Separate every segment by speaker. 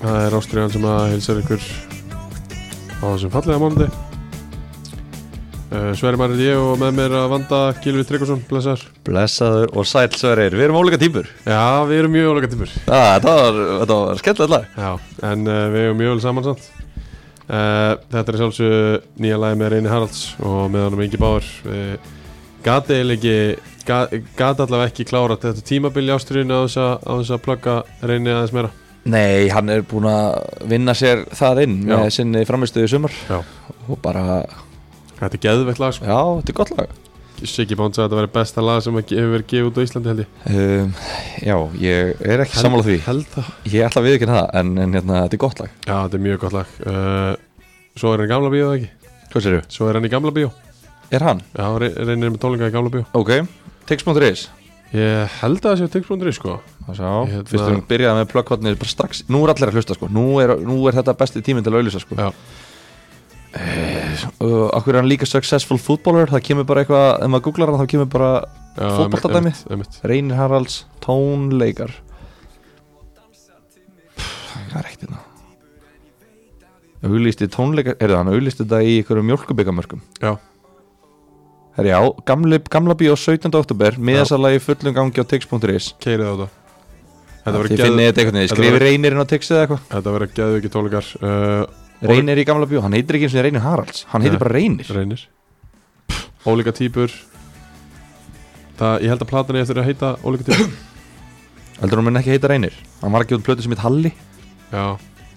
Speaker 1: Það er Ástriðan sem að hilsar ykkur á þessum fallega mándi uh, Sverri Marrið ég og með mér að vanda Gilvi Tryggvason, blessar
Speaker 2: Blessaður og sæl sverir, við erum ólíka típur
Speaker 1: Já, við erum mjög ólega tímur
Speaker 2: ah, Þetta var, þetta var skemmtilegt lag
Speaker 1: Já, en uh, við erum mjög vel saman samt uh, Þetta er sjálfsög nýja lagi með Reyni Haralds og með honum Ingi Báður uh, Gati eiginlega ekki gat- Gat allavega ekki klára þetta tímabili Ástriðinu á þess að- á þess að plugga Reyni aðeins meira
Speaker 2: Nei, hann er búinn að vinna sér þar inn með
Speaker 1: Já.
Speaker 2: sinni framistuði sumar
Speaker 1: Já.
Speaker 2: og bara,
Speaker 1: Þetta er geðveikt lag sko.
Speaker 2: já, þetta er gott lag
Speaker 1: Siggi Bónd sagði að þetta væri besta lag sem hefur verið gefið út á Íslandi held ég
Speaker 2: um, Já, ég er ekki sammála því
Speaker 1: Held það
Speaker 2: Ég ætla að við ekki það, en, en hérna, þetta er gott lag
Speaker 1: Já, þetta er mjög gott lag uh, Svo er hann í gamla bíó eða ekki
Speaker 2: Hvað sér
Speaker 1: Svo er hann í gamla bíó
Speaker 2: Er hann?
Speaker 1: Já, hann re- reynir með tónleika í gamla bíó
Speaker 2: Ok, tix.is
Speaker 1: Ég held að það sé tix.ri sko
Speaker 2: Það sá,
Speaker 1: Hérna-
Speaker 2: fyrst við byrjaði með plökkvarnir bara strax Nú er allir að hlusta sko, nú er, nú er þetta besti tíminn til að auðlýsa sko
Speaker 1: Já.
Speaker 2: Eh, uh, Akkur er hann líka successful footballer Það kemur bara eitthvað, ef maður googlar hann þá kemur bara
Speaker 1: Já,
Speaker 2: Fótboltadæmi?
Speaker 1: einmitt, einmitt.
Speaker 2: Reynir Haralds tónleikar Pff, Það er ekkert hérna Auðlýsti tónleikar, er það hann auðlýsti þetta í einhverjum mjölkubyggamörkum
Speaker 1: Já.
Speaker 2: Herri já, gamli, gamla bíó 17. oktober miðasalagi fullum gangi á tix.is
Speaker 1: Keirið á þetta Þetta verður
Speaker 2: Þið finnið
Speaker 1: geð,
Speaker 2: þetta einhvern veginn,
Speaker 1: þetta
Speaker 2: skrifi
Speaker 1: voru-
Speaker 2: reynirinn á tixið eða eitthvað
Speaker 1: þetta verður geðviki tónleikar uh,
Speaker 2: Reynir í gamla bíó, hann heitir ekki eins og Reynir Haralds Hann heitir
Speaker 1: Nei.
Speaker 2: bara Reynir
Speaker 1: Reynir Ólíka típur það, Ég held að platan ég eftir að heita ólíka típur
Speaker 2: Heldur hann mun ekki heita Reynir Hann var ekki út plötu sem heit Halli
Speaker 1: Já,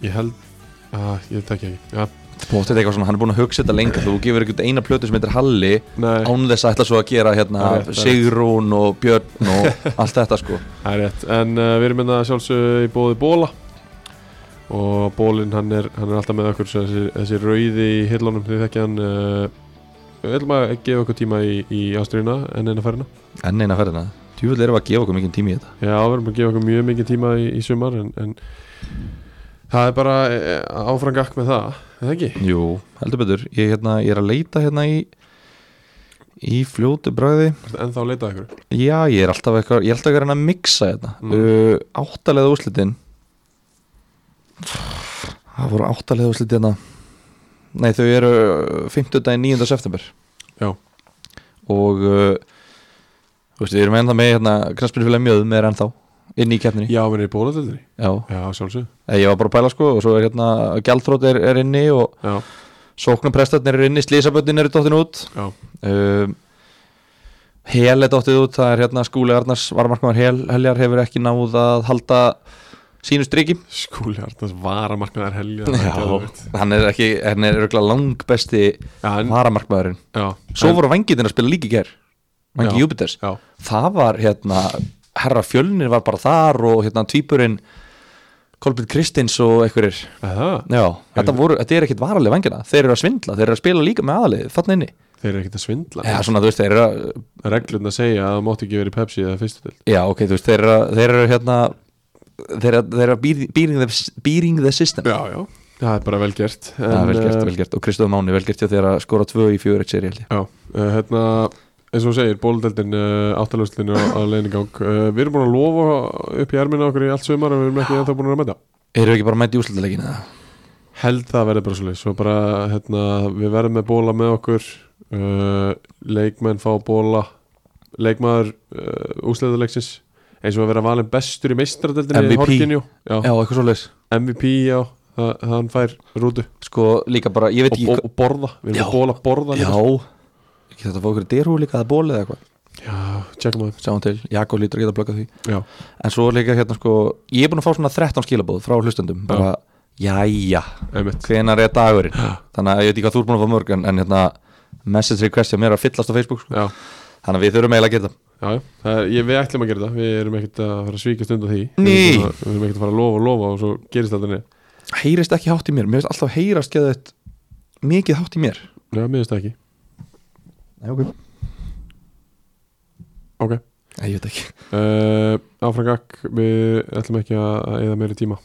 Speaker 1: ég held að, Ég tekja ekki Já,
Speaker 2: Bóttið eitthvað svona, hann er búin að hugsa þetta lengi Þú gefur eitthvað eina plötu sem heitir Halli
Speaker 1: nei
Speaker 2: án þess að ætla svo að gera hérna
Speaker 1: Það er rétt, það er rétt.
Speaker 2: Sigrún og Björn og allt þetta sko
Speaker 1: Það er rétt, en uh, við erum hérna sjálfsög í bóði bóla og bólinn hann er, hann er alltaf með okkur svo þessi, þessi rauði í hillunum því þekkja hann uh, við ætlum að gefa okkur tíma í, í ástriðina en eina færina
Speaker 2: enn eina ferðina Tjúvill erum við að gefa okkur mikið tími í þetta
Speaker 1: Já, við erum að gefa okkur mjög mikið tíma í, í sumar en, en það er bara eh, áfram gakk með það, er það ekki?
Speaker 2: Jú, heldur betur, ég, hérna, ég er að leita hérna í í fljótu bræði
Speaker 1: En þá leitað ykkur
Speaker 2: Já, ég er alltaf eitthvað, ég er alltaf eitthvað að reyna að mixa hérna
Speaker 1: Mm.
Speaker 2: uh, Áttalega úrslitin Það voru áttalega úrslitin hérna Nei, þau eru uh, 50. 9. september
Speaker 1: Já.
Speaker 2: Og uh, Þú veist, við erum ennþá með hérna Knastbyrnfélag mjög með er ennþá Inn í keppninni
Speaker 1: Já, við erum í bólatöldinni
Speaker 2: Já,
Speaker 1: Já, sjálfsög
Speaker 2: Eh, ég var bara að pæla sko og svo er hérna Gjaldþrótt er, er inni og
Speaker 1: Já,
Speaker 2: sóknarprestarnir eru inni, slísaböndin eru dottin út
Speaker 1: já,
Speaker 2: um, Hel er dottið út það er hérna skúli Arnars varmarkmaður Hel, Heljar hefur ekki náð að halda sínu striki
Speaker 1: skúli Arnars varamarknaðar helja
Speaker 2: hann er ekki, hann er örugglega langbesti
Speaker 1: já, en,
Speaker 2: varamarkmaðurinn
Speaker 1: já
Speaker 2: svo
Speaker 1: en-
Speaker 2: voru vangitin að spila líka í ger vangi
Speaker 1: Já.
Speaker 2: Júpiters,
Speaker 1: Já,
Speaker 2: það var hérna herra fjölnir var bara þar og hérna tvíburinn Kolbjörn Kristins og einhverjir
Speaker 1: er það
Speaker 2: Já, þetta, voru, þetta er ekkit varaleg vangina þeir eru að svindla, þeir eru að spila líka með aðalið þarna inni,
Speaker 1: Þeir eru ekkert að svindla
Speaker 2: já svona þú veist, þeir eru að
Speaker 1: reglun að segja að það mátti ekki verið í Pepsi eða fyrstu til
Speaker 2: Já, ok, þú veist, þeir eru, þeir eru hérna Þeir eru, þeir eru beating, beating, the, beating the system
Speaker 1: Já, já, það er bara vel gert en,
Speaker 2: Það er vel gert,
Speaker 1: eh,
Speaker 2: vel gert Og Kristof Máni vel gert hjá þeir að skora tvö í fjögur eitt séri held ég
Speaker 1: Já, uh, hérna, eins og þú segir, bóludeldin uh, áttalöfslinu á, á leiningang uh, Við erum búin að lofa upp í ermina okkur í allt sömar en við erum ekki ennþá búin að mæta
Speaker 2: Eru ekki bara mætt í úslutalegin eða?
Speaker 1: Held það verði bara svolítið Svo bara, hérna, við verðum með bóla með okkur uh, Leikmenn fá bóla Leikmaður uh, úsleðuleiksins eins og að vera valin bestur í meistradeldinni
Speaker 2: MVP.
Speaker 1: í Horkinjú, já,
Speaker 2: Já, eitthvað svo leis
Speaker 1: MVP, já, það, hann fær rútu
Speaker 2: Sko, líka bara, ég veit
Speaker 1: og,
Speaker 2: ekki
Speaker 1: og, og borða, við
Speaker 2: Já.
Speaker 1: erum að bóla borða
Speaker 2: Já
Speaker 1: líka
Speaker 2: Ekki þetta að fá okkur derhú líka að bóla eða eitthvað
Speaker 1: já tjekkum að
Speaker 2: Sjáum til, Jakob lítur að geta að plugga því
Speaker 1: já,
Speaker 2: En svo líka hérna sko Ég er búin að fá svona 13 skilabóð frá hlustendum Bara, jæja,
Speaker 1: einmitt
Speaker 2: hvenar er dagurinn Þannig að ég veit ekki hvað þú er búin að fá mörg En, en hérna, message request hjá mér er að fyllast á Facebook sko.
Speaker 1: já,
Speaker 2: Þannig að við þurfum eiginlega að gera það
Speaker 1: já, já. Það er, ég, við ætlum að gera það við erum ekkert að fara að svíkast undan því við
Speaker 2: Nei.
Speaker 1: erum, bara- við erum ekkert að fara að lofa og lofa og svo gerist þetta niður
Speaker 2: heyrist ekki hátt í mér, mér finnst alltaf heyrast geðið mikið hátt í mér
Speaker 1: já, miðurst ekki,
Speaker 2: Nei, ok,
Speaker 1: ok
Speaker 2: Nei, ég veit ekki Við
Speaker 1: uh, áfram gakk, við ætlum ekki að að eða meiri tíma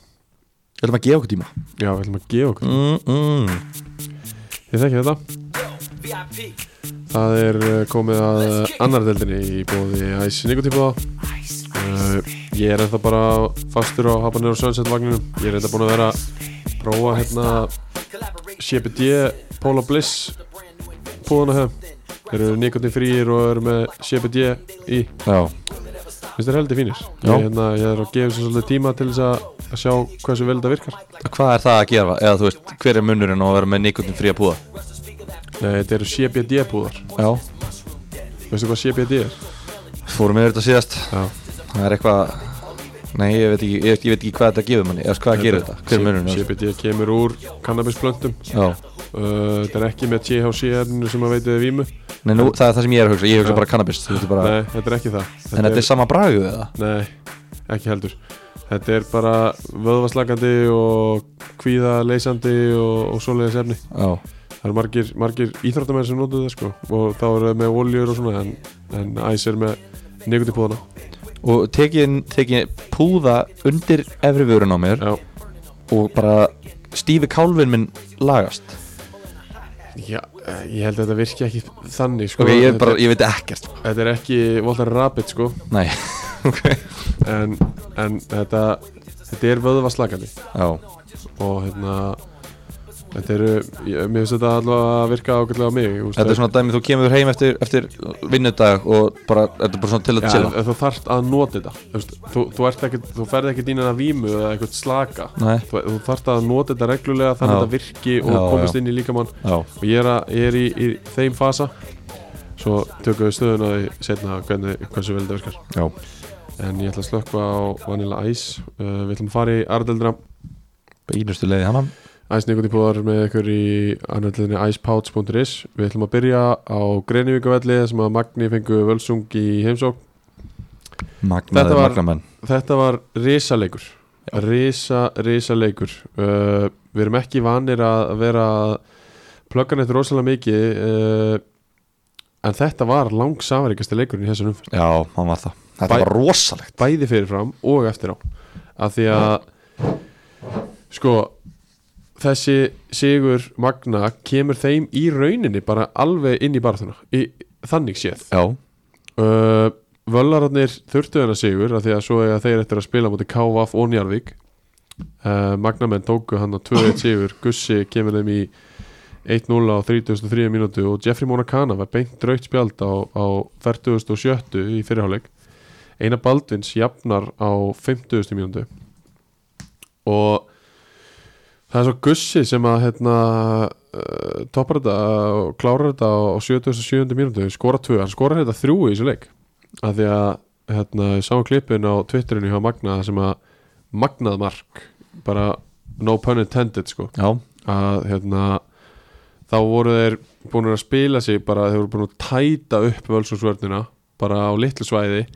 Speaker 2: ætlum að gefa okkur tíma
Speaker 1: já, við ætlum að gefa okkur
Speaker 2: mm, mm.
Speaker 1: ég þekki þetta eh, það er uh, komið að annar deldinni í bóði æs nikotípa uh, Uh, ég er ennþá bara fastur á Habanero Sunset vagninum Ég er ennþá búin að vera að prófa hérna CBD Polar Bliss púðan að höfum Þeir eru nikotin frýir og eru með CBD í
Speaker 2: Já,
Speaker 1: Finnst þér heldur fínir ég,
Speaker 2: Já.
Speaker 1: hérna, ég er að gefa sér svolítið tíma til þess að, að sjá hversu vel þetta virkar
Speaker 2: hvað er það að gera? Eða þú veist, hver er munurinn á að vera með nikotin fría púða?
Speaker 1: Nei, þetta eru CBD púðar
Speaker 2: Já,
Speaker 1: Veistu hvað CBD er?
Speaker 2: fórum við þetta síðast
Speaker 1: Já,
Speaker 2: Það er eitthvað Nei, ég veit ekki, ég veit, ég veit ekki hvað þetta gefur manni Eða hvað gerir þetta? Hver er munurinn? á þessu?
Speaker 1: CBD kemur úr kannabisplöntum
Speaker 2: Já,
Speaker 1: uh, Þetta er ekki með THC-efninu sem að veitið vímu
Speaker 2: Nei, nú, það er það sem ég er að hugsa Ég hugsa
Speaker 1: Já.
Speaker 2: bara cannabis þú veitir bara,
Speaker 1: Nei, þetta er ekki það
Speaker 2: En þetta er sama bragu eða?
Speaker 1: Nei, ekki heldur Þetta er bara vöðvaslagandi og kvíðaleysandi og, og svoleiðis efni
Speaker 2: Já,
Speaker 1: Það eru margir, margir íþróttamenn sem notuðu það sko og þá eru það með oljur og svona en, en æs er með nikotipúðana
Speaker 2: og tekið teki púða undir efri vörun á mér
Speaker 1: Já,
Speaker 2: og bara stífi kálfin minn lagast
Speaker 1: Já eh, ég held að þetta virki ekki þannig sko
Speaker 2: Ok, ég, er bara, ég veit ekkert
Speaker 1: þetta, þetta er ekki Voltar Rabbit sko
Speaker 2: Nei, ok
Speaker 1: en, en þetta, þetta er vöðvaslagandi
Speaker 2: Já,
Speaker 1: og hérna þetta eru, ég, mér finnst þetta allavega að virka ágætlega á mig þú veist,
Speaker 2: þetta er svona dæmi þú kemur heim eftir, eftir vinnudag og bara, þetta er bara svona til að
Speaker 1: Já,
Speaker 2: chilla
Speaker 1: en þú þarft að nota þetta þú, veist, þú, þú, ert ekkert, þú ferð ekki dýnana vímu eða eitthvað slaka
Speaker 2: Nei,
Speaker 1: þú, þú þarft að nota þetta reglulega þannig
Speaker 2: Já.
Speaker 1: að þetta virki og
Speaker 2: Já,
Speaker 1: komist
Speaker 2: já.
Speaker 1: inn í líkamann
Speaker 2: já,
Speaker 1: og ég er, að, ég er í, í þeim fasa svo tökum við stöðuna í setna hvernig, hversu vel þetta virkar
Speaker 2: já
Speaker 1: en ég ætla að slökka á Vanilla Ice uh, við ætlum að fara í Ardeldra
Speaker 2: Ínustu leiði hana
Speaker 1: Ice Nikotipúðar með ykkur í annaðliðinni icepouch.is við ætlum að byrja á Greinivíkavelli sem að Magni fengu völsung í heimsók
Speaker 2: Magnaði
Speaker 1: var-
Speaker 2: magnamenn
Speaker 1: þetta var risaleikur risa, risaleikur uh, við erum ekki vanir að vera að plugga neitt rosalega mikið uh, en þetta var langsafaríkasti leikurinn í þessu umfyrst
Speaker 2: Já, hann var það Þetta
Speaker 1: Bæ-
Speaker 2: var rosalegt
Speaker 1: bæði fyrirfram og eftir á af því að sko þessi sigur Magna kemur þeim í rauninni bara alveg inn í barðuna í, þannig séð
Speaker 2: Já,
Speaker 1: uh, Völararnir þurftu hennar sigur af því að svo eiga þeir eftir að spila mútið KVF og Njarvík uh, Magnamenn tóku hann á 2-1 sigur Gussi kemur þeim í 1-0 á 33 mínútu og Jeffrey Monacana var beint draugt spjald á, á 47 í fyrirháleik Einar Baldvins jafnar á 50 mínútu og það er svo Gussi sem að hérna, uh, toppar þetta og klárar þetta á 77. mínútu skora tvö, hann skorar þetta þrjú í þessu leik af því að hérna, ég sá klippin á Twitterinu hjá Magna þar sem að Magnað mark bara no pun intended sko
Speaker 2: já,
Speaker 1: að hérna þá voru þeir búin að spila sig bara þeir voru búin að tæta upp völsungsvörnina bara á litlu svæði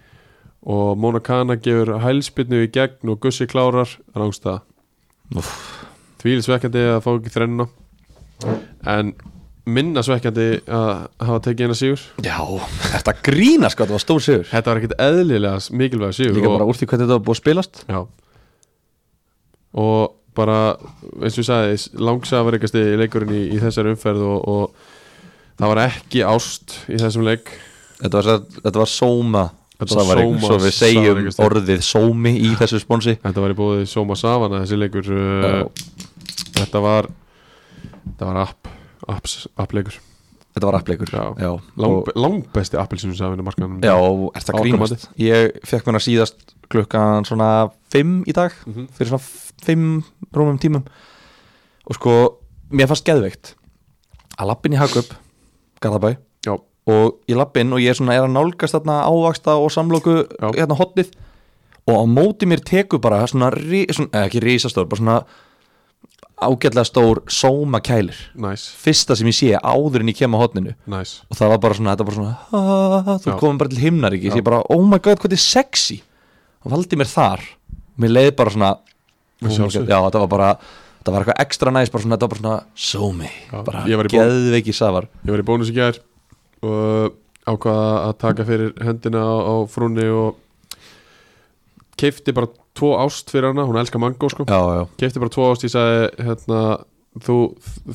Speaker 1: og Mona Kana gefur hælspinnu í gegn og Gussi klárar rángstað því svekkjandi að fá ekki þrenna en minna svekkjandi að hafa tekið eina sigur
Speaker 2: já Þetta grína sko, þetta var stór sigur
Speaker 1: þetta var ekkit eðlilega mikilvæg sigur
Speaker 2: Líka
Speaker 1: og-
Speaker 2: bara úr því hvernig þetta var búið að spilast
Speaker 1: Já Og bara eins og ég sagði langsafaríkasti leikurinn í, í þessari umferð og, og það var ekki ást í þessum leik
Speaker 2: Þetta var, satt- þetta var sóma
Speaker 1: Þetta var
Speaker 2: safarík,
Speaker 1: sóma
Speaker 2: Svo við segjum
Speaker 1: safaríkast.
Speaker 2: orðið sómi í þessu sponsi
Speaker 1: Þetta var í bóði Soma Savana þessi leikur uh,
Speaker 2: Já.
Speaker 1: Þetta var þetta var app, apps, app leikur
Speaker 2: Þetta var appleikur
Speaker 1: Já.
Speaker 2: já.
Speaker 1: Lang,
Speaker 2: Og,
Speaker 1: langbesti appelsinu safinu markanum
Speaker 2: já er
Speaker 1: Á
Speaker 2: það grínast Ég fekk mér að síðast klukkan svona 5 í dag
Speaker 1: Mhm.
Speaker 2: Fyrir svona 5 rúmum tímum Og sko, mér fannst geðveikt Að lappin í Hakup Garðabæ
Speaker 1: Já.
Speaker 2: Og ég lappin og ég er svona er að nálgast þarna ávaksta og samlóku
Speaker 1: Já.
Speaker 2: hérna hotnið Og á móti mér tekur bara svona, ri, svona eða ekki risastór, bara svona ágætlega stór sóma kælir
Speaker 1: Næs,
Speaker 2: fyrsta sem ég sé áður en ég kem á hotninu
Speaker 1: næs
Speaker 2: og það var bara svona, þetta var bara svona "Ah", þú
Speaker 1: Já.
Speaker 2: komum bara til himnar ekki,
Speaker 1: Já.
Speaker 2: ég bara oh my god hvað þetta er sexy og valdi mér þar mér leiði bara svona
Speaker 1: Með
Speaker 2: oh my
Speaker 1: sjálfsögðu.
Speaker 2: god, já þetta var bara þetta var eitthvað ekstra næs, bara svona, þetta var bara svona sómi,
Speaker 1: Já,
Speaker 2: bara
Speaker 1: ég var í bón-
Speaker 2: geðveiki safar
Speaker 1: Ég var í bónus í gær og ákvaða að taka fyrir hendina á, á frúnni og keifti bara tvo ást fyrir hana, hún elskar mango sko
Speaker 2: já, já,
Speaker 1: keipti bara tvo ást, ég sagði hérna, þú,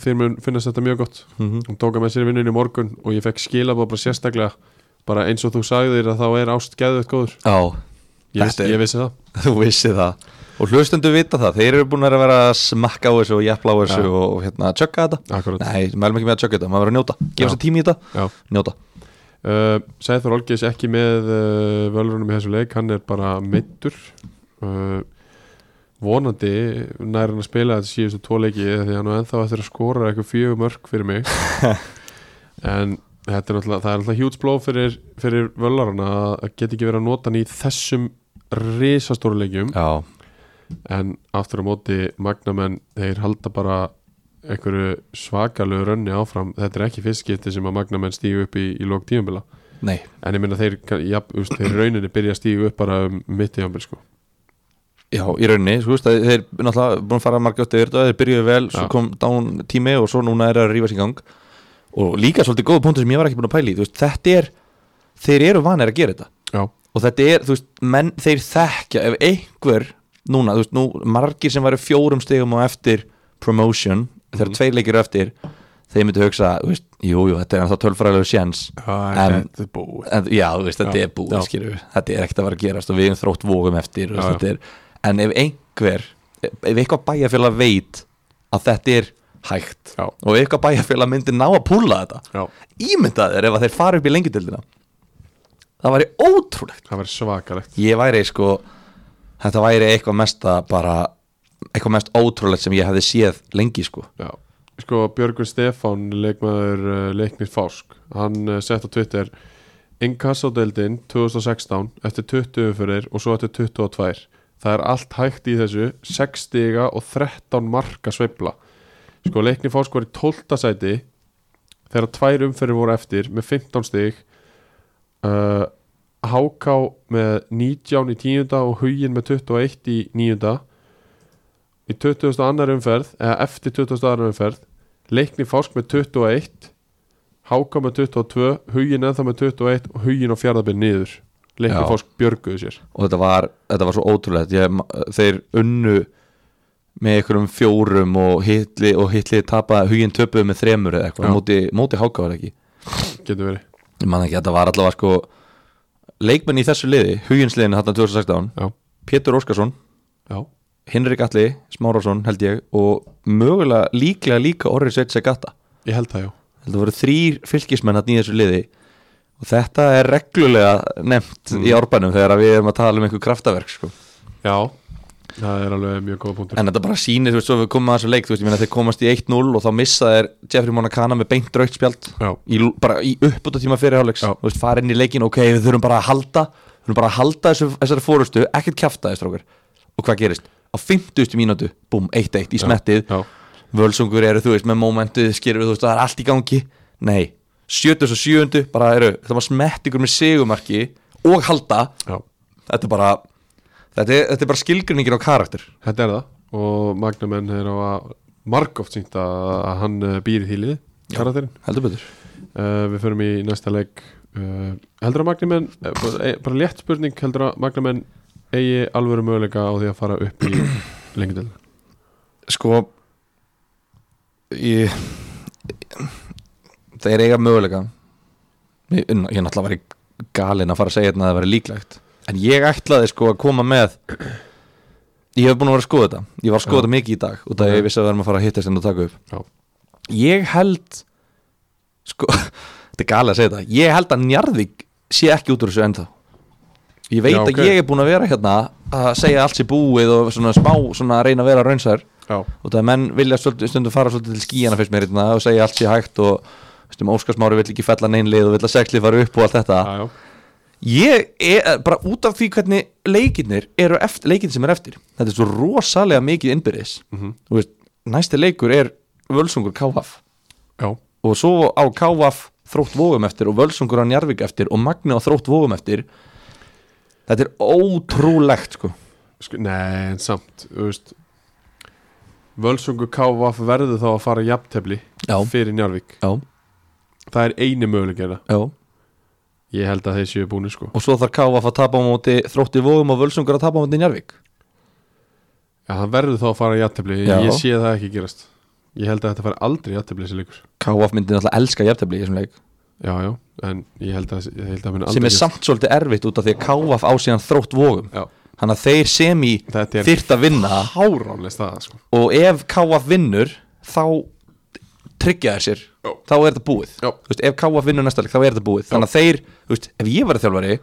Speaker 1: þér mun finnast þetta mjög gott
Speaker 2: mm -hmm.
Speaker 1: hún tóka með sér í vinnunni í morgun og ég fekk skilabóð bara sérstaklega bara eins og þú sagðir að þá er ást geðveitt góður
Speaker 2: já
Speaker 1: ég, vissi-
Speaker 2: Þetta er-
Speaker 1: ég vissi það
Speaker 2: þú vissi það og hlustendur vita það, þeir eru búin að vera að smakka á þessu og jafla á þessu
Speaker 1: Já.
Speaker 2: og hérna tjögga þetta
Speaker 1: Akkurat.
Speaker 2: nei, mælum ekki með að tjögga þetta, maður verður að njóta gefa
Speaker 1: Já.
Speaker 2: sér tími í þetta,
Speaker 1: Já.
Speaker 2: njóta
Speaker 1: Uh, Sæður Olgis ekki með uh, völurunum í þessu leik, hann er bara meittur uh, vonandi nær hann að spila þetta síðustu tvo leiki því hann er ennþá eftir að skora eitthvað fjögur mörg fyrir mig en þetta er náttúrulega, það er náttúrulega hjúts blóð fyrir, fyrir völaruna að að geta ekki verið að nota hann í þessum risastóru leikjum
Speaker 2: já,
Speaker 1: en aftur á móti magnamenn, þeir halda bara einhverju svakalegu rönni áfram þetta er ekki fyrst skipti sem að magnamenn stíu upp í, í lók tíumbila
Speaker 2: nei,
Speaker 1: en ég minna þeir, ja, úst, þeir í rauninni byrja að stígu upp bara um mitt í ámbil sko.
Speaker 2: já, í rauninni sko, veist, að þeir náttúrulega búin að fara margjótt yfir þetta, þeir byrjuðu vel, svo
Speaker 1: Já.
Speaker 2: kom dán tími og svo núna er að rífa sér gang og líka svolítið góða punktu sem ég var ekki búin að pæli veist, þetta er, þeir eru vanir að gera þetta
Speaker 1: já,
Speaker 2: og þetta er, þú veist, menn þeir þekkja ef einhver, núna, þú veist, nú margir sem væri fjórum stegum á eftir promotion, þegar
Speaker 1: Mhm.
Speaker 2: tveir leikir á eftir þeir myndu hugsa, þú veist, jú, jú þetta er ennþá tölfræðilegu sjens En-
Speaker 1: er búið
Speaker 2: en, já, þú veist, þetta
Speaker 1: Já,
Speaker 2: er búið,
Speaker 1: já.
Speaker 2: skilju þetta er ekkert að vera að gerast og við erum þrótt vógum eftir já,
Speaker 1: Já,
Speaker 2: veist, þetta er, en ef einhver ef eitthvað bæjarfélag veit að þetta er hægt
Speaker 1: Já.
Speaker 2: og ef eitthvað bæjarfélag myndi ná að púla þetta
Speaker 1: já,
Speaker 2: ímyndaðir ef að þeir fara upp í lengjutildina það væri ótrúlegt
Speaker 1: það verður svakalegt
Speaker 2: ég væri sko þetta væri eitthvað mesta bara eitthvað mest ótrúlegt sem ég hefði séð lengi sko
Speaker 1: já. sko Björgur Stefán leikmaður uh, leiknir Fásk hann uh, sett á Twitter inkassodeldin 2016 eftir 20 fyrir og svo eftir 22 það er allt hægt í þessu 6 stiga og 13 marka sveifla sko leiknir Fásk var í 12. sæti þegar tvær umferðir voru eftir með 15 stig uh, HK með 19 í 10. og Hugin með 21 í 9. Í 22. umferð eða eftir 22. umferð Leikni Fásk með 21 HK með 22 Hugin ennþá með 21 og Hugin á fjárðabinn niður Leikni
Speaker 2: Já.
Speaker 1: Fásk björguðu sér
Speaker 2: og þetta var, þetta var svo ótrúlegt ég, þeir unnu með einhverjum fjórum og hitli og hitli tapaði huginn töpuðu með þremur eða eitthvað,
Speaker 1: Já.
Speaker 2: móti, móti hákáður ekki
Speaker 1: getur verið
Speaker 2: ég man ekki, þetta var allavega sko leikmenn í þessu liði, huginsliðinu hann 2016,
Speaker 1: Já,
Speaker 2: Pétur Óskarsson
Speaker 1: já,
Speaker 2: Hinrik Alli, Smárásson held ég og mögulega líklega líka Orri Sveitse Gata
Speaker 1: ég held það já
Speaker 2: þetta voru þrýr fylgismenn hann í þessu liði og þetta er reglulega nefnt í árbænum þegar að við erum að tala um einhver kraftaverk sko.
Speaker 1: Já, það er alveg mjög góða punktur
Speaker 2: en þetta bara sýnir, þú veist, svo við komum að þessu leik þú veist, ég meina þeir komast í 1-0 og þá missa þeir Jeffrey Monacana með beint raukt spjald
Speaker 1: Já,
Speaker 2: í, l- bara í uppbúta tíma fyrirháleiks
Speaker 1: Já.
Speaker 2: þú veist, fara inn í leikin, ok, við þurfum bara að halda við þurfum bara að halda þessu, þessari fórustu ekkert kjafta þessu strókar, og hvað gerist á 50. mínútu, búm, 1-1 í smettið
Speaker 1: já,
Speaker 2: völsungur eru, þú veist, með momentið skilur, þú veist, það er allt í gangi nei, 77. bara eru það var smett ykkur með sigumarki og halda,
Speaker 1: já
Speaker 2: þetta er bara þetta er, þetta er bara skilgrinningin á karakter
Speaker 1: Þetta er það og Magnamenn er á að margóft sínt að að hann eh, býr í þýlið karakterinn
Speaker 2: heldur betur
Speaker 1: uh, Við förum í næsta leik uh, Heldur að Magnamenn eh, bara, eh, bara létt spurning, heldur að Magnamenn eigi alvöru möguleika á því að fara upp í lengdil
Speaker 2: sko ég það er eiga möguleika ég, ég náttúrulega var í galin að fara að segja hérna að það væri líklegt en ég ætlaði sko að koma með ég hef búin að vera að skoða þetta ég var að skoða
Speaker 1: Já.
Speaker 2: þetta mikið í dag og það
Speaker 1: Ok.
Speaker 2: ég vissi að við erum að fara að hittast en að taka upp
Speaker 1: Já,
Speaker 2: ég held sko, þetta er galið að segja þetta ég held að Njarðvík sé ekki út úr þessu ennþá ég veit
Speaker 1: Já, ok.
Speaker 2: að ég er búin að vera hérna að segja allt sér búið og svona spá svona að reyna að vera raunsær
Speaker 1: já,
Speaker 2: og það er menn vilja svolítið, stundum fara svolítið til skíjana fyrst mér hérna og segja allt sér hægt og stundum Óskarsmári vill ekki fella neynlið og vill að seglið fara upp og allt þetta
Speaker 1: já, já.
Speaker 2: ég er eh, bara út af því hvernig leikinnir eru eftir, leikinn sem er eftir þetta er svo rosalega mikið innbyrðis
Speaker 1: mhm,
Speaker 2: Þú veist, næsti leikur er völsungur KF
Speaker 1: já,
Speaker 2: og svo á KVaf þrótt vógum eftir og Völsungur á Njarvík eftir og Magni á þrótt vógum eftir þetta er ótrúlegt sko.
Speaker 1: Sk- Nei, en samt þú veist, Völsungur KVF verður þá að fara jafntefli
Speaker 2: já,
Speaker 1: fyrir Njarvík
Speaker 2: já,
Speaker 1: Það er eini möguleika
Speaker 2: já
Speaker 1: Ég held að þeir séu búinu sko
Speaker 2: og svo þarf KVaf að tapa á móti þrótti vógum og Völsungur að tapa á móti Njarvík
Speaker 1: Já, hann verður þá að fara í jættefli
Speaker 2: Já.
Speaker 1: Ég sé það ekki gerast Ég held að þetta fara aldrei í jættefli þessi leikur
Speaker 2: KVaf myndi náttúrulega elska jæftefli í þessum leik
Speaker 1: já, já, en ég held að, ég held að muni
Speaker 2: sem
Speaker 1: aldrei
Speaker 2: er samt svolítið erfitt út af því að KF á síðan þrótt vogum
Speaker 1: Já.
Speaker 2: þannig að þeir sem í
Speaker 1: Þetta er-
Speaker 2: þyrt að vinna það
Speaker 1: háránlega staða sko.
Speaker 2: og ef KF vinnur þá tryggja þeir sér
Speaker 1: Já.
Speaker 2: þá er þetta búið
Speaker 1: Já.
Speaker 2: Þú veist, ef KF vinnur næsta leik þá er þetta búið þannig að þeir, þú veist, ef ég verið þjálfari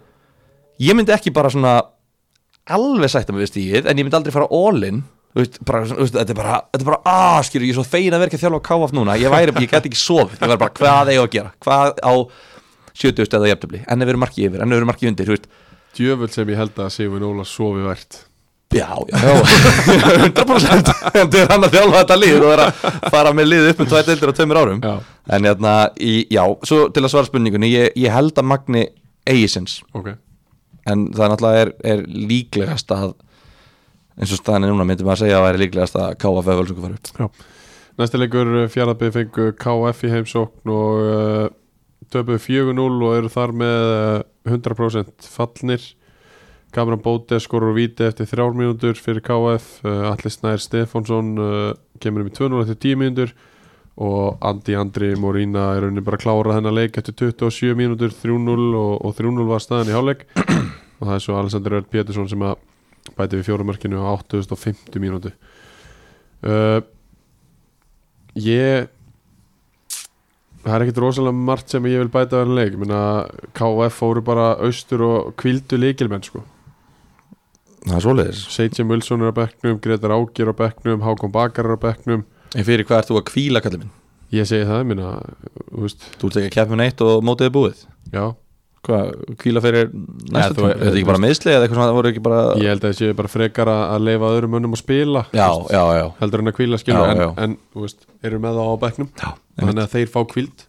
Speaker 2: ég myndi ekki bara svona alveg sætta mig við stíð en ég myndi aldrei fara all-in Þú veist, bara, svona, þú veist, þetta er bara, þetta er bara ah, skilur, ég er svo fegin að vera ekki að þjálfa KF núna ég, væri, ég gæti ekki sofið, ég verði bara hvað eigum við að gera hvað á 70 eða jafntöfli, enn ef við erum markið yfir, enn ef við erum markið undir þú veist,
Speaker 1: djöfull sem ég held að Sigurvin Óla sofi vært
Speaker 2: Já, já, já 100% Þetta er hann að þjálfa þetta lið og er að fara með lið upp með tvær deildir á tveimur árum
Speaker 1: Já.
Speaker 2: En hérna, í, já, svo til að svara spurningunni Ég, ég held að Magni eigisins
Speaker 1: ok,
Speaker 2: En það náttúrulega er, er líklegast að eins og staðan er núna myndi maður að segja að væri líklegast að KFF völsungu fara upp
Speaker 1: já næsti leikur fjaraðbyrð fengu KF í heimsókn og uh, töpuðu 4-0 og eru þar með uh, 100% fallnir Kamran Bóte skorur víti eftir þrjár mínútur fyrir KF uh, Alli Snær Stefánsson uh, kemur um í 2-0 eftir 10 mínútur og Andi Andri Morína er raunin bara að klára þennan leik eftir 27 mínútur 3-0 og, og 3-0 var staðan í hálfleik og það er svo Alessandr Örd Pétursson sem að bæti við fjórumörkinu á 8050 mínútu uh, Ég það er ekkit rosalega margt sem ég vil bæta þennan leik, minna KF fóru bara austur og kvildu leikilmenn sko
Speaker 2: Það er svoleiðis
Speaker 1: Seitjum Wilson er á bekknum, Gretar Ágjur á bekknum, Hákon Bakar er á bekknum
Speaker 2: En fyrir hvað ert þú að kvíla, kallið minn?
Speaker 1: Ég segi það, minna, þú veist,
Speaker 2: Þú ert ekki að keppa með neitt og mótið er búið
Speaker 1: já
Speaker 2: Hvað, kvíla fyrir
Speaker 1: Nei,
Speaker 2: næsta
Speaker 1: þú-
Speaker 2: tíma? Er þetta ekki bara meðsli eða eitthvað svona, voru ekki bara
Speaker 1: Ég held að það sé bara frekar að að leifa öðrum önnum að spila
Speaker 2: Uh. Já,
Speaker 1: þú veist,
Speaker 2: já, já
Speaker 1: heldur en að kvíla skilur
Speaker 2: Já,
Speaker 1: en,
Speaker 2: já.
Speaker 1: en þú veist, eru með það á bekknum
Speaker 2: Já, einmitt,
Speaker 1: þannig að þeir fá kvíld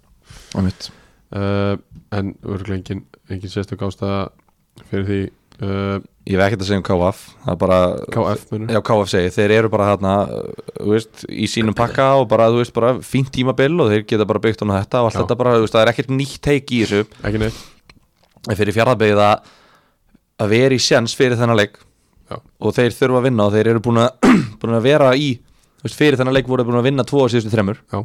Speaker 2: einmitt.
Speaker 1: uh, en örgulega engin, engin sérstök ástæða fyrir því uh,
Speaker 2: Ég veit ekki að segja um KF Það er bara,
Speaker 1: KF munur
Speaker 2: já KF segi Þeir eru bara þarna, uh, þú veist, í sínum pakka og bara, þú veist, bara fínt tímabil og þeir geta bara byggt honum þetta og allt
Speaker 1: Já.
Speaker 2: þetta bara, þú veist, það er ekkert nýtt teik í þessu
Speaker 1: ekki neitt,
Speaker 2: en fyrir fjarðabyggð að að vera í sjans fyrir þennan leik
Speaker 1: Já.
Speaker 2: og þeir þurfa að vinna og þeir eru búin að, búin að vera í, þú veist, fyrir þennan leik voru þeir búin að vinna tvo á síðustu þremur
Speaker 1: já,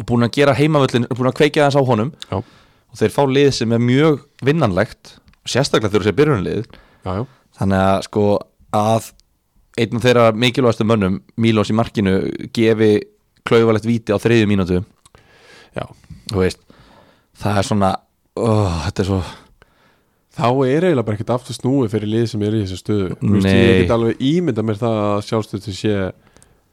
Speaker 2: og búin að gera heimavöllin, búin að kveikja þess á honum
Speaker 1: já,
Speaker 2: og þeir fá lið sem er mjög vinnanlegt sérstaklega þegar þessi byrjunlið
Speaker 1: já, já.
Speaker 2: þannig að sko að einn af þeirra mikilvægastu mönnum Mílós í markinu gefi klauvalegt víti á þriðju mínútu
Speaker 1: já.
Speaker 2: þú veist, það er svona oh, þetta er svo
Speaker 1: þá er eiginlega bara ekkert aftur snúið fyrir lið sem er í þessu stöðu Þú veist, ég
Speaker 2: Nei.
Speaker 1: get alveg ímynda mér það að sjálfstöðu sé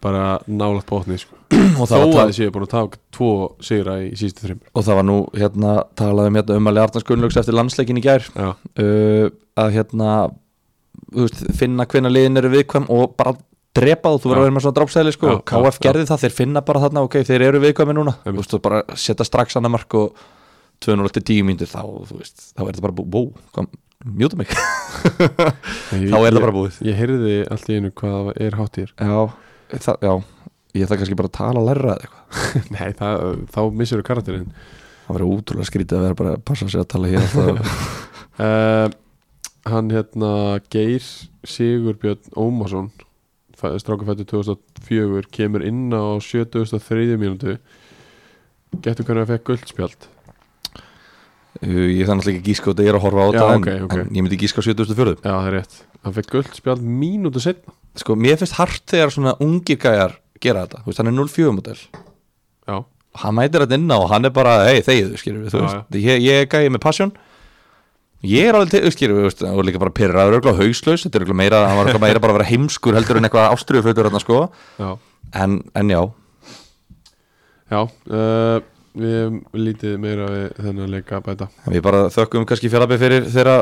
Speaker 1: bara nálaðt bótni sko.
Speaker 2: og
Speaker 1: þó
Speaker 2: það,
Speaker 1: að
Speaker 2: var,
Speaker 1: þið séu búin að taka tvo sigra í sístu þrimur
Speaker 2: og það var nú hérna talað um hérna um að Leartans Gunnlaugs eftir landsleikin í gær
Speaker 1: já,
Speaker 2: uh, að hérna þú veist, finna hvenna liðin eru viðkvæm og bara drepa þú, þú verður
Speaker 1: Já.
Speaker 2: að vera með svona drápsæli sko,
Speaker 1: Já, já,
Speaker 2: KF
Speaker 1: já.
Speaker 2: gerði það, þeir finna bara þarna ok, þeir eru viðkvæmi núna, þú
Speaker 1: Einmitt.
Speaker 2: veist, þú bara setja strax annar mark og 210 mínútur þá, þú veist, þá er þetta bara búið, wow, kom, mjúta mig
Speaker 1: ég,
Speaker 2: þá er
Speaker 1: ég,
Speaker 2: það bara búið
Speaker 1: ég heyrði allt í einu hvað er hátt í þér
Speaker 2: já, það, já, ég það kannski bara að tala að læra eða eitthvað,
Speaker 1: nei, það, þá missur þú karakterinn
Speaker 2: það verður útrúlega skrítið að vera bara að passa sig að tala hér alltaf.
Speaker 1: uh, hann hérna Geir Sigurbjörn Ómarsson strákafættu 2004 kemur inn á 73. mínútu getur hvernig að fekk guldspjald
Speaker 2: Uh, ég þannig ekki að gíska og þetta ég er að horfa á
Speaker 1: Já,
Speaker 2: þetta en,
Speaker 1: ok, ok.
Speaker 2: en ég myndi gíska á 74
Speaker 1: já það er rétt, hann fekk guldspjald mínútu setna
Speaker 2: sko, mér finnst hart þegar svona ungir gæjar gera þetta, þú veist, hann er 04 model
Speaker 1: já,
Speaker 2: og hann mætir þetta inn á og hann er bara hei, þegiðu, skilur við, þú
Speaker 1: Já,
Speaker 2: veist ég, ég er gæði með passion ég er alveg til, skilur við, þú veist, og líka bara pyrraður örgulega hauslaus, þetta er örgulega meira hann var örgulega meira bara að vera heimskur heldur en eitthvað ástriðufötur þarna, sko,
Speaker 1: já,
Speaker 2: en, en já
Speaker 1: já uh, við hefum lítið meira við þennan leika að bæta
Speaker 2: en við bara þökkum kannski fjarlabbi fyrir þeirra,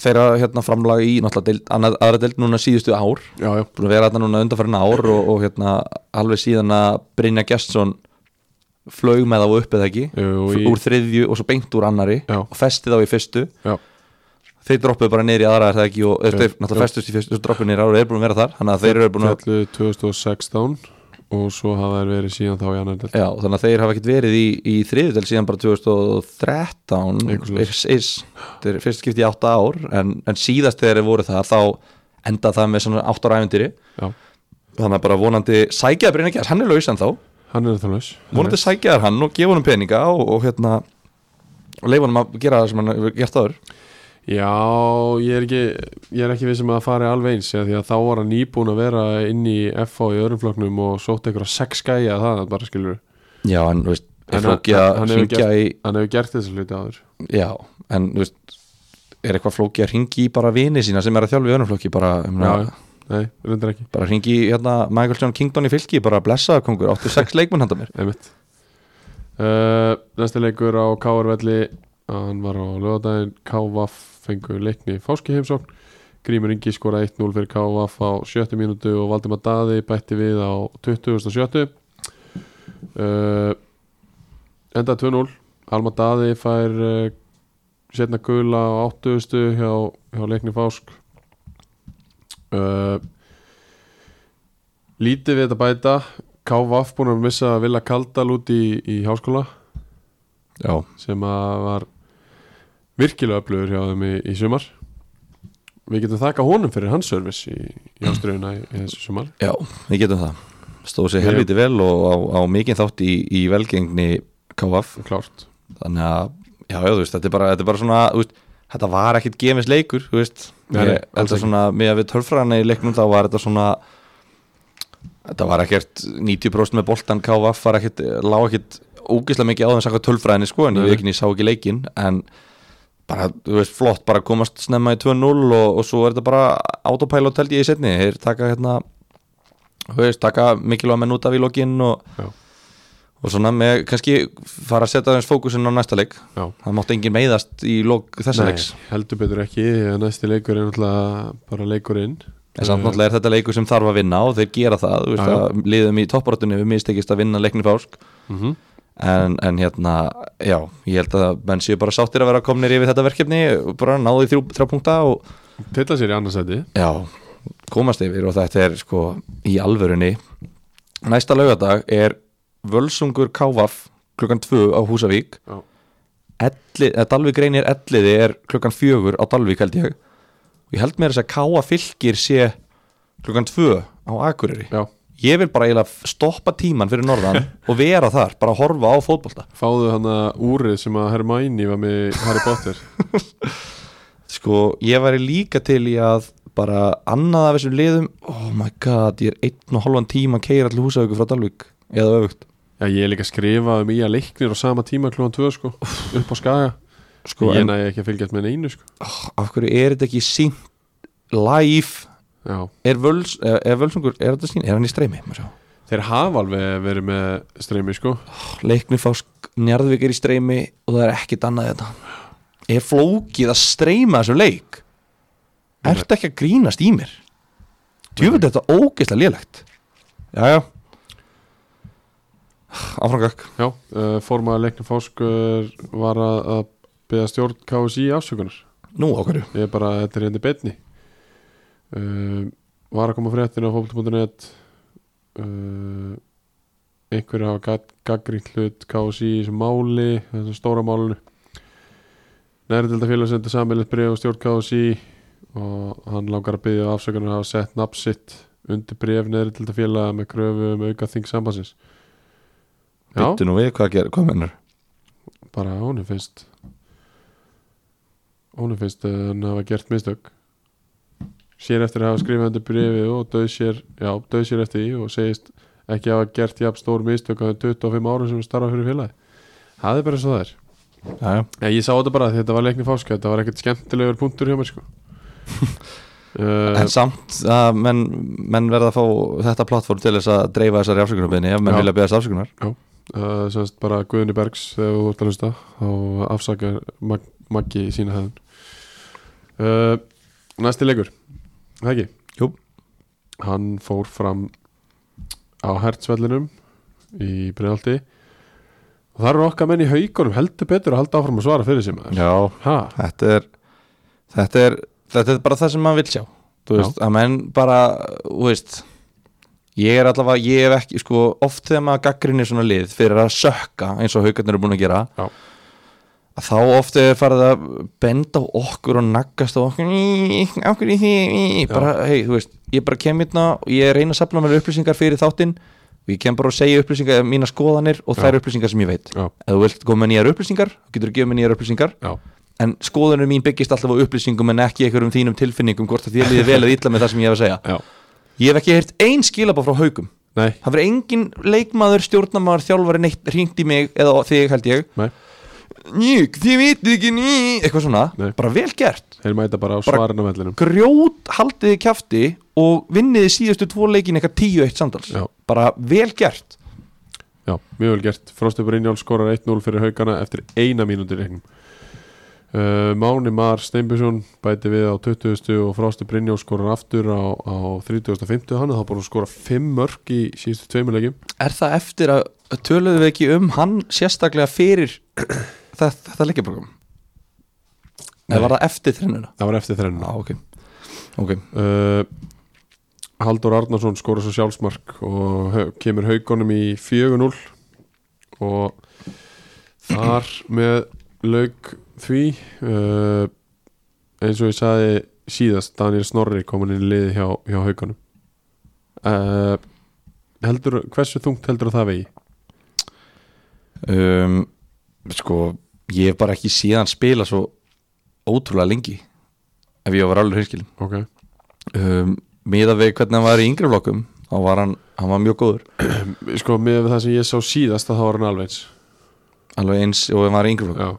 Speaker 2: þeirra hérna framlag í náttúrulega deild, annað, aðra deild núna síðustu ár
Speaker 1: já, já,
Speaker 2: búin að vera þetta núna undanfærin ár og, og hérna alveg síðan að Brynja Gjertsson flög með þá upp eða ekki
Speaker 1: Jú,
Speaker 2: F-
Speaker 1: í-
Speaker 2: úr þriðju og svo beint úr annari
Speaker 1: Já.
Speaker 2: og festi þá í fyrstu
Speaker 1: já,
Speaker 2: þeir droppuðu bara niður í aðra er það ekki og þeir
Speaker 1: Jú, jú.
Speaker 2: náttúrulega festust í fyrstu og droppuðu niður í aðra og er búin að vera þar þannig að þeir eru búin að
Speaker 1: fjallu 2016 og svo hafa þær verið síðan þá í annan del
Speaker 2: Já, þannig að þeir hafa ekkert verið í, í þriðutel síðan bara 2013
Speaker 1: Eitthvað svoleiðis.
Speaker 2: is, is, þetta er fyrst skipti í átta ár en, en síðast þegar þeir voru það þá endað það með svona átta ára æfendýri
Speaker 1: já,
Speaker 2: þannig að bara vonandi sækjaði Brynja Gjerts, hann er laus en þá
Speaker 1: hann er það laus
Speaker 2: vonandi sækjaðar hann og gefa hann peninga og, og hérna og leifa hann að gera það sem hann hefur gert áður
Speaker 1: Já, ég er ekki ég er ekki vissum að það fari alveg eins já, því að þá var hann nýbúin að vera inn í FH í öðrum flokknum og sótt einhverja sex gæja það bara skilur
Speaker 2: Já, en þú veist,
Speaker 1: En
Speaker 2: er
Speaker 1: hann-
Speaker 2: flókið að
Speaker 1: hann hefur
Speaker 2: hringja í
Speaker 1: hann hefur gert þessa hluti áður
Speaker 2: Já, en þú veist er eitthvað flókið að hringi í bara vini sína sem er að þjálfa í öðrum flóki bara, ég meina,
Speaker 1: Já, já. nei, reyndar ekki
Speaker 2: bara hringi í hérna, Michael John Kingdon í fylki bara blessaða kongur, 86 leikmenn handa mér
Speaker 1: einmitt uh, Næsti leikur á K.R. Velli hann var á lögadaginn K.V.A.F. fengu leikni í fáski heimsókn Grímur Ingi skoraði 1-0 fyrir K.V.A.F. á 70 mínútu og Valdimar Daði bætti við á 20.70 uh, Enda 2-0 Alma Daði fær uh, setna gula á 80. hjá, hjá leikni fásk uh, Lítið við þetta bæta K.V.A.F. búin að missa Villa Kaldal út í, í háskóla
Speaker 2: Já,
Speaker 1: sem að var virkilega öflugur hjá þeim í, í sumar Við getum þakka honum fyrir hans servis í, í ástriðuna í, í þessu sumar
Speaker 2: já, við getum það stóðu sig helviti vel og á, á mikinn þátt í, í velgengni KF
Speaker 1: Klárt
Speaker 2: þannig að, já, já, þú veist, þetta er bara, þetta er bara svona þú veist, þetta var ekkit gefins leikur þú veist,
Speaker 1: Nei, nei,
Speaker 2: ég,
Speaker 1: alls
Speaker 2: þetta
Speaker 1: ekki.
Speaker 2: svona með að við tölfræðana í leiknum þá var þetta svona þetta var ekkert 90% með boltan KF var ekkert, lág ekkert ógislega mikið á þeim saka tölfræðinni sko en
Speaker 1: Nei,
Speaker 2: ég
Speaker 1: nei.
Speaker 2: veikin ég sá ekki leikin en bara, þú veist, flott, bara komast snemma í 2-0 og, og svo er þetta bara autopilot held ég í setni, þeir taka hérna þú veist, taka mikilvæg menn út af í lokinn og,
Speaker 1: Já.
Speaker 2: og svona með kannski fara að setja aðeins fókusinn á næsta leik
Speaker 1: Já.
Speaker 2: það mátti enginn meiðast í lok þessa leiks
Speaker 1: heldur betur ekki því að næsti leikur er náttúrulega bara Eh, leikurinn
Speaker 2: en samt náttúrulega er þetta leikur sem þarf að vinna og þeir gera það, þú veist,
Speaker 1: Já, já.
Speaker 2: að liðum í topparötunni við mistekist að vinna leikni fásk
Speaker 1: mm -hmm.
Speaker 2: en, en hérna, já, ég held að menn séu bara sáttir að vera komnir yfir þetta verkefni og bara náðu í þrjú, þrjá punkta og
Speaker 1: Tilla sér í annarsæti
Speaker 2: já, komast yfir og þetta er sko í alvörunni næsta laugardag er Völsungur Kávaf klukkan 2 á Húsavík
Speaker 1: Já.
Speaker 2: Elli, eh, Dalvík reynir elliði er klukkan 4 á Dalvík held ég og ég held mér þess að Káa fylgir sé klukkan 2 á Akureyri
Speaker 1: Já,
Speaker 2: ég vil bara eiginlega stoppa tíman fyrir norðan og vera þar, bara horfa á fótbolta
Speaker 1: fáðu hann að úrið sem að Hermæni var með í Harry Potter
Speaker 2: Sko, ég væri líka til í að bara annað af þessum liðum Oh my god, ég er einn og halvan tíma að keira allir húsavíku frá Dalvík eða öfugt
Speaker 1: Já, ég er líka að skrifa um í að leiknir á sama tíma klúan 2 sko, upp á skaga
Speaker 2: Sko,
Speaker 1: Ég
Speaker 2: en
Speaker 1: næði ekki að fylgjast með neinu sko
Speaker 2: af hverju er þetta ekki sínt live
Speaker 1: Já,
Speaker 2: er, völs, er, er völsungur, er þetta sínt, er hann í streymi Má sjá.
Speaker 1: Þeir hafa alveg verið með streymi sko
Speaker 2: leiknir fá njarðvík er í streymi og það er ekkit annað þetta er flókið að streyma þessum leik ertu ekki að grínast í mér djúfum þetta ógeðslega lélegt jájá áframgökk
Speaker 1: Já, uh, formaður leiknum fáskur var að, að beða stjórn KSI afsökunar
Speaker 2: nú á hverju
Speaker 1: Ég er bara, þetta er hérna henni betni uh, Var að koma fréttin á fólk.net uh, Einhverju hafa gaggrínt hlut KSI í þessu máli, þessu stóra málinu Nærildafélag sendi sammeilitt bregð á stjórn KSI og hann langar að byggja afsökunar að hafa sett nafn sitt undir bregð nærildafélag með kröfu um auka þing sambandsins Já,
Speaker 2: byttu nú við hvað, ger, hvað mennur
Speaker 1: bara hún er finnst hún er finnst að hann hafa gert mistök sér eftir að hafa skrifað undir brefið og döð sér, já, döð sér eftir því og segist ekki hafa gert jafn stór mistök á þeim 25 árum sem hún starfa fyrir félagi það er bara svo það er
Speaker 2: jájá
Speaker 1: Nei, ég sá þetta bara því þetta var leikni fáska þetta var ekkert skemmtilegur punktur hjá mér sko uh,
Speaker 2: En samt að menn, menn verða að fá þetta plattform til þess að dreifa þessari afsökunarbyrni ef menn
Speaker 1: Já.
Speaker 2: vilja beðast afsökunar
Speaker 1: uh, semst bara Guðni Bergs þegar þú ert að hlusta og afsakar Mag Maggi í sína hefðun uh, Næsti leikur Það ekki?
Speaker 2: Jú.
Speaker 1: Hann fór fram á hertsvellinum í Breðaldi og það eru okkar menn í haugunum heldur betur að halda áfram að svara fyrir sem maður
Speaker 2: Já,
Speaker 1: Ha,
Speaker 2: þetta er þetta er, þetta er bara það sem maður vil sjá þú
Speaker 1: Já.
Speaker 2: veist, að menn bara þú veist, ég er allavega ég hef ekki, sko, oft þegar maður gaggrinir svona lið fyrir að sökka eins og haugarnir eru búin að gera
Speaker 1: Já.
Speaker 2: að þá oft er farið að benda á okkur og naggast á okkur "Í, af hverju því, í", bara, hei, þú veist ég bara kem hérna og ég reyna að sapna mér upplýsingar fyrir þáttinn og ég kem bara að segja upplýsingar mína skoðanir og þær upplýsingar sem ég veit
Speaker 1: Já.
Speaker 2: ef þú vilt koma með nýjar upplýsingar, þú getur að gefa með nýjar upplýsingar
Speaker 1: Já,
Speaker 2: en skoðanur mín byggist alltaf á upplýsingum en ekki einhverjum þínum tilfinningum hvort að þér liði vel eða illa með það sem ég hef að segja
Speaker 1: já,
Speaker 2: ég hef ekki heyrt ein skilabá frá haugum
Speaker 1: nei,
Speaker 2: það verður engin leikmaður, stjórnamaður, þjálfari neitt hringt í mig eða á þig held ég
Speaker 1: nei
Speaker 2: nýk, þið vitið ekki ný eitthvað svona,
Speaker 1: Nei.
Speaker 2: bara vel gert
Speaker 1: Þeir mæta bara á
Speaker 2: Bara-
Speaker 1: svarinu vellinum
Speaker 2: grjót haldiði kjafti og vinniði síðustu tvo leikin eitthvað 10-1 samtals
Speaker 1: Já.
Speaker 2: bara vel gert
Speaker 1: Já, mjög vel gert Frostupur Ínjál skorar 1-0 fyrir haugana eftir eina mínútur reiknum uh, Máni Mar Steinbjörnsson bæti við á 20. og Frostupur Ínjál skorar aftur á, á 35. Hann er þá bara að skora 5 mörg í síðustu tveimur leikjum
Speaker 2: er það eftir að að töluðu við ekki um hann sérstaklega fyrir þetta, þetta leikjaprogram
Speaker 1: Nei.
Speaker 2: eða var það eftir þrennuna
Speaker 1: Það var eftir þrennu
Speaker 2: Já, ok, okay.
Speaker 1: uh, Haldur Arnarsson skora svo sjálfsmark og hau- kemur haugunum í 4-0 og þar með lauk því uh, eins og ég saði síðast Daniel Snorri komin inn í liði hjá, hjá haugunum uh, heldur, hversu þungt heldur það vegi?
Speaker 2: Um, sko ég hef bara ekki síðan spila svo ótrúlega lengi ef ég var alveg hinskilin
Speaker 1: ok,
Speaker 2: um, miða við hvernig hann var í yngri flokkum þá var hann, hann var mjög góður
Speaker 1: sko með það sem ég sá síðast að það var hann alveg eins
Speaker 2: alveg eins og hann var í yngri flokkum
Speaker 1: já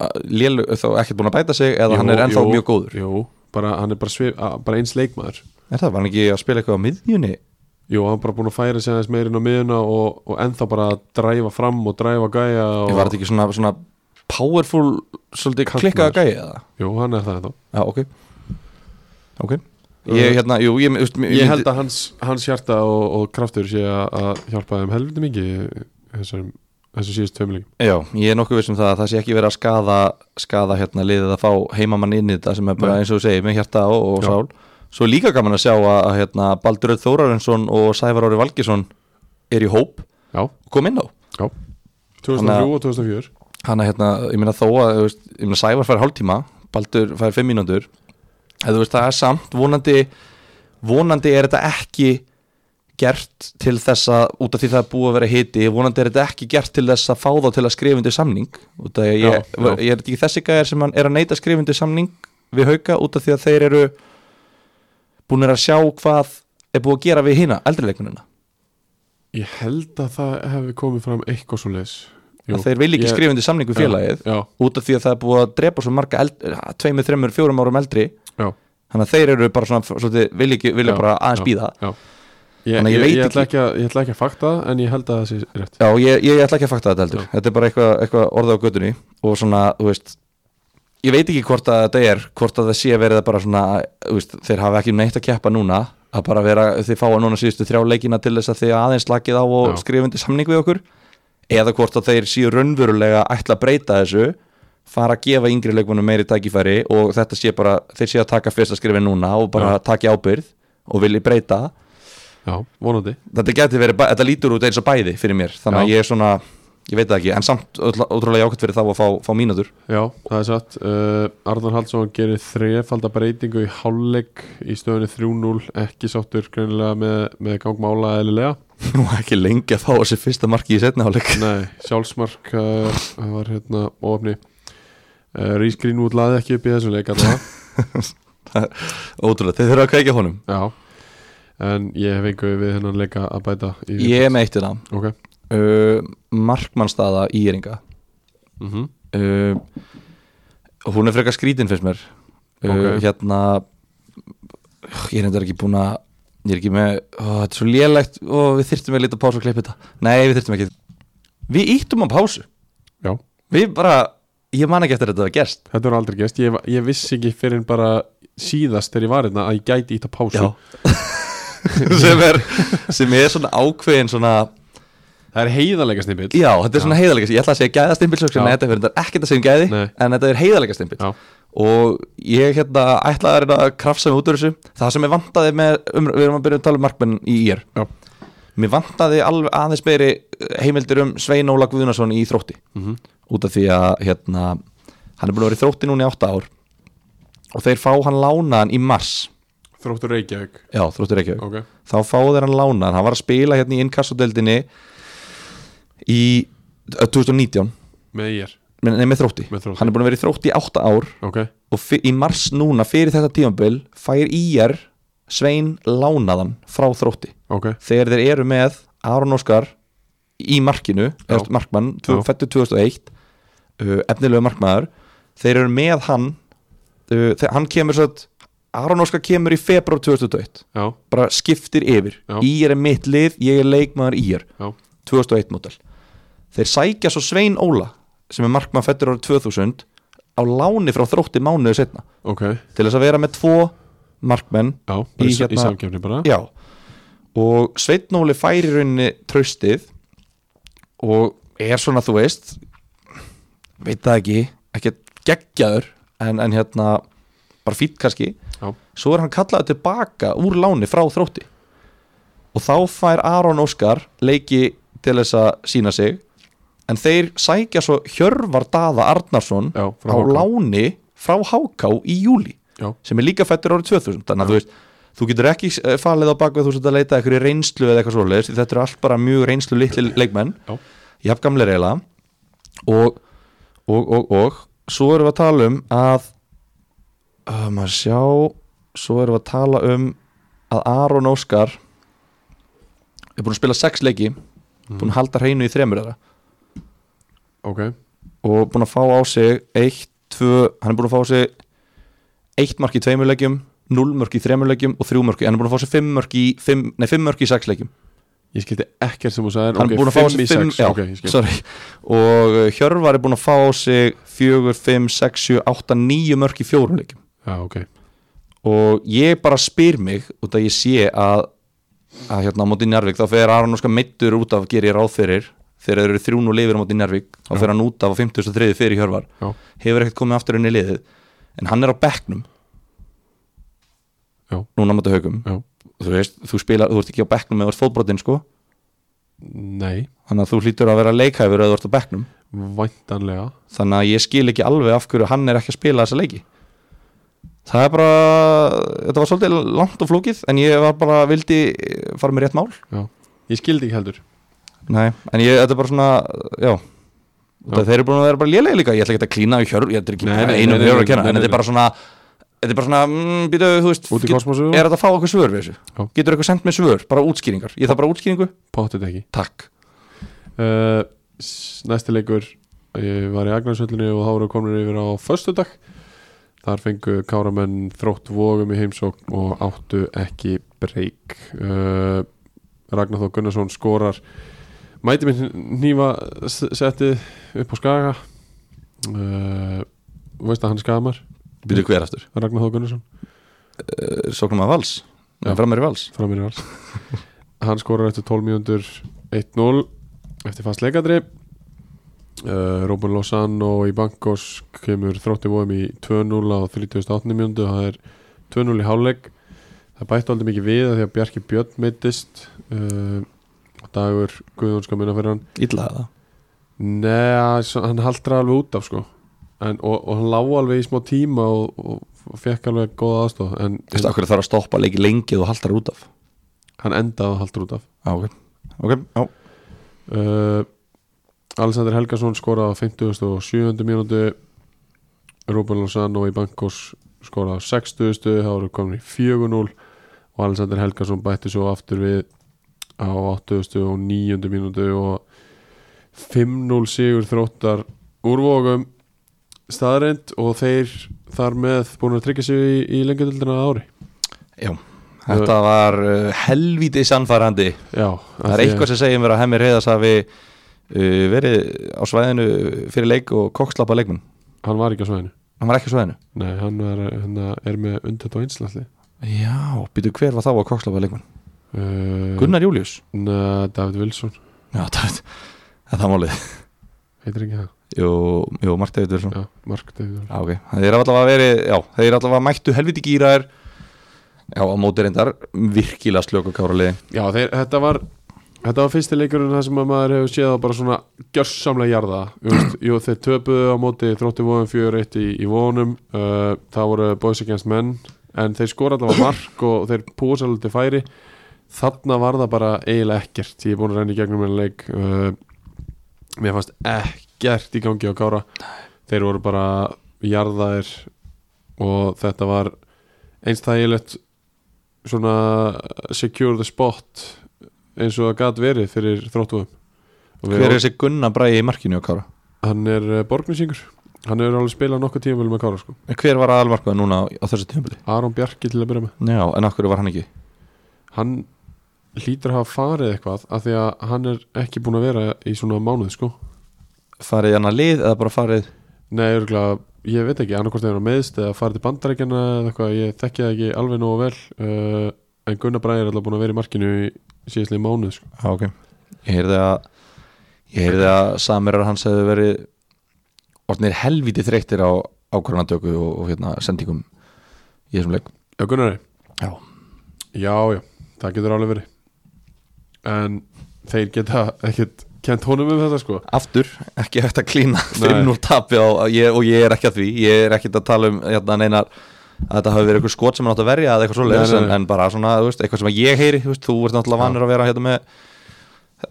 Speaker 2: Lélu, þá ekkert búin að bæta sig eða
Speaker 1: Jú,
Speaker 2: hann er ennþá
Speaker 1: jú,
Speaker 2: mjög góður
Speaker 1: jú, bara, hann er bara, svif, að- bara eins leikmaður
Speaker 2: er það, var hann ekki að spila eitthvað á miðjunni
Speaker 1: Jú, hann bara búin að færa sig aðeins meirinn á miðuna og, og ennþá bara að dræfa fram og dræfa gæja og...
Speaker 2: ég var þetta ekki svona, svona powerful svolítið
Speaker 1: Kantmaður.
Speaker 2: klikkaða gæja eða
Speaker 1: Jú, hann er það ennþá
Speaker 2: já, ok ok ég, hérna, jú, ég, ég, ég,
Speaker 1: Ég held að hans, hans hjarta og, og kraftur sé að að hjálpa þeim helviti mikið í þessum, þessum síðust tveimleikum
Speaker 2: já, ég er nokkuð viss um það að það sé ekki verið að skada skada hérna liðið að fá heimamann inn í þetta sem er bara
Speaker 1: Nei.
Speaker 2: eins og þú segir með hjarta og, og
Speaker 1: Já.
Speaker 2: sál svo er líka gaman að sjá að, að hérna, Baldur Öð Þórarinsson og Sævar Ári Valgesson er í hóp og
Speaker 1: Já,
Speaker 2: kom inn á
Speaker 1: já 2003 og 2004
Speaker 2: hann að hérna, ég meina þó að þú veist, ég meina Sævar fær hálftíma, Baldur fær fimm mínútur eða þú veist það er samt vonandi, vonandi er þetta ekki gert til þess að, út af því það er búið að vera hiti vonandi er þetta ekki gert til þess að fá þá til að skrifundu samning, út af því að ég,
Speaker 1: Já, já.
Speaker 2: ég er þetta ekki þessi gæðar sem hann er að neyta skrifundu samning við hauka út af því að þeir eru búinir að sjá hvað er búið að gera við hina, eldrileikunina
Speaker 1: Ég held að það hefði komið fram eitthvað svo leis
Speaker 2: að þeir vil ekki skrifundu samning við félagið
Speaker 1: Já,
Speaker 2: út af því að það er búið að drepa svo marga eld, eh, tveimur, þreimur, fjórum árum eldri
Speaker 1: já,
Speaker 2: þannig að þeir eru bara svona, svona vilja, ekki, vilja
Speaker 1: Já,
Speaker 2: bara aðeins
Speaker 1: já.
Speaker 2: býða
Speaker 1: já Ég,
Speaker 2: Þannig að
Speaker 1: ég,
Speaker 2: ég
Speaker 1: ég,
Speaker 2: veit
Speaker 1: ætla ekki að, ég ætla ekki að fakta það en ég held að það sé rétt
Speaker 2: Já, ég, ég ætla ekki að fakta þetta heldur þetta er bara eitthvað eitthva orða á götunni og svona, þú veist ég veit ekki hvort að þetta er, hvort að það sé verið að bara svona, þú veist, þeir hafa ekki um neitt að keppa núna, að bara vera, þeir fáa núna síðustu þrjá leikina til þess að þeir aðeins slakið á og
Speaker 1: Já.
Speaker 2: skrifundi samning við okkur eða hvort að þeir séu raunverulega ætla að breyta þessu fara að gefa yngri leikmannum meiri tækifæri og þetta sé bara, þeir séu að taka fyrsta skrifin núna og bara
Speaker 1: Já.
Speaker 2: taki ábyrð og vilji breyta
Speaker 1: Já, vonandi
Speaker 2: þetta geti verið, bæ- þetta lítur út eins og bæði fyrir mér, þannig að
Speaker 1: Já.
Speaker 2: ég er svona ég veit það ekki, en samt ótrú- ótrúlega jákvæmt fyrir þá að fá, fá mínútur
Speaker 1: Já, það er satt uh, Arnar Haldsson gerir þrefalda breytingu í hálfleik í stöðunni 3-0 ekki sáttur greinilega með, með gangmála eðlilega
Speaker 2: nú er ekki lengi að fá þessi fyrsta marki í setna hálfleik
Speaker 1: Nei, sjálfsmark uh, það var hérna óöfni uh, Rís Greenwood laði ekki upp í þessum leik allavega.
Speaker 2: ótrúlega, þeir þurfa að kveikja honum
Speaker 1: Já En ég hef einhverju við hennan leika að bæta í
Speaker 2: ég er með eitt hérna
Speaker 1: Ok
Speaker 2: uh, markmannstaða í Íringa
Speaker 1: mm
Speaker 2: uh, hún er frekar skrítin fyrst mér uh,
Speaker 1: Ok.
Speaker 2: hérna ég er þetta ekki búin að ég er ekki með, ó, þetta er svo lélegt og við þyrftum að lita pásu og klippa þetta nei, við þyrftum ekki við íttum á pásu
Speaker 1: Já,
Speaker 2: Við bara, ég man ekki eftir að þetta var gerst
Speaker 1: þetta var aldrei gæst ég, ég vissi ekki fyrir en bara síðast þegar ég var hérna að ég gæti ít að pásu
Speaker 2: sem, er, sem er svona ákveðin svona
Speaker 1: Það er heiðalega snippill
Speaker 2: Já, þetta er svona heiðalega Ég ætla að segja gæðastimbil
Speaker 1: Já.
Speaker 2: Þetta er ekki þetta sem gæði
Speaker 1: Nei.
Speaker 2: En þetta er heiðalega stimbil
Speaker 1: Já.
Speaker 2: Og ég hérna ætla að reyna að krafsa mig út úr þessu Það sem ég vantaði með um, Við erum að byrja að tala um markmenn í ír
Speaker 1: Já.
Speaker 2: Mér vantaði alveg aðeins meiri heimildir um Svein Óla Guðunarsson í þrótti
Speaker 1: Mhm.
Speaker 2: Út af því að hérna Hann er búin að vera í þrótti núna í átta ár Og þeir fá hann lánaðan í mars
Speaker 1: Þróttur Reykjavík
Speaker 2: já, þróttur Reykjavík
Speaker 1: Ok,
Speaker 2: þá fáðu þeir hann lánaðan, hann var að spila hérna í inkassodeldinni í ö, 2019
Speaker 1: með ég
Speaker 2: Men- nei, með þrótti,
Speaker 1: Með Þrótti.
Speaker 2: hann er búin að vera í þrótti í 8 ár
Speaker 1: Ok,
Speaker 2: og fyr, í mars núna fyrir þetta tímabil fær IR Svein lánaðan frá þrótti
Speaker 1: ok,
Speaker 2: þegar þeir eru með Aron Óskar í markinu,
Speaker 1: Já.
Speaker 2: eftir markmann
Speaker 1: Já.
Speaker 2: fættu 2001 uh, efnilegu markmaður, þeir eru með hann uh, þegar hann kemur svo að Aron Óskar kemur í februar 2021
Speaker 1: já,
Speaker 2: bara skiptir yfir
Speaker 1: Já.
Speaker 2: Ír er mitt lið, ég er leikmaður Ír
Speaker 1: já
Speaker 2: 2001 mótel þeir sækja svo Svein Óla sem er markmann fættur árið 2000 á láni frá þrótti mánuðu setna
Speaker 1: Ok, já,
Speaker 2: til þess að vera með tvo markmenn
Speaker 1: bara í,
Speaker 2: Í
Speaker 1: í,
Speaker 2: hérna-
Speaker 1: í samkefni bara
Speaker 2: Já Og Sveinn Óli fær í rauninni tröstið og er svona, þú veist veit það ekki ekki geggjaður en, en hérna, bara fýtt kannski
Speaker 1: Já.
Speaker 2: svo er hann kallaði tilbaka úr láni frá þrótti og þá fær Aron Óskar leiki til þess að sína sig en þeir sækja svo Hjörvar Daða Arnarsson
Speaker 1: Já,
Speaker 2: á
Speaker 1: frá HK.
Speaker 2: láni frá Háká í júli
Speaker 1: Já,
Speaker 2: sem er líka fættur árið 2000 þannig að þú veist, þú getur ekki eh, falið á bakvið þú sett að leita að einhverju reynslu eða eitthvað svoleiðis því þetta eru allt bara mjög reynslu litli leikmenn
Speaker 1: Já.
Speaker 2: jafn gamlega eiginlega og, og, og, og svo erum við að tala um að að maður sjá svo erum við að tala um að Aron Óskar er búin að spila sex leiki búin að halda hreinu í þremur þeirra
Speaker 1: ok,
Speaker 2: og búin að fá á sig eitt, tvö, hann er búin að fá á sig eitt mark í tveimur leikjum null mörk í þremur leikjum og þrjú mörk í- hann er búin að fá á sig fimm mörk í, fimm, nei, fimm mörk í sex leikjum
Speaker 1: ég skilti ekkert sem þú sagðir
Speaker 2: hann
Speaker 1: ok,
Speaker 2: er búin að fá á
Speaker 1: fimm í
Speaker 2: sig fimm,
Speaker 1: sex,
Speaker 2: já,
Speaker 1: ok, ég skil.
Speaker 2: sorry og uh, Hjörvar er búin að fá á sig fjögur, fimm, sex, sjö, átta, níu mörk í fjórum leikjum
Speaker 1: Já, ok,
Speaker 2: og ég bara spyr mig út að ég sé að, að hérna á móti Njarvík þá fer Aron Óskar meittur út af gerir ráð fyrir þegar þeir eru þrjún og lifir á móti Njarvík þá fer hann út af á 53 fyrir Hjörvar
Speaker 1: já,
Speaker 2: hefur ekkert komið aftur inn í liðið en hann er á bekknum
Speaker 1: Já.
Speaker 2: núna mæta haugum
Speaker 1: já
Speaker 2: þú veist, þú spilar, þú ert ekki á bekknum eða þú ert fótbrotinn sko,
Speaker 1: Nei,
Speaker 2: þannig að þú hlýtur að vera leikhæfur eða þú ert á bekknum,
Speaker 1: væntanlega
Speaker 2: þannig að ég skil ekki alveg af hverju hann er ekki að spila þessa leiki það er bara þetta var svolítið langt og flókið en ég var bara, vildi eh, fara með rétt mál
Speaker 1: Já, ég skildi ekki heldur
Speaker 2: Nei, en ég, þetta er bara svona, já Út af
Speaker 1: Já.
Speaker 2: Þeir eru búin að vera bara lélega líka Ég ætla ekki að klína í hjörn, ég ætla ekki
Speaker 1: Nei,
Speaker 2: bara
Speaker 1: nei,
Speaker 2: einu
Speaker 1: nei, nei,
Speaker 2: hjörn að
Speaker 1: nei,
Speaker 2: kenna
Speaker 1: nei,
Speaker 2: En þetta
Speaker 1: nei.
Speaker 2: er bara svona, þetta er bara svona mm, Býtu, þú veist,
Speaker 1: Út í
Speaker 2: get-
Speaker 1: kosmosu?
Speaker 2: er þetta að fá okkur svör við þessu?
Speaker 1: Já.
Speaker 2: Getur eitthvað sendt mér svör, bara útskýringar Ég þarf bara útskýringu,
Speaker 1: Pottet ekki
Speaker 2: takk
Speaker 1: uh, s- Næsti leikur Ég var í Agnarsöllinu og þá voru komin yfir á Föstudag Þar fengu káramenn þrótt vogum í heimsókn og áttu ekki breyk uh, Ragnar Þó Gunnarsson skorar Mæti minn nýfa settið upp á skaga uh, Veist að hann skamar
Speaker 2: Býtu hver aftur?
Speaker 1: Ragnar Þó Gunnarsson
Speaker 2: Sóknum að Eh, vals,
Speaker 1: Já.
Speaker 2: frammeir vals
Speaker 1: frá mér í vals hann skorar eftir 12 mínútur 1-0 eftir fast leikadri uh, Robin Lozano og í Bankos kemur þrótti vóðum í 2-0 á 38. mínútu það er 2-0 í hálfleik það bætti aldrei mikið við af því að Bjarki Björn meittist uh, dagur Guðjónska minna fyrir hann
Speaker 2: Ítla það
Speaker 1: Nei, s- hann haldra alveg út af sko en, og, og hann lág alveg í smá tíma og, og fekk alveg góða aðstof en
Speaker 2: Þú veist, okkur þarf að stoppa leiki lengið og haltar út af
Speaker 1: hann endaði að haldra út af
Speaker 2: Já, Ah, ok, ok, já
Speaker 1: uh, Alexander Helgason skoraði á 50. og 7. mínútu Ruben Lozano í Bankos skoraði á 60. það voru komin í 4-0 og Alexander Helgason bætti svo aftur við á 80. og 9. mínútu og 5-0 sigur þróttar úrvogum staðreind og þeir þar með búin að tryggja sig í, í lengjadöldina ári
Speaker 2: Já, þetta var uh, helvítið sannfærandi
Speaker 1: Já,
Speaker 2: Það er eitthvað sem segjum verið að hemmi reyðas að við uh, verið á svæðinu fyrir leik og kokkslapa leikmenn.
Speaker 1: hann var ekki á svæðinu
Speaker 2: Hann var ekki á svæðinu.
Speaker 1: Nei, hann er, hann er með undet og einslætli
Speaker 2: Já, býtu hver var þá á kokkslapa leikmenn?
Speaker 1: uh,
Speaker 2: Gunnar Július.
Speaker 1: Nei, David Wilson
Speaker 2: Já, það veit. Það er málið.
Speaker 1: heitir ekki það,
Speaker 2: Jú, jú Mark David Wilson.
Speaker 1: já, Mark David Wilson
Speaker 2: Já, ok. Þeir eru allavega verið, já, þeir eru allavega mættu helviti gýraðir. Já, á móti reyndar virkilega slöku káraliði.
Speaker 1: Já, þeir, þetta var þetta var fyrsti leikurinn það sem að maður hefur séð að bara svona gjörsamlega jarða Þú veist, Jú, þeir töpuðu á móti þrótti vóðum 4-1 í, í vónum uh, það voru Boys Against Men en þeir skora allavega mark og þeir púsa alveg til færi þarna var það bara eiginlega ekkert ég er búin að reyna í gegnum en leik uh, mér fannst ekkert í gangi á Kára þeir voru bara jarðaðir og þetta var einstægilegt svona secure the spot eins og það gat verið fyrir þróttúðum
Speaker 2: Hver er þessi Gunnar Bræði í markinu á Kára?
Speaker 1: hann er uh, borgnisingur hann er alveg spilað nokkuð tímafélum með Kára sko.
Speaker 2: Hver var aðalmarkaði núna á, á þessu tímpli?
Speaker 1: Aron Bjarki til að byrja með
Speaker 2: Já, en af hverju var hann ekki?
Speaker 1: hann hlýtur að hafa farið eitthvað af því að hann er ekki búin að vera í svona mánuð sko
Speaker 2: Farið í annað lið eða bara farið
Speaker 1: Nei, örgulega, ég veit ekki, annarkvort er hann meðst eða farið til bandarækjana eða eitthvað ég þekki það ekki alveg nógu vel uh, en Gunnar Bræði er alltaf búin að vera í markinu í síðastlega mánuð sko.
Speaker 2: Já, ok Ég heyrði að Ég heyrði að samirar hans hefði verið orðnir helvítið þreyttir á ákvarðanatöku og, og hérna sendingum í þessum leik
Speaker 1: Já, Gunnar,
Speaker 2: Já,
Speaker 1: já, já, það getur alveg verið en þeir geta ekkert kent honum um þetta sko
Speaker 2: aftur, ekki hægt að klína
Speaker 1: Nei.
Speaker 2: finn úr tapi á, ég, og ég er ekki að því ég er ekkert að tala um hérna, neinar að þetta hafi verið eitthvað skot sem hann átt að verja eða eitthvað svoleiðis
Speaker 1: Nei, nei,
Speaker 2: en,
Speaker 1: nei.
Speaker 2: en bara svona, þú veist, eitthvað sem að ég heyri þú, veist, þú ert náttúrulega vanur að vera hérna með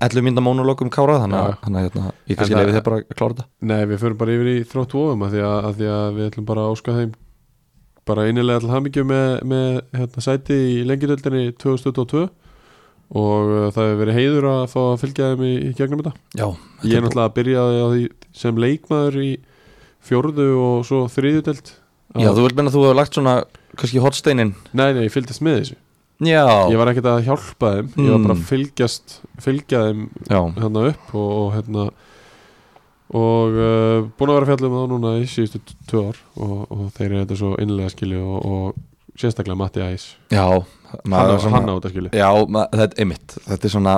Speaker 2: 11 mínda mónulókum kárað um þannig
Speaker 1: Já.
Speaker 2: að þannig að, hérna, ég
Speaker 1: En
Speaker 2: kannski
Speaker 1: það-
Speaker 2: leiði þér bara að klára þetta
Speaker 1: Nei, við förum bara yfir í þrótt ofum að því að, að því að við ætlum bara að óska þeim bara innilega til hamingju með, með hérna, sæti í lengjuröldinni 2022 og uh, það hefur verið heiður að fá að fylgja þeim í, í gegnum þetta.
Speaker 2: Já,
Speaker 1: Ég er náttúrulega að byrjaði á því sem leikmaður í fjórðu og svo þriðjudeld.
Speaker 2: Já, þú vilt menna að þú hefur lagt svona kannski hotsteinin
Speaker 1: Nei, nei, ég fylgdist með þessu.
Speaker 2: Já,
Speaker 1: Ég var ekkert að hjálpa þeim, ég var bara
Speaker 2: Mm.
Speaker 1: að fylgjast, fylgja þeim
Speaker 2: já,
Speaker 1: hérna upp og, og hérna og uh, búin að vera fjallum þá núna í síðustu t- tvö ár og, og þeir eru þetta svo innlega skilju og, og sérstaklega Matti Æs
Speaker 2: já
Speaker 1: hann,
Speaker 2: maður
Speaker 1: á-
Speaker 2: er svona-
Speaker 1: hann á þetta skilju
Speaker 2: Já, ma- þetta er einmitt Þetta er svona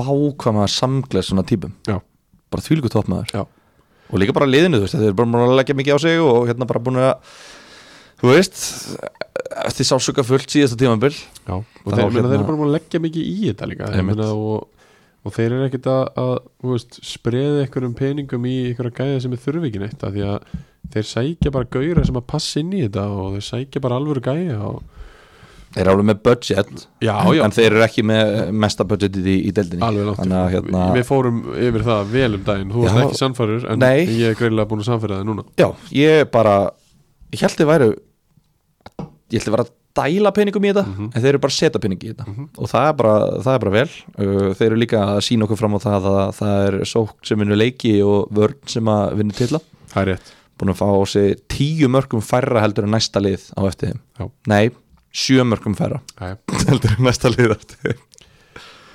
Speaker 2: vákvæma samgleð svona típum
Speaker 1: Já.
Speaker 2: Bara þvílíku toppmaður
Speaker 1: Já.
Speaker 2: Og líka bara liðinu, þú veist Þeir eru bara búin að leggja mikið á sig og hérna bara búin að Þú veist Þið sásuka fullt síðasta tímabil
Speaker 1: Já, og
Speaker 2: Það
Speaker 1: þeir,
Speaker 2: á
Speaker 1: meina,
Speaker 2: hérna-
Speaker 1: þeir eru bara búin að leggja mikið í þetta líka ég
Speaker 2: Einmitt.
Speaker 1: meina, og, og þeir eru ekkert að, að þú veist, spreða einhverjum peningum í einhverja gæða sem er þurfi ekki neitt af því að þeir sækja bara gauðra sem að passa inn í þetta og þeir sækja bara alvöru gæja og...
Speaker 2: Þeir eru alveg með budget
Speaker 1: Já,
Speaker 2: En þeir eru ekki með mesta budgetið í, í deildinni
Speaker 1: Alveg langt
Speaker 2: Þannig að hérna
Speaker 1: Við fórum yfir það vel um daginn Þú varst
Speaker 2: Já.
Speaker 1: ekki sannfærður en
Speaker 2: Nei.
Speaker 1: ég er greiðlega búin að sannfæra það núna
Speaker 2: Já, ég bara Ég held þið væru Ég held þið væru að dæla peningum í þetta En þeir eru bara að setja pening í þetta Og það er bara, það er bara vel Uh, Þeir eru líka að sína okkur fram á það að það er sókn sem vinnur leiki og vörn sem að vinnur tilla
Speaker 1: Það er rétt
Speaker 2: Búin að fá á sig tíu mörgum færra heldur en næsta lið á eftir þeim
Speaker 1: Já.
Speaker 2: Nei, sjö mörgum færra
Speaker 1: Æja.
Speaker 2: heldur en næsta lið á eftir þeim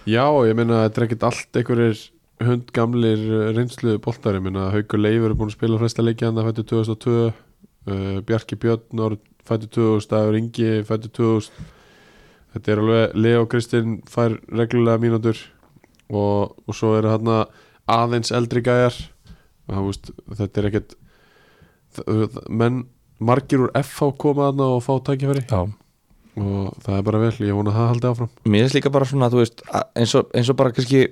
Speaker 1: Já, ég meina þetta er ekkert allt einhverjir hundgamlir eh, reynslu boltar, ég meina Haukur Leifur er búin að spila flesta leikja hann að fættu 2002 uh, Bjarki Björn orð fættu 2000, Dagur Ingi fættu 2000 þetta er alveg Leo Kristinn fær reglulega mínútur og, og svo eru hann aðeins eldri gæjar og, það, veist, þetta er ekkert þ- þ- menn margir úr FH koma hann og fá tækifæri
Speaker 2: Já
Speaker 1: og það er bara vel, ég vona að það haldi áfram
Speaker 2: Mér finnst líka bara svona, þú veist, að- eins og, eins og bara kannski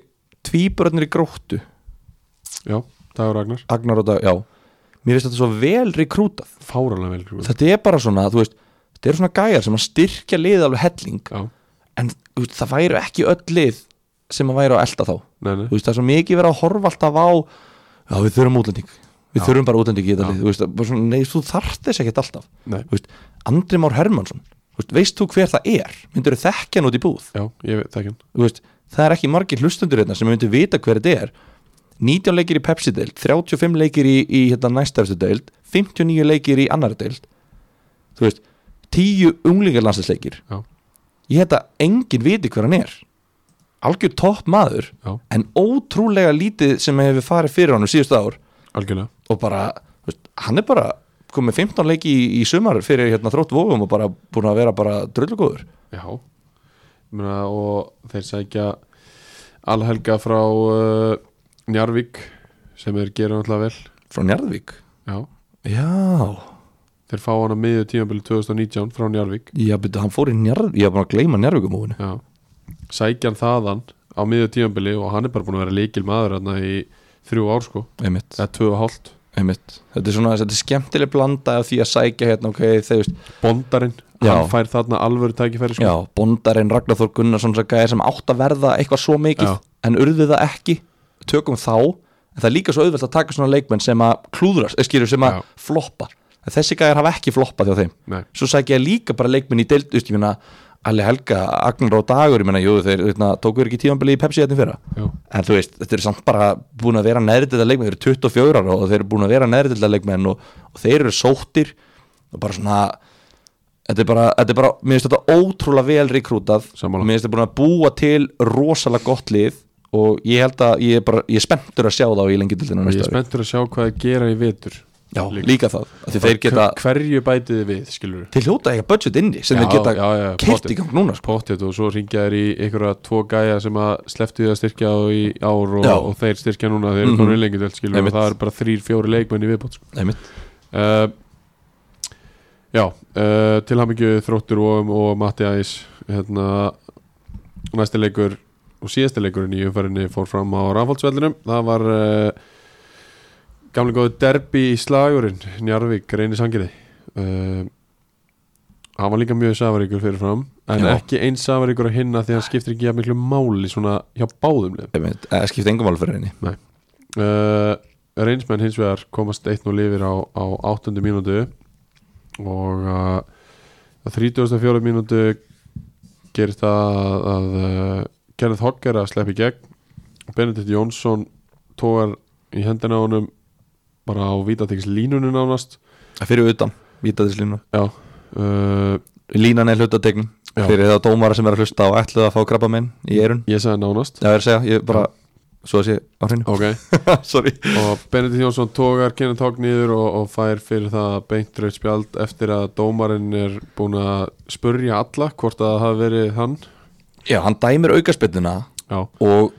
Speaker 2: tvíbörnir í gróttu
Speaker 1: Já, Dagur Agnar,
Speaker 2: Agnar og Dag, já Mér finnst þetta svo vel rekrútað
Speaker 1: fáranlega vel Krúl.
Speaker 2: þetta er bara svona, þú veist þetta eru svona gæjar sem að styrkja lið alveg helling
Speaker 1: Já,
Speaker 2: en þú veist, það væru ekki öll lið sem að væru að elda þá þú
Speaker 1: nei, nei
Speaker 2: veist, það er svo mikið verið að horfa alltaf á já, við þurfum útlending við
Speaker 1: Já.
Speaker 2: þurfum bara útlending í þetta
Speaker 1: Já.
Speaker 2: lið þú veist, bara svona, nei, þú þarft þess ekkert alltaf
Speaker 1: Nei.
Speaker 2: Þú veist, Andri Már Hermansson þú veist, veist þú hver það er, myndur þú þekkja hann út í búð
Speaker 1: Já, ég veit ekki hann
Speaker 2: Þú veist, það er ekki margir hlustundur hérna sem myndu vita hver þetta er 19 leikir í Pepsi-deild 35 leikir í, í hérna, næstafstu deild 59 leikir í annar deild þú veist 10 unglingarlandsleikir
Speaker 1: Já.
Speaker 2: ég held að enginn viti hver hann er algjör topp maður
Speaker 1: Já.
Speaker 2: en ótrúlega lítið sem hefur farið fyrir hann um síðustu ár
Speaker 1: Algjörlega
Speaker 2: og bara, þú veist, hann er bara komið 15 leiki í, í sumar fyrir hérna, þrótt vóðum og bara búin að vera bara drullugóður
Speaker 1: Já Mena, Og þeir sækja Alhelga frá uh, Njarvík sem þeir gera náttúrulega vel
Speaker 2: frá Njarðvík
Speaker 1: Já
Speaker 2: já
Speaker 1: Þeir fá hann að miðju tímabili 2019 frá Njarvík
Speaker 2: Já, betur, hann fór í njörð, ég var bara að gleyma njörðvíkumóinu
Speaker 1: Já Sækja hann þaðan á miðju tímabili og hann er bara búin að vera líkil maður hann í þrjú ár sko
Speaker 2: Einmitt,
Speaker 1: eða tvö og hálft
Speaker 2: einmitt. þetta er svona, þetta er skemmtileg blanda af því að sækja hérna, ok, þeir veist
Speaker 1: Bondarinn,
Speaker 2: Já.
Speaker 1: hann fær þarna alvöru tækifæri sko.
Speaker 2: já, bondarinn Ragnar Þór Gunnarsson sem gæði sem átt að verða eitthvað svo mikið
Speaker 1: Já.
Speaker 2: en urðu það ekki, tökum þá en það er líka svo auðvelt að taka svona leikmenn sem að klúðrast, eh, skilur sem að
Speaker 1: Já.
Speaker 2: floppa en þessi gæðar hafa ekki floppað hjá þeim
Speaker 1: Nei,
Speaker 2: svo sækja ég líka bara leikmenn í deild þú veist, ég meina, Alli Helga, Agnar og Dagur ég meina, jú, þeir veitna, tóku ekki tímanbili í Pepsi hérna í fyrra
Speaker 1: já,
Speaker 2: en þú veist, þetta er samt bara búin að vera neðrildar leikmenn, þeir eru 24 ára og þeir eru búin að vera neðrildar leikmenn og, og þeir eru sóttir og bara svona þetta er bara, þetta er bara mér finnst þetta ótrúlega vel rekrútað
Speaker 1: Sammála.
Speaker 2: mér finnst þetta búin að búa til rosalega gott lið og ég held að ég er bara, ég er spenntur að sjá þá í lengi dildina
Speaker 1: og ég er spenntur að sjá hvað þeir gera í vitur
Speaker 2: já,
Speaker 1: líka.
Speaker 2: líka, það, af því þeir geta
Speaker 1: Hverju bætið þið við, skilur
Speaker 2: þeir hljóta eitthvað budget inni
Speaker 1: Já,
Speaker 2: sem þeir geta
Speaker 1: já, já,
Speaker 2: kert
Speaker 1: pottið.
Speaker 2: í gang núna sko.
Speaker 1: pottet og svo ringja þær í einhverja tvo gæja sem að slepptu því að styrkja þá í ár og,
Speaker 2: Já.
Speaker 1: og þeir styrkja núna þeir eru
Speaker 2: Mhm.
Speaker 1: konur lengi til skilur
Speaker 2: Einmitt.
Speaker 1: og það eru bara þrýr, fjóri leikmenn í viðbót sko.
Speaker 2: Nei, mitt.
Speaker 1: uh, Já, uh, tilhamingju þróttur og, og Matti Æs hérna, næsti leikur og síðasti leikurinn í umferðinni fór fram á rafaldsvellinum það var uh, gamlega góðu derbi í slagurinn Njarvík, reyni sangiði uh, hann var líka mjög safaríkur fyrir fram en
Speaker 2: Já.
Speaker 1: ekki eins safaríkur að hinna því að hann skiptir ekki jafn miklu máli svona hjá báðum liðum
Speaker 2: Nei, mitt. Eh, skipta engum alveg fyrir henni
Speaker 1: uh, reynsmenn hins vegar komast 1-0 yfir á, á 8. mínútu og uh, á 34. mínútu gerist það að, að uh, Kenneth Hogg er að sleppa í gegn og Benedikt Jónsson tógar í hendina á honum bara á vítatíks línunum nánast
Speaker 2: fyrir utan, vítaðislínu
Speaker 1: já uh,
Speaker 2: línan er hlutategnum
Speaker 1: Já.
Speaker 2: fyrir þá dómara sem er að hlusta og ætluð að fá krabba minn í erun
Speaker 1: ég sagði nánast
Speaker 2: Já, ég er að segja, ég bara, svo að sé á hreinu
Speaker 1: ok
Speaker 2: Sorry
Speaker 1: og Benedikt Jónsson tógar Kenneth Hogg niður og, og fær fyrir það beint rauð spjald eftir að dómarinn er búin að spurja alla hvort að það hafi verið hann
Speaker 2: Já, hann dæmir aukaspilluna
Speaker 1: já.
Speaker 2: og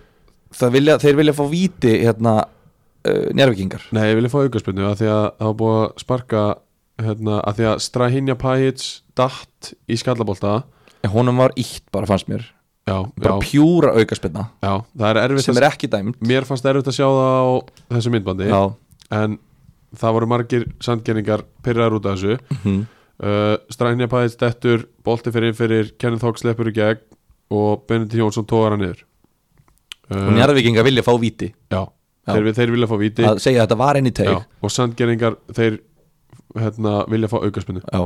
Speaker 2: það vilja, þeir vilja fá víti hérna uh, njárvikingar
Speaker 1: nei, ég vilja fá aukarspunni að því að það var búin að sparka hérna, að því að Strahinja Pajic datt í skallabolta
Speaker 2: en honum var ítt bara fannst mér
Speaker 1: já,
Speaker 2: bara
Speaker 1: já,
Speaker 2: pjúra aukaspillna
Speaker 1: já, það er erfitt
Speaker 2: sem
Speaker 1: að,
Speaker 2: er ekki dæmt
Speaker 1: mér fannst erfitt að sjá það á þessu myndbandi
Speaker 2: Já,
Speaker 1: en það voru margir sandgerningar pyrraðar út af þessu
Speaker 2: mhm,
Speaker 1: uh, Strænja Pæðis dettur bolti fyrir fyrir, Kenneth Hawk sleppur í gegn og Benedikt Jónsson tóðar hann niður
Speaker 2: og
Speaker 1: uh,
Speaker 2: njárvikingar vilja fá víti
Speaker 1: já, þeir, þeir vilja fá víti
Speaker 2: að segja að þetta var enn í
Speaker 1: já,
Speaker 2: teig
Speaker 1: og sandgeringar þeir hérna, vilja fá aukaspunni
Speaker 2: Já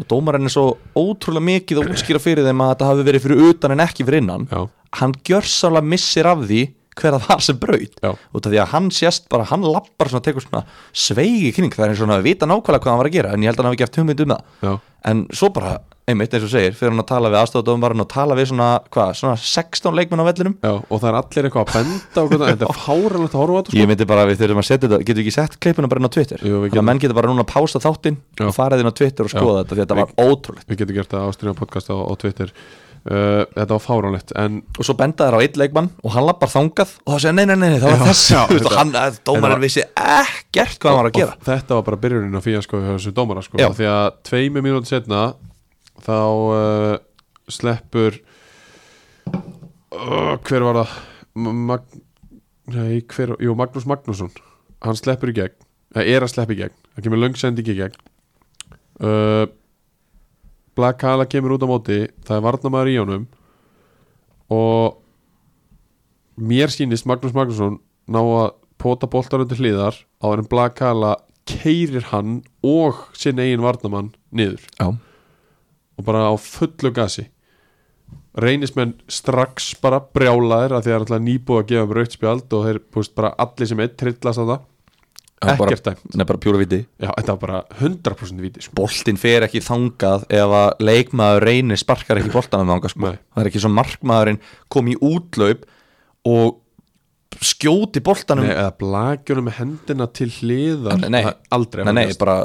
Speaker 2: Og dómarinn er svo ótrúlega mikið að útskýra fyrir þeim að þetta hafi verið fyrir utan en ekki fyrir innan
Speaker 1: já,
Speaker 2: Hann gjörsálega missir af því hver að var sem braut
Speaker 1: já,
Speaker 2: út af því að hann sést bara, hann lappar svona, tekur svona sveigi kring það er eins og hann hafi vita nákvæmlega hvað hann var að gera en ég held að hann hafi ekki haft hugmynd um það
Speaker 1: já,
Speaker 2: en svo bara, einmitt eins og þú segir, fyrir hann að tala við aðstofdómarinn og tala við svona, hvað, svona 16 leikmenn á vellinum
Speaker 1: já og það er allir eitthvað að benda og hvernig, þetta er fáralegt að horfa á þetta sko.
Speaker 2: ég myndi bara að við þurfum að setja þetta, getum við ekki sett klippuna bara inn á Twitter,
Speaker 1: Jú, við
Speaker 2: þannig að
Speaker 1: getum.
Speaker 2: menn getur bara núna að pása þáttinn
Speaker 1: Já.
Speaker 2: og farið inn á Twitter og
Speaker 1: Já.
Speaker 2: skoða þetta því að þetta var ótrúlegt
Speaker 1: við getum gert það á stríðan podcast á, á Twitter uh, þetta var fáralegt en
Speaker 2: og svo benda þær á eitt leikmann og hann lappar þangað og það segja nei, nei, nei, nei, það var
Speaker 1: Já,
Speaker 2: þess
Speaker 1: já,
Speaker 2: Þú veist, og
Speaker 1: þetta-
Speaker 2: hann, að
Speaker 1: þetta var-
Speaker 2: dómarinn vissi ekkert hvað hann var að gera
Speaker 1: og þetta var bara byrjunin á fíasko hjá þessu dómara sko,
Speaker 2: Já.
Speaker 1: því að tveimu mínúti setna þá uh, sleppur uh, hver var það M- Mag nei, hver, jú, Magnús Magnússon hann sleppur í gegn, það er að sleppa í gegn það kemur löngsending í gegn uh, Black Kala kemur út á móti, það er varnamaður í honum og mér sýnist Magnús Magnússon ná að pota boltar undir hliðar á en Black Kala keirir hann og sinn eigin varnamann niður
Speaker 2: já,
Speaker 1: og bara á fullu gasi reynismenn strax bara brjálaðir að því að það er alltaf nýbúið að gefa um raukt spjald og þeir búist bara allir sem einn trillast að það
Speaker 2: Já, bara-
Speaker 1: ekkert dæmt
Speaker 2: nei, bara pjúra viti
Speaker 1: Já, þetta var bara 100% víti sko.
Speaker 2: boltinn fer ekki þangað ef að leikmaður reynir sparkar ekki boltanum þangað sko.
Speaker 1: Nei.
Speaker 2: það er ekki svo markmaðurinn kom í útlaup og skjóti boltanum
Speaker 1: Nei, eða blakjunum með hendina til hliðar
Speaker 2: Nei.
Speaker 1: það er aldrei
Speaker 2: nei,
Speaker 1: að
Speaker 2: nei
Speaker 1: gerst.
Speaker 2: bara,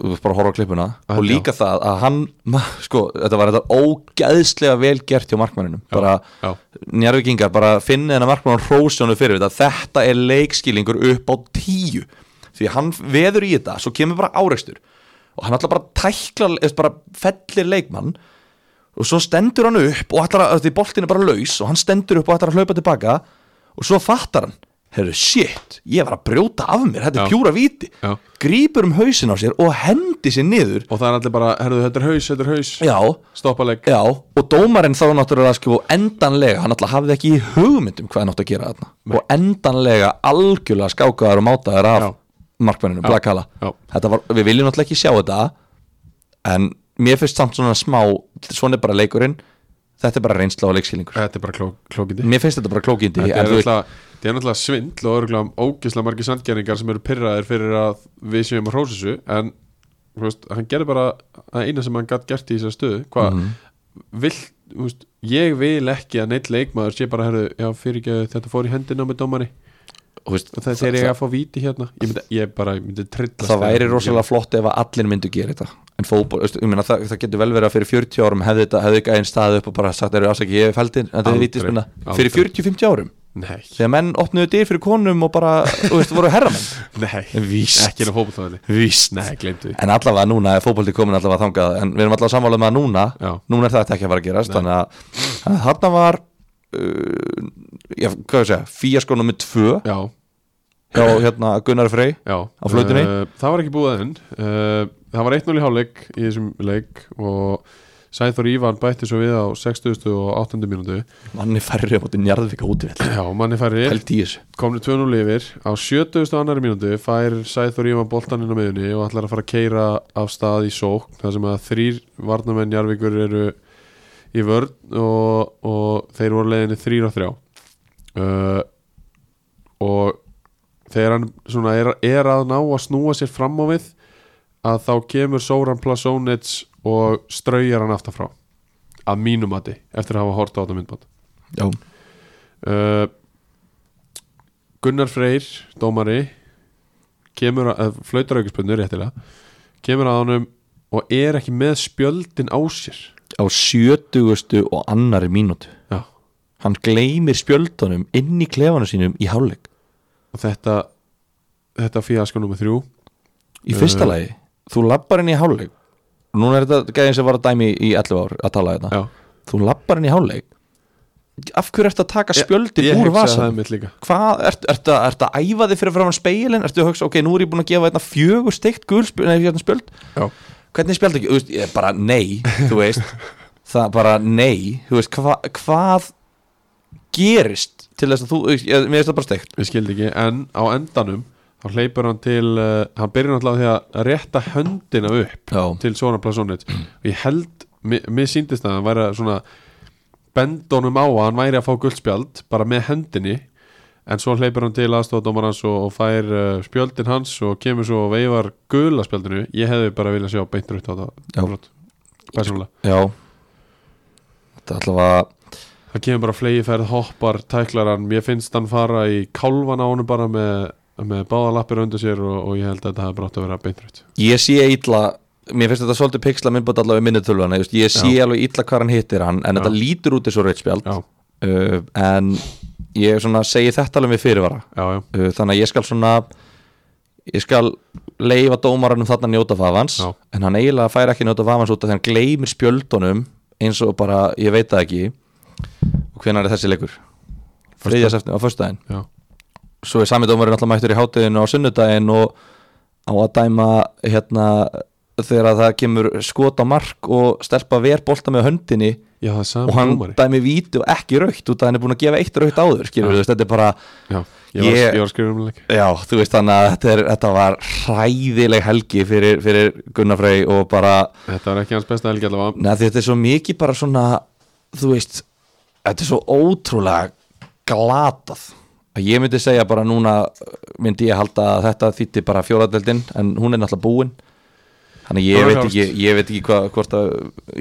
Speaker 2: þú þarft bara að horfa á klippuna
Speaker 1: Að,
Speaker 2: og líka það að hann ma- sko, þetta var þetta ógæðslega vel gert hjá markmanninum bara
Speaker 1: já.
Speaker 2: njárvikingar bara finni þennan markmann hrósjónu fyrir þetta þetta er leikskýlingur upp á tíu því hann veður í þetta svo kemur bara áreikstur og hann ætla bara að tækla eða bara fellir leikmann og svo stendur hann upp og ætlar að því boltin er bara laus og hann stendur upp og ætlar að hlaupa tilbaka og svo fattar hann herru, shit, ég var að brjóta af mér þetta
Speaker 1: Já.
Speaker 2: er pjúra víti,
Speaker 1: Já.
Speaker 2: grípur um hausin á sér og hendi sér niður
Speaker 1: Og það er allir bara, herðu, þetta er haus, þetta er haus
Speaker 2: já,
Speaker 1: Stoppaleg
Speaker 2: Já, og dómarinn þá náttúrulega sko endanlega, hann náttúrulega hafði ekki í hugmyndum hvað hann átti að gera þarna og endanlega algjörlega skákaðar og mátaðar af
Speaker 1: Já.
Speaker 2: markmenninu, Black Halla
Speaker 1: Já.
Speaker 2: Þetta var, við viljum náttúrulega ekki sjá þetta en mér finnst samt svona smá svona er bara leikurinn þetta er bara reynsla og leikskýlingur
Speaker 1: Þetta er bara kló, klókindi
Speaker 2: Mér finnst þetta bara klókindi
Speaker 1: Þetta
Speaker 2: en
Speaker 1: er
Speaker 2: þú veist-
Speaker 1: náttúrulega, þetta er náttúrulega svindl og örgulega ógislega margir sandgæringar sem eru pyrraðir fyrir að við séum að hrósa þessu en þú veist, hann gerði bara að eina sem hann gætt gert í þessar stöðu hvað,
Speaker 2: Mhm.
Speaker 1: mm vill, þú veist, ég vil ekki að neitt leikmaður sé bara, herru, já, fyrir ekki þetta fór í hendina með dómari
Speaker 2: þú veist,
Speaker 1: og þetta er ég að fá víti hérna ég myndi, ég bara, ég myndi trillast
Speaker 2: það væri rosalega flott ef að allir myndu gera þetta en fótból, veistu, ég meina, það, það getur vel verið að fyrir 40 árum hefði þetta, hefði ekki einn stað upp og bara sagt eru afsaki, ég hef fældin, þetta er
Speaker 1: Aldrei,
Speaker 2: vítisminna
Speaker 1: aldrei.
Speaker 2: fyrir 40-50 árum,
Speaker 1: Nei,
Speaker 2: þegar menn opnuðu dyr fyrir konum og bara, þú veist, voru herramenn
Speaker 1: nei,
Speaker 2: víst,
Speaker 1: ekki enn fótboltaðinni
Speaker 2: víst
Speaker 1: Nei, gleymdu því
Speaker 2: en allavega núna, fótbólti komin allavega þangað en við erum allavega sammála með að núna
Speaker 1: Já.
Speaker 2: núna er þetta ekki að fara að gerast þannig að, þannig að þarna var uh, já, hvað ég segja, fíaskó nummið tvö
Speaker 1: Já,
Speaker 2: hjá hérna Gunnar Frey
Speaker 1: já
Speaker 2: Á flautunni?
Speaker 1: Uh, Það var ekki búið enn uh, Það var 1-0 í hálfleik í þessum leik og Sæþór Ívan bætti svo við á 60. og 8. mínútu
Speaker 2: manni færri á móti njarðvika útivill
Speaker 1: Já, manni færi
Speaker 2: held í þessu
Speaker 1: komni 2-0 yfir á 70. og annari mínútu fær Sæþór Ívan boltaninn á miðunni og ætlar að fara að keira af stað í sókn þar sem að þrýr varnamenn Jarvíkur eru í vörn og, og þeir voru leiðinni þrýr og þrjá uh, og þegar hann svona er, er að ná að snúa sér fram á við að þá kemur Sóran Plasónits og straujar hann aftafrá að mínum mati eftir að hafa hort á þetta myndband
Speaker 2: já,
Speaker 1: Uh, Gunnar Freyr, dómari kemur að, flautar aukispunni réttilega, kemur að honum og er ekki með spjöldin á sér
Speaker 2: á sjötugustu og annari mínútu
Speaker 1: Já.
Speaker 2: hann gleymir spjöldunum inn í klefanum sínum í hálfleik
Speaker 1: og þetta þetta fíasko nummer þrjú
Speaker 2: í fyrsta
Speaker 1: Eh.
Speaker 2: lagi, þú lappar inn í hálfleik núna er þetta gæðin sem var að dæmi í 11 ár að tala þetta
Speaker 1: Já,
Speaker 2: þú lappar inn í hálfleik af hverju ertu að taka spjöldin
Speaker 1: ég
Speaker 2: úr
Speaker 1: hugsaði
Speaker 2: vasa
Speaker 1: það mitt líka
Speaker 2: hvað, ertu ert, ert að æfa þig fyrir fram speilin, ertu að hugsa, ok, nú er ég búin að gefa þetta fjögur steikt gul spjöld, nei, hérna spjöld
Speaker 1: Já.
Speaker 2: hvernig spjöld ekki, þú veist, ég er bara nei þú veist, það er bara nei þú veist, hva, hvað gerist til þess að þú ég, ég- mér veist það bara steikt
Speaker 1: Ég skildi ekki, en á endanum þá hleypur hann til, uh, hann byrjar náttúrulega á því að rétta höndina upp
Speaker 2: Já.
Speaker 1: til svona plasónit og ég held, mi- mér síndist að hann væri að svona bendunum á að hann væri að fá guldspjald bara með hendinni en svo hleypur hann til aðstofadómar hans og, og fær uh, spjöldin hans og kemur svo og veifar gula spjaldinu ég hefði bara viljað sjá beint rutt á
Speaker 2: Já.
Speaker 1: það brot, persónulega
Speaker 2: já þetta er allavega
Speaker 1: það kemur bara flegiferð, hoppar, tæklar hann mér finnst hann fara í kálvan á honum bara með, með báða lappir undir sér og, og ég held að þetta hafi brátt að vera beintrætt
Speaker 2: ég sé illa mér finnst þetta svolítið pixla minnbætt allavega minnutölvana ég sé alveg illa hvað hann hittir hann en
Speaker 1: Já.
Speaker 2: þetta lítur út eins og rauðspjald
Speaker 1: já,
Speaker 2: uh, en ég svona segi þetta alveg með fyrirvara
Speaker 1: já, já,
Speaker 2: uh, þannig að ég skal svona ég skal leifa dómaranum þarna að njóta vafans
Speaker 1: Já.
Speaker 2: en hann eiginlega fær ekki að njóta vafans út af því hann gleymir spjöldunum eins og bara ég veit það ekki og hvenær er þessi leikur þriðja eftir á föstudaginn
Speaker 1: já.
Speaker 2: svo er sami dómarinn alltaf mættur í hátíðinu á sunnudaginn og á að dæma hérna þegar að það kemur skot á mark og stelpa ver bolta með höndinni
Speaker 1: já það er
Speaker 2: og
Speaker 1: sami
Speaker 2: hann
Speaker 1: dómari
Speaker 2: dæmi víti og ekki raukt út að hann er búin að gefa eitt raukt áður skilur
Speaker 1: Já.
Speaker 2: þú veist, þetta er bara
Speaker 1: já, ég var,
Speaker 2: Ég-
Speaker 1: ég var að skrifa um leik
Speaker 2: Já, þú veist þannig að þetta, er, þetta var hræðileg helgi fyrir, fyrir Gunnar Frey og bara,
Speaker 1: þetta var ekki hans besta helgi allavega
Speaker 2: neða þetta er svo mikið bara svona, þú veist þetta er svo ótrúlega glatað að ég myndi segja bara núna uh, myndi ég halda að þetta þýtti bara fjóraðeldin en hún er náttúrulega búin þannig
Speaker 1: Það
Speaker 2: ég
Speaker 1: var
Speaker 2: veit ekki,
Speaker 1: klárt.
Speaker 2: ég veit ekki hvað, hvort að,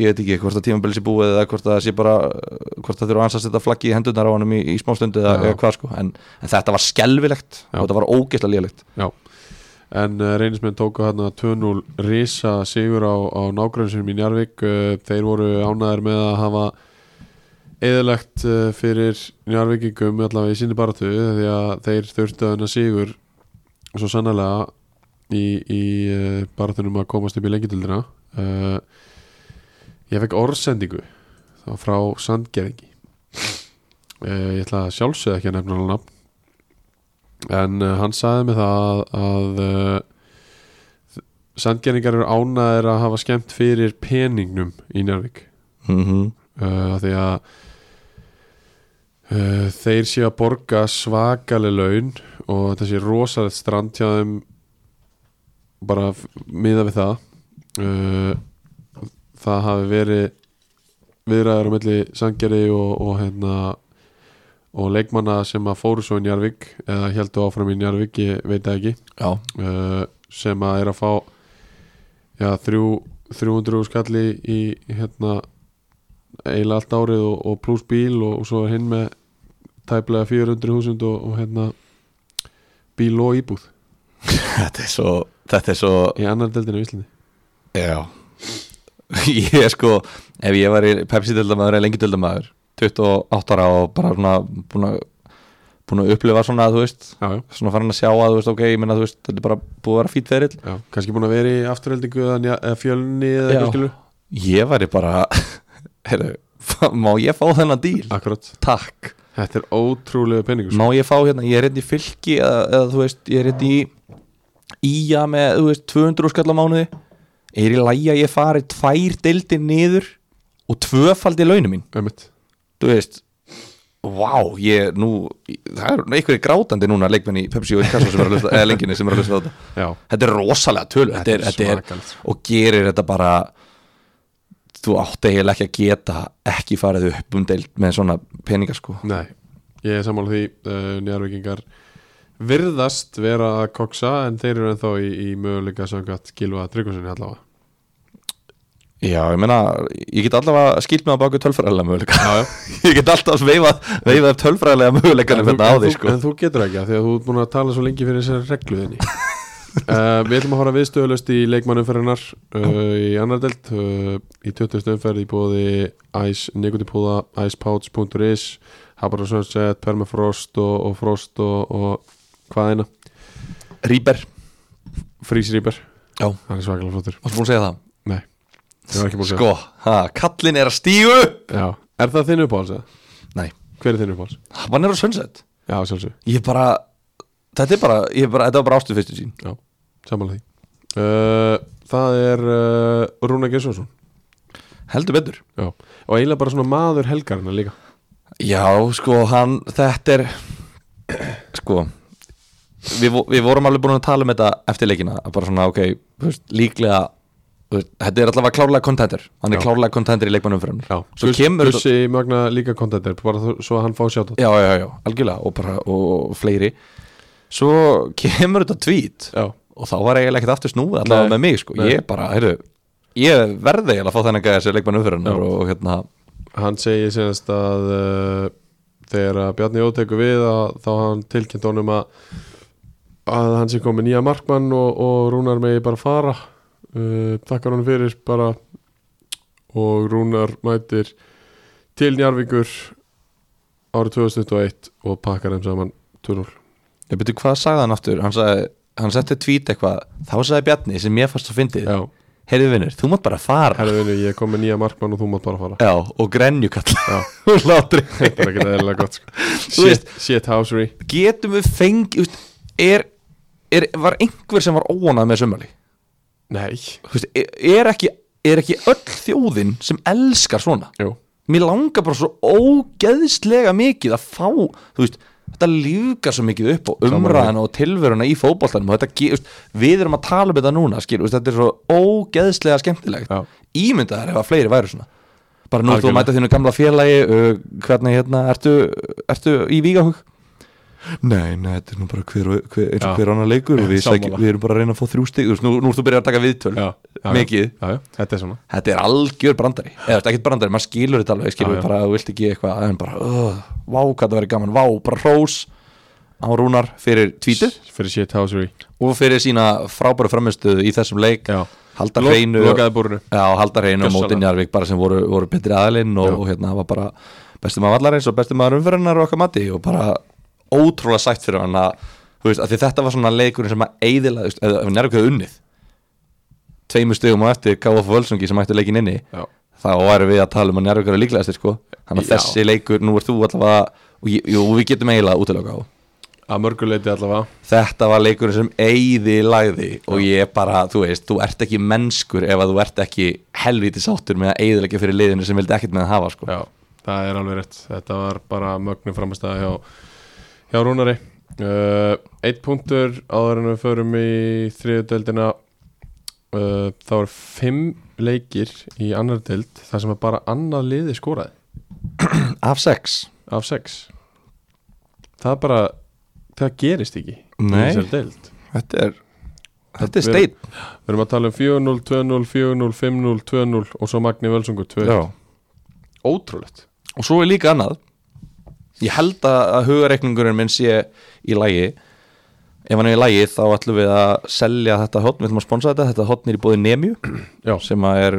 Speaker 2: ég veit ekki hvort að tímabilið sé búið eða hvort að það sé bara, uh, hvort að þurfa að ansast þetta flaggi í hendurnar á honum í, í smástundu eða,
Speaker 1: Já.
Speaker 2: eða hvað sko, en, en þetta var skelvilegt
Speaker 1: Já.
Speaker 2: og þetta var ógeðslega lélegt
Speaker 1: já. en uh, reynismenn tóku hann 2-0 risa sigur á, á nágrunnsum í Njarvík uh, þeir voru ánæðir með að hafa eðalegt uh, fyrir Njarvíkingum allavega í sinni baratu því að þeir þurftu að hennar sigur svo sannlega í, í uh, baratunum að komast upp í lengitildina uh, ég fekk orðsendingu þá frá Eh, Sandgerðingi uh, ég ætla að sjálfsögða ekki að nefna hann nafn en uh, hann sagði mig það að uh, sandgerningar eru ánæðir að hafa skemmt fyrir peningnum í Njárvík
Speaker 2: Mhm.
Speaker 1: uh, af því að uh, þeir séu að borga svakali laun og þetta sé rosalegt strand hjá þeim bara f- miðað við það uh, það hafi verið viðræður á milli Sangeri og, og hérna og leikmanna sem að fóru svo í Njarvík eða heldur áfram í Njarvík, ég veit það ekki
Speaker 2: Já,
Speaker 1: uh, sem að er að fá já, þrjú, 300 skalli í hérna eiginlega allt árið og, og pluss bíl og, og svo er hinn með tæplega 400.000 og, og hérna bíl og íbúð
Speaker 2: þetta er svo Þetta er svo,
Speaker 1: í annar deildinu í Íslandi
Speaker 2: já Ég er sko, ef ég var í Pepsi-dildamaður eða lengi-dildamaður 28 ára og bara svona búin að búin að upplifa svona, þú veist
Speaker 1: já, já,
Speaker 2: svona farin að sjá að, þú veist, ok, ég menna, þú veist þetta er bara búið að vera fýtt ferill
Speaker 1: já, kannski búin að vera í afturheldingu eða nja- eða fjölni eða
Speaker 2: Já.
Speaker 1: eitthvað skilur
Speaker 2: Ég væri bara, heyrðu fa- má ég fá þennan díl?
Speaker 1: akkurat,
Speaker 2: Takk
Speaker 1: þetta er ótrúlega peningur sko.
Speaker 2: Má ég fá hérna, ég er hérna í fylki eða, eða þú veist, ég er hérna í íja með, þú veist, 200 skall á mánuði er í lægi að ég fari tvær deildir niður og tvöfaldi launum mín,
Speaker 1: Einmitt.
Speaker 2: þú veist Vá, ég nú það er einhverju grátandi núna leikmenn í Pepsi og Kassó sem er að hlusta, eða lenginni sem er að hlusta á þetta
Speaker 1: já,
Speaker 2: Þetta er rosalega tölu þetta er, þetta er,
Speaker 1: svakalegt, sko.
Speaker 2: og gerir þetta bara þú átti eiginlega ekki að geta ekki farið upp um deild með svona peninga sko
Speaker 1: Nei, ég er sammála því uh, Njarvíkingar virðast vera að koksa en þeir eru ennþá í, í möguleika samkvæmt Gilva Tryggvason allavega
Speaker 2: Já, ég meina, ég get allavega skilt mig á baku tölfræðilega möguleika
Speaker 1: Já, já.
Speaker 2: ég get alltaf veifað veifað upp tölfræðilega möguleikanum
Speaker 1: en,
Speaker 2: þetta á
Speaker 1: þú,
Speaker 2: því
Speaker 1: en, þú,
Speaker 2: sko
Speaker 1: en þú getur ekki af því að þú ert búin að tala svo lengi fyrir þessari regluðinni uh, Við ætlum að fara viðstöðulust í leikmannumferðinar uh, í annar delt uh, í 20. umferð í bóði Ice Nikotipúða, icepouch.is Habar og Sunset, Permafrost og, og Frost og, og hvað eina,
Speaker 2: Rýber,
Speaker 1: Freeze Reaper
Speaker 2: Já.
Speaker 1: Hann er svakalega flottur
Speaker 2: varstu búin að segja það?
Speaker 1: Nei, ég var ekki búin að
Speaker 2: Sko, ha, kallin er að stígu
Speaker 1: Já, er það þinn uppáhalds eða?
Speaker 2: Nei,
Speaker 1: Hver er þinn uppáhalds?
Speaker 2: hann er á sunset
Speaker 1: Já, sjálfsög,
Speaker 2: Ég bara, þetta er bara, ég bara þetta var bara ástu fyrstu sín
Speaker 1: já, samanlega því uh, Það er uh, Rúna Gessjónsson
Speaker 2: Heldur betur
Speaker 1: Já, og eiginlega bara svona maður helgarina líka
Speaker 2: Já, sko, hann, þetta er sko við, vo- við vorum alveg búin að tala um þetta eftir leikina, að bara svona, ok þú veist, líklega, þú veist, þetta er allavega klárlega kontender, hann er
Speaker 1: Já.
Speaker 2: klárlega kontender í leikmannum fyrir
Speaker 1: Já,
Speaker 2: hann, svo kemur þetta-
Speaker 1: Gussi Magna líka kontenter, bara þó- svo að hann fá sjátt
Speaker 2: já, já, já, algjörlega, og bara, og, og fleiri svo kemur þetta tweet
Speaker 1: Já,
Speaker 2: og þá var eiginlega ekkert aftur snúið allavega
Speaker 1: Nei.
Speaker 2: með mig, sko,
Speaker 1: Nei.
Speaker 2: ég bara, heyrðu ég verði eiginlega að fá þennan gæða sér leikmannum fyrir hann
Speaker 1: Já.
Speaker 2: og hérna,
Speaker 1: hann segir síðanst að uh, þegar að Bjarni Jó tekur við að, þá hafði hann tilkynnt honum að að hann sé komið nýja markmann og, og Rúnar megi bara fara uh, takkar honum fyrir bara og Rúnar mætir til Njarvíkur árið 2021 og pakkar þeim saman 2-0
Speaker 2: ég byrju, hvað sagði hann aftur hann sagði, hann setti tweet eitthvað þá sagði Bjarni, sem ég fannst að fyndið
Speaker 1: Já,
Speaker 2: heyrðu vinnur, þú mátt bara fara
Speaker 1: herðinu, ég er komið nýja markmann og þú mátt bara fara
Speaker 2: já, og grenju
Speaker 1: Já.
Speaker 2: kalla og látri
Speaker 1: Þetta er ekki eðlilega gott sko.
Speaker 2: Þú
Speaker 1: shit, shit housery
Speaker 2: getum við fengi úst, er, er, var einhver sem var óanað með sömmali
Speaker 1: Nei,
Speaker 2: úst, er, er, ekki, er ekki öll þjóðin sem elskar svona
Speaker 1: jú,
Speaker 2: mér langar bara svo ógeðslega mikið að fá þú veist Þetta lífgar svo mikið upp á umræðana og tilveruna í fótboltanum og þetta, ge- þú veist, við erum að tala um þetta núna, skil, þú veist, þetta er svo ógeðslega skemmtilegt
Speaker 1: Já.
Speaker 2: ímyndaðar ef að fleiri væru svona bara nú ert þú að
Speaker 1: Algjörlega.
Speaker 2: mæta þínu gamla félagi uh, hvernig hérna, ertu, ertu í Vígahug? Nei, nei, þetta er nú bara hver, og- hver, eins og
Speaker 1: Já.
Speaker 2: hver annar leikur og við, sæk,
Speaker 1: Sammála.
Speaker 2: við erum bara að reyna að fá þrjú stig þú veist, nú, nú ert þú byrjað að taka viðtöl
Speaker 1: já, já
Speaker 2: mikið,
Speaker 1: já, já, Þetta er svona
Speaker 2: þetta er algjör brandari eða þetta er ekkert brandari, maður skilur þetta alveg skilur
Speaker 1: Já, já.
Speaker 2: bara að þú vilt ekki eitthvað en bara, uh, vá, hvað það verið gaman, vá, bara hrós á Rúnar fyrir tvítið
Speaker 1: Fyrir shit housery
Speaker 2: og fyrir sína frábæru framistuðu í þessum leik
Speaker 1: Já.
Speaker 2: halda
Speaker 1: Lok-
Speaker 2: hreinu
Speaker 1: Lokaði búrinu
Speaker 2: já, halda hreinu á móti
Speaker 1: Gjörsamlega.
Speaker 2: Njarvík bara sem voru, voru betri aðilinn
Speaker 1: Já.
Speaker 2: og, og hérna var bara besti maður vallarins og besti maður umfyririnnar og okkar mati og bara ótrúlega sætt fyrir hann að, þú veist, að því þetta var svona leikurinn sem að eðila, ef ef Njarvík hefði unnið tveimur stegum á eftir KF Völsungi sem ætti leikin inni
Speaker 1: Já,
Speaker 2: þá væri við að tala um að Njarvíkur er líklegastir sko þannig að
Speaker 1: Já.
Speaker 2: þessi leikur, nú er þú allavega og, ég, jú, við getum eiginlega útilega á
Speaker 1: að mörguleiti allavega
Speaker 2: þetta var leikurinn sem eyði lagði og ég bara, þú veist, þú ert ekki mennskur ef að þú ert ekki helviti sáttur með að eyðilegja fyrir liðinu sem vildi ekkert með að hafa sko.
Speaker 1: Já, það er alveg rétt Þetta var bara mögnum framistæða hjá, hjá Rúnari uh, Eitt punktur áður en við förum í þriðu deildina uh, Það voru fimm leikir í annar deild þar sem að bara annað liði skoraði
Speaker 2: af sex
Speaker 1: af sex Það er bara, það gerist ekki í
Speaker 2: Nei.
Speaker 1: þessari deild
Speaker 2: þetta er, þetta er
Speaker 1: Við-
Speaker 2: stein
Speaker 1: Við erum að tala um 4-0, 2-0, 4-0, 5-0, 2-0 og svo Magni Völsungur 2 Ótrúlegt
Speaker 2: og svo er líka annað ég held að að hugareikningurinn minn sé í lagi ef hann er í lagi þá ætlum við að selja þetta hotn, við ætlum að sponsa þetta þetta hotn er í bóði Nemju
Speaker 1: Já.
Speaker 2: sem að er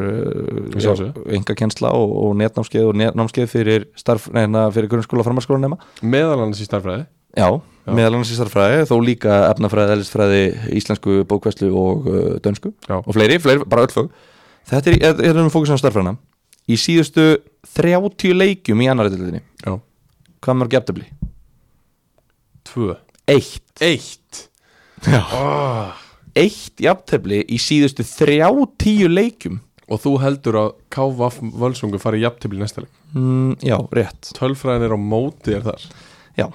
Speaker 1: Ég sá þessu.
Speaker 2: enga kjensla og, og netnámskeið og netnámskeið fyrir, starf, nei, hérna, fyrir grunnskóla framarskóla nema
Speaker 1: Meðal annars í starfræði
Speaker 2: Já, meðal annars í starffræði, þó líka efnafræði, eðlisfræði, íslensku, bókvæslu og uh, dönsku
Speaker 1: Já.
Speaker 2: og fleiri, fleiri, bara öll fög Þetta er, er, er um fókusum á starffræðina Í síðustu 30 leikjum í annarri dildinni
Speaker 1: Já.
Speaker 2: Hvað mörg jafntöfli?
Speaker 1: 2
Speaker 2: Eitt
Speaker 1: Eitt oh.
Speaker 2: Eitt jafntöfli í síðustu 30 leikjum
Speaker 1: Og þú heldur að KVF Völsungur fari jafntefli í næsta leik
Speaker 2: mm, Já, rétt
Speaker 1: Tölfræðin er á móti þér þar
Speaker 2: Já,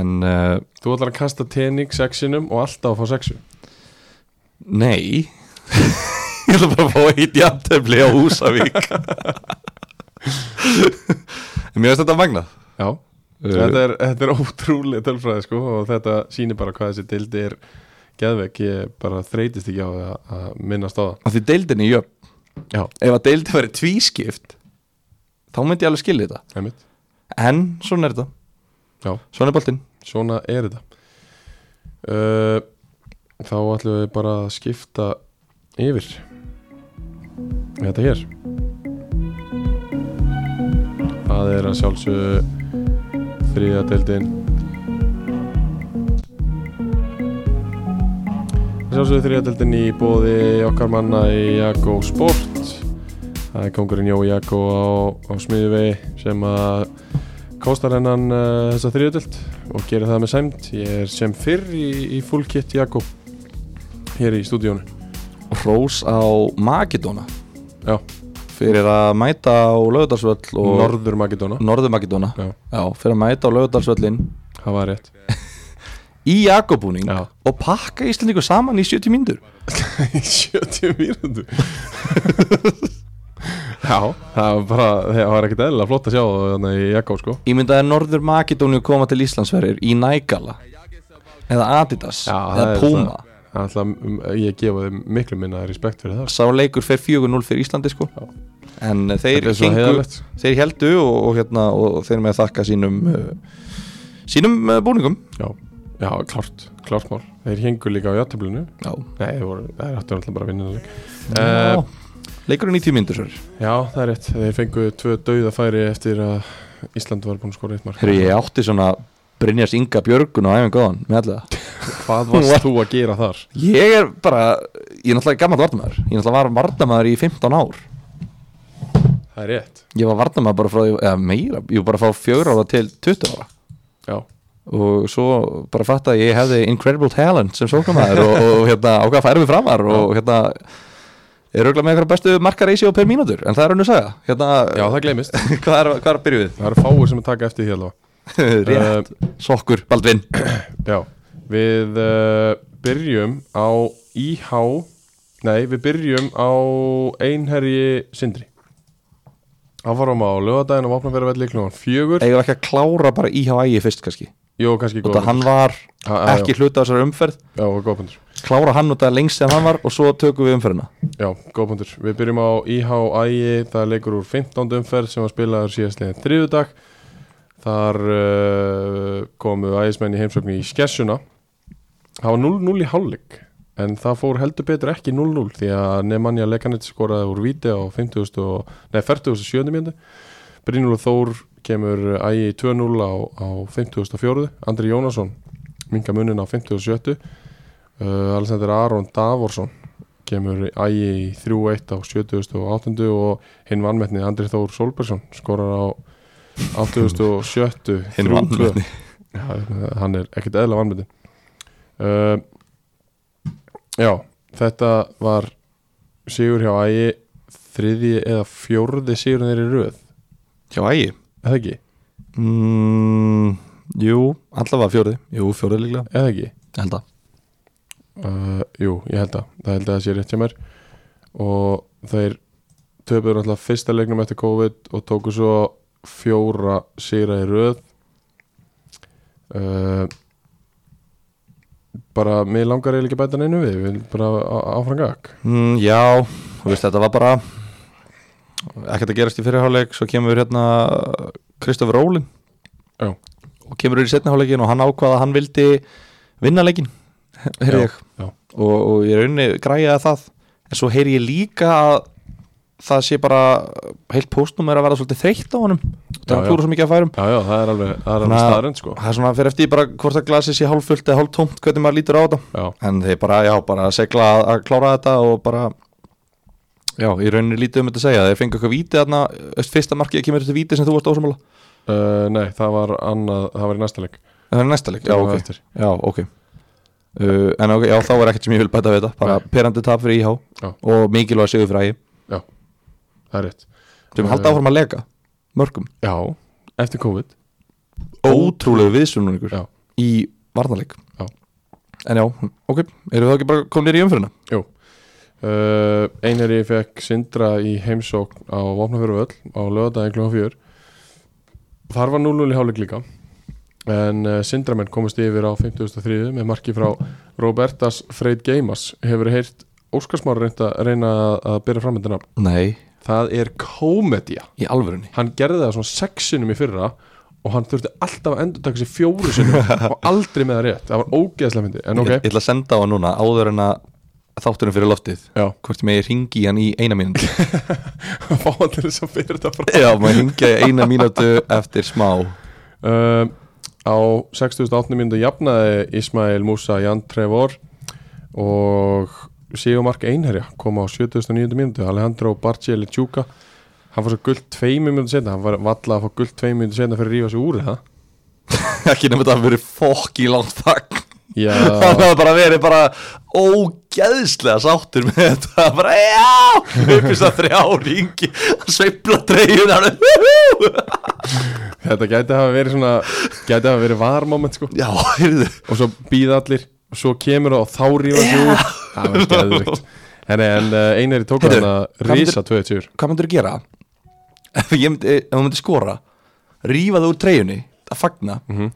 Speaker 2: en uh,
Speaker 1: Þú ætlar að kasta tening sexinum og alltaf að fá sexu
Speaker 2: nei Ég ætla bara að fá eitt jafntöfli á Húsavík Mér finnst þetta magnað
Speaker 1: Já þetta, er, þetta er ótrúlega tölfræði sko og þetta sýnir bara hvað þessi dildi er geðvegg, ég bara þreytist ekki á að, að minnast á það
Speaker 2: að því deildin er jöfn
Speaker 1: Já.
Speaker 2: ef að deildin væri tvískipt þá myndi ég alveg skilja þetta
Speaker 1: Einmitt.
Speaker 2: en svona er þetta,
Speaker 1: Já,
Speaker 2: svona er boltinn
Speaker 1: svona er þetta uh, Þá ætlum við bara að skipta yfir Í Þetta hér Það er að sjálfsögðu þriða deildin Að Sjálfsögðu þriða deildin í bóði okkar manna í Jakko Sport Það er kongurinn Jói Jakko á, á smiðuvegi sem að kostar hennan uh, þessa þriða deild og gerir það með sæmt Ég er sem fyrr í, í full kit Jakko hér í stúdíónu
Speaker 2: Rós á Makedóna
Speaker 1: Já,
Speaker 2: fyrir að mæta á Laugardalsvöll og
Speaker 1: Norður Makedóna
Speaker 2: Norður Makedóna
Speaker 1: Já.
Speaker 2: fyrir að mæta á Laugardalsvöllin
Speaker 1: Það var rétt
Speaker 2: í Jakobúning
Speaker 1: Já.
Speaker 2: og pakka Íslandingu saman í 70 mínútur
Speaker 1: í 70 mínútu Já, það var bara það var ekkert eðlilega flott að sjá það þarna í Jakko sko
Speaker 2: ég myndi að Norður Makedóni koma til Íslandsverðir í Nægala eða Adidas
Speaker 1: Já,
Speaker 2: eða Puma
Speaker 1: það, það er alltaf, ég gefa þeim miklu minna respekt fyrir það sko.
Speaker 2: sá leikur fer 4-0 fyrir Íslandi sko.
Speaker 1: Já.
Speaker 2: en eh, þeir
Speaker 1: Þetta er svo
Speaker 2: gengu,
Speaker 1: heiðalegt
Speaker 2: þeir heldu og, og, hérna, og þeir með að þakka sínum uh, sínum uh, búningum
Speaker 1: Já, já klart, klart mál Þeir hengur líka á játtöflinu
Speaker 2: já.
Speaker 1: Nei, þeir voru, þeir áttu náttúrulega bara að vinna þennan leik. Eh,
Speaker 2: leikur er 90 myndur sér
Speaker 1: Já, það er rétt Þeir fengu tvö dauða færi eftir að Ísland var búin að skora eitt mark
Speaker 2: Heru, ég átti svona Brynjars Inga Björgun og Æfing Góðan með alla það.
Speaker 1: Hvað varst þú að gera þar?
Speaker 2: ég er bara, ég er náttúrulega gammal vartamæður ég náttúrulega var vartamæður í 15 ár
Speaker 1: Það er rétt
Speaker 2: ég var vartamæður bara frá, því- eða meira ég var bara frá 4 ára til 20 ára
Speaker 1: Já,
Speaker 2: og svo bara fatt að ég hefði incredible talent sem sóknamaður og, og hérna ákvað að færa mig framar og hérna er auðvitað með eitthvað bestu markareisjó per mínútur en það er hann að segja hérna,
Speaker 1: já það gleymist
Speaker 2: hvað, er, hvað er að byrja við?
Speaker 1: Það eru fáir sem að taka eftir því allavega
Speaker 2: Rétt, Uh, sokkur, Baldvin
Speaker 1: Já, við uh, byrjum á IH Nei, við byrjum á Einherji Sindri Það varum á lögadaginn og vopna fyrir velli klúan fjögur
Speaker 2: eigum við ekki að klára bara IHI fyrst kannski
Speaker 1: Jó, kannski
Speaker 2: og
Speaker 1: góð
Speaker 2: það hann var
Speaker 1: Ha- ha,
Speaker 2: ekki hluta þessar umferð
Speaker 1: Já, góð punktur
Speaker 2: klára hann út að lengst sem hann var og svo tökum við umferðina
Speaker 1: Já, góð punktur Við byrjum á IH Ægi Það er leikur úr 15. umferð sem var spilaður síðast liðin þriðudag Þar uh, komu ægismenn í heimsókn í skessuna Það var 0-0 í hálfleik En það fór heldur betur ekki 0-0 Því að Nemanja Lekanit skoraði úr víti á 50. og, nei, 47. mjöndu Brynjúlu Þór kemur ægi í 2-0 á, á 54. Andri Jónasson minga munin á 57. Uh, Alexander Aron Davorsson kemur ægi í 3-1 á 78. og hinn vannmetni Andri Þór Solbergsson skorar á 87.
Speaker 2: Hinn
Speaker 1: 3-2.
Speaker 2: vanmetni.
Speaker 1: Já, hann er ekkert eðla vannmyndin uh, Já, þetta var sigur hjá Ægi þriði eða fjórði sigur þeir í röð,
Speaker 2: Hjá ægi
Speaker 1: eða ekki,
Speaker 2: mm, Jú, allavega fjóri Jú, fjóri líklega
Speaker 1: eða ekki
Speaker 2: Ég held að
Speaker 1: uh, Jú, ég held að, það held að það sé rétt hjá mér og þeir töpuður alltaf fyrsta leiknum eftir COVID og tóku svo fjóra sigra í röð uh, bara, mér langar eiginlega ekki að bæta neinu við, við viljum bara á- áfram gag
Speaker 2: mm, Já, þú veist þetta var bara ekkert að gerast í fyrirháleik svo kemur hérna Kristofur Rólin
Speaker 1: Já.
Speaker 2: og kemur í setniháleikin og hann ákvað að hann vildi vinna leikin
Speaker 1: Já,
Speaker 2: heyrði ég
Speaker 1: já.
Speaker 2: og, og ég rauninni græjaði það en svo heyri ég líka að það sé bara heilt póstnum er að vera svolítið þreytt á honum það
Speaker 1: já.
Speaker 2: er klúra svo mikið að færum
Speaker 1: Já, já, það er alveg, það er alveg
Speaker 2: Þannig að-
Speaker 1: staðrönd sko
Speaker 2: það er svona fyrir eftir því bara hvort að glasið sé hálffullt eða hálftómt hvernig maður lítur á þetta
Speaker 1: Já,
Speaker 2: en þeir bara, já, bara segla að, að klára þetta og bara já, í rauninni lítið um þetta að segja þeir fengu eitthvað víti þarna, öst, fyrsta markið kemur þetta víti sem þú varst ósamála
Speaker 1: uh, nei, það var annað, það var í næsta leik
Speaker 2: það er næsta leik, já,
Speaker 1: Það var
Speaker 2: ok,
Speaker 1: eftir.
Speaker 2: já, ok. Uh, en ok, já, þá er ekkert sem ég vil bæta við þetta bara perandi tap fyrir íhá
Speaker 1: Já.
Speaker 2: og mikilvæg sigur fyrir ægi
Speaker 1: Það er rétt
Speaker 2: sem
Speaker 1: Uh,
Speaker 2: halda áfram að lega, mörgum
Speaker 1: Já, eftir COVID
Speaker 2: ótrúlegu viðsunnungur
Speaker 1: Já.
Speaker 2: í varnarleik
Speaker 1: Já.
Speaker 2: en já, ok, eru það ekki bara komnir í umfyrirna
Speaker 1: uh, Einherji fekk Sindra í heimsókn á Vopnafjöruvöll á lögadaginn kl. 4 Þar var 0-0 í hálfleik líka en uh, Sindramenn komist yfir á 53 með marki frá Robertas Freyt Geimas hefur heyrt Óskarsmára reynda að reyna að- að byrja framöndina
Speaker 2: nei,
Speaker 1: Það er komedía
Speaker 2: í alvörunni
Speaker 1: hann gerði það svona sex sinnum í fyrra og hann þurfti alltaf að endur taka sér fjóru sinnum og aldrei með það rétt það var ógeðslega myndi, en ok
Speaker 2: ég, ég ætla að senda á hann núna áður en að þátturinn fyrir loftið
Speaker 1: já,
Speaker 2: hvort ég megi ringi hann í eina mínútu
Speaker 1: fá hann til þess að fyrir þetta frá
Speaker 2: Já, maður ringja í eina mínútu eftir smá
Speaker 1: um, á 68. mínútu jafnaði Ismail Musa Jan Trevor og Sigumark Einherja kom á 79. mínútu Alejandro Barcelli Tjúka hann fór svo gullt tveimur mínútu setna hann var valla að fá gullt tveimur mínútu setna fyrir að rífa sig úr það
Speaker 2: Ekki nefnir þetta að verið fokk í langt fag
Speaker 1: já,
Speaker 2: Það hafði bara verið bara ógeðslega sáttur með þetta bara já, hlupist að þrjá ringi að sveifla treyjun hann
Speaker 1: þetta gæti hafa verið svona gæti hafa verið varmoment sko
Speaker 2: Já, heyrðu
Speaker 1: og svo býða allir svo kemur það og þá rífa sig úr það var geðvikt en, en uh, einari tók
Speaker 2: Heyrðu,
Speaker 1: hann að
Speaker 2: hvað
Speaker 1: rísa 20
Speaker 2: Hvað myndir að gera? Ef ég myndi, ef maður myndi skora rífa það úr treyjunni að fagna
Speaker 1: Mhm.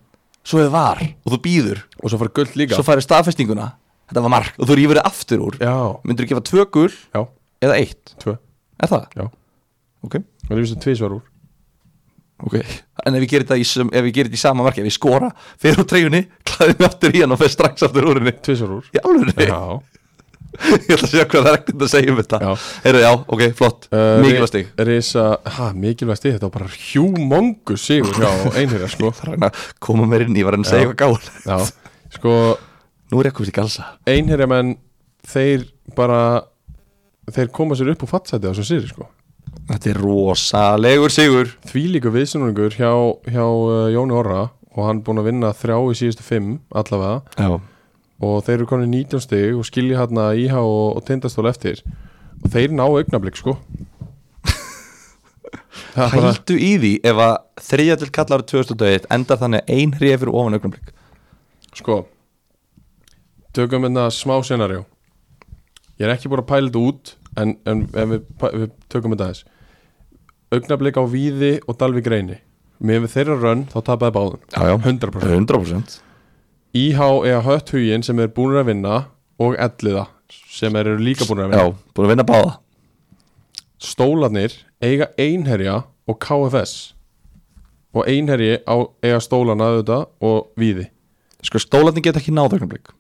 Speaker 2: svo er var og þú býður
Speaker 1: og svo fara gullt líka
Speaker 2: svo færi staðfestinguna þetta var mark og þú rífur það aftur úr
Speaker 1: já,
Speaker 2: myndir gefa tvö gul
Speaker 1: já,
Speaker 2: eða eitt
Speaker 1: tvö
Speaker 2: er það?
Speaker 1: Já.
Speaker 2: ok,
Speaker 1: og rífist það tvísvar úr
Speaker 2: ok en ef ég gerir þetta í, sem- ef ég gerir þetta í sama marki ef ég skora, fer úr treyjunni klæði mig aftur í hann og fer strax aftur úr henni
Speaker 1: tvísvar úr
Speaker 2: í alveg
Speaker 1: já,
Speaker 2: ég ætla að segja hvað það er ekkert að segja um þetta
Speaker 1: já.
Speaker 2: heyrðu já, ok, flott, uh, mikilvægt stig
Speaker 1: rísa, Eh, ha, mikilvægt stig þetta var bara hjúmongus sigur hjá einherja sko
Speaker 2: það er hann að Hérna, koma mér inn í var hann að segja eitthvað gáð
Speaker 1: já, sko
Speaker 2: nú er ég að komast í galsa
Speaker 1: einherja menn þeir bara þeir koma sér upp og fattsæti á þessu sýri sko
Speaker 2: þetta er rosalegur sigur
Speaker 1: því líka viðsynungur hjá, hjá uh, Jóni Orra og hann búin að vinna þrjá í síðustu fimm allavega
Speaker 2: já,
Speaker 1: og þeir eru konið 19 stig og skilja hérna íhá og, og tindastól eftir og þeir ná augnablik sko það er bara
Speaker 2: hættu í því ef að þriðja til kallar 2001 endar þannig að ein hrifir ofan augnablik
Speaker 1: sko tökum hérna smá senarjó ég er ekki búin að pæla þetta út en, en, en við, pæ- við tökum þetta aðeins augnablik á Víði og Dalvik reyni með við þeirra rönn þá tapaði báðum
Speaker 2: já, já,
Speaker 1: 100%
Speaker 2: 100%
Speaker 1: IH eða hött huginn sem er búin að vinna og elliða sem eru líka búin að
Speaker 2: já,
Speaker 1: vinna
Speaker 2: búin að vinna báða
Speaker 1: stólanir eiga einherja og KFS og einherji á, eiga stólana auðvitað og víði
Speaker 2: Sko stólarnir geta ekki náð augnablik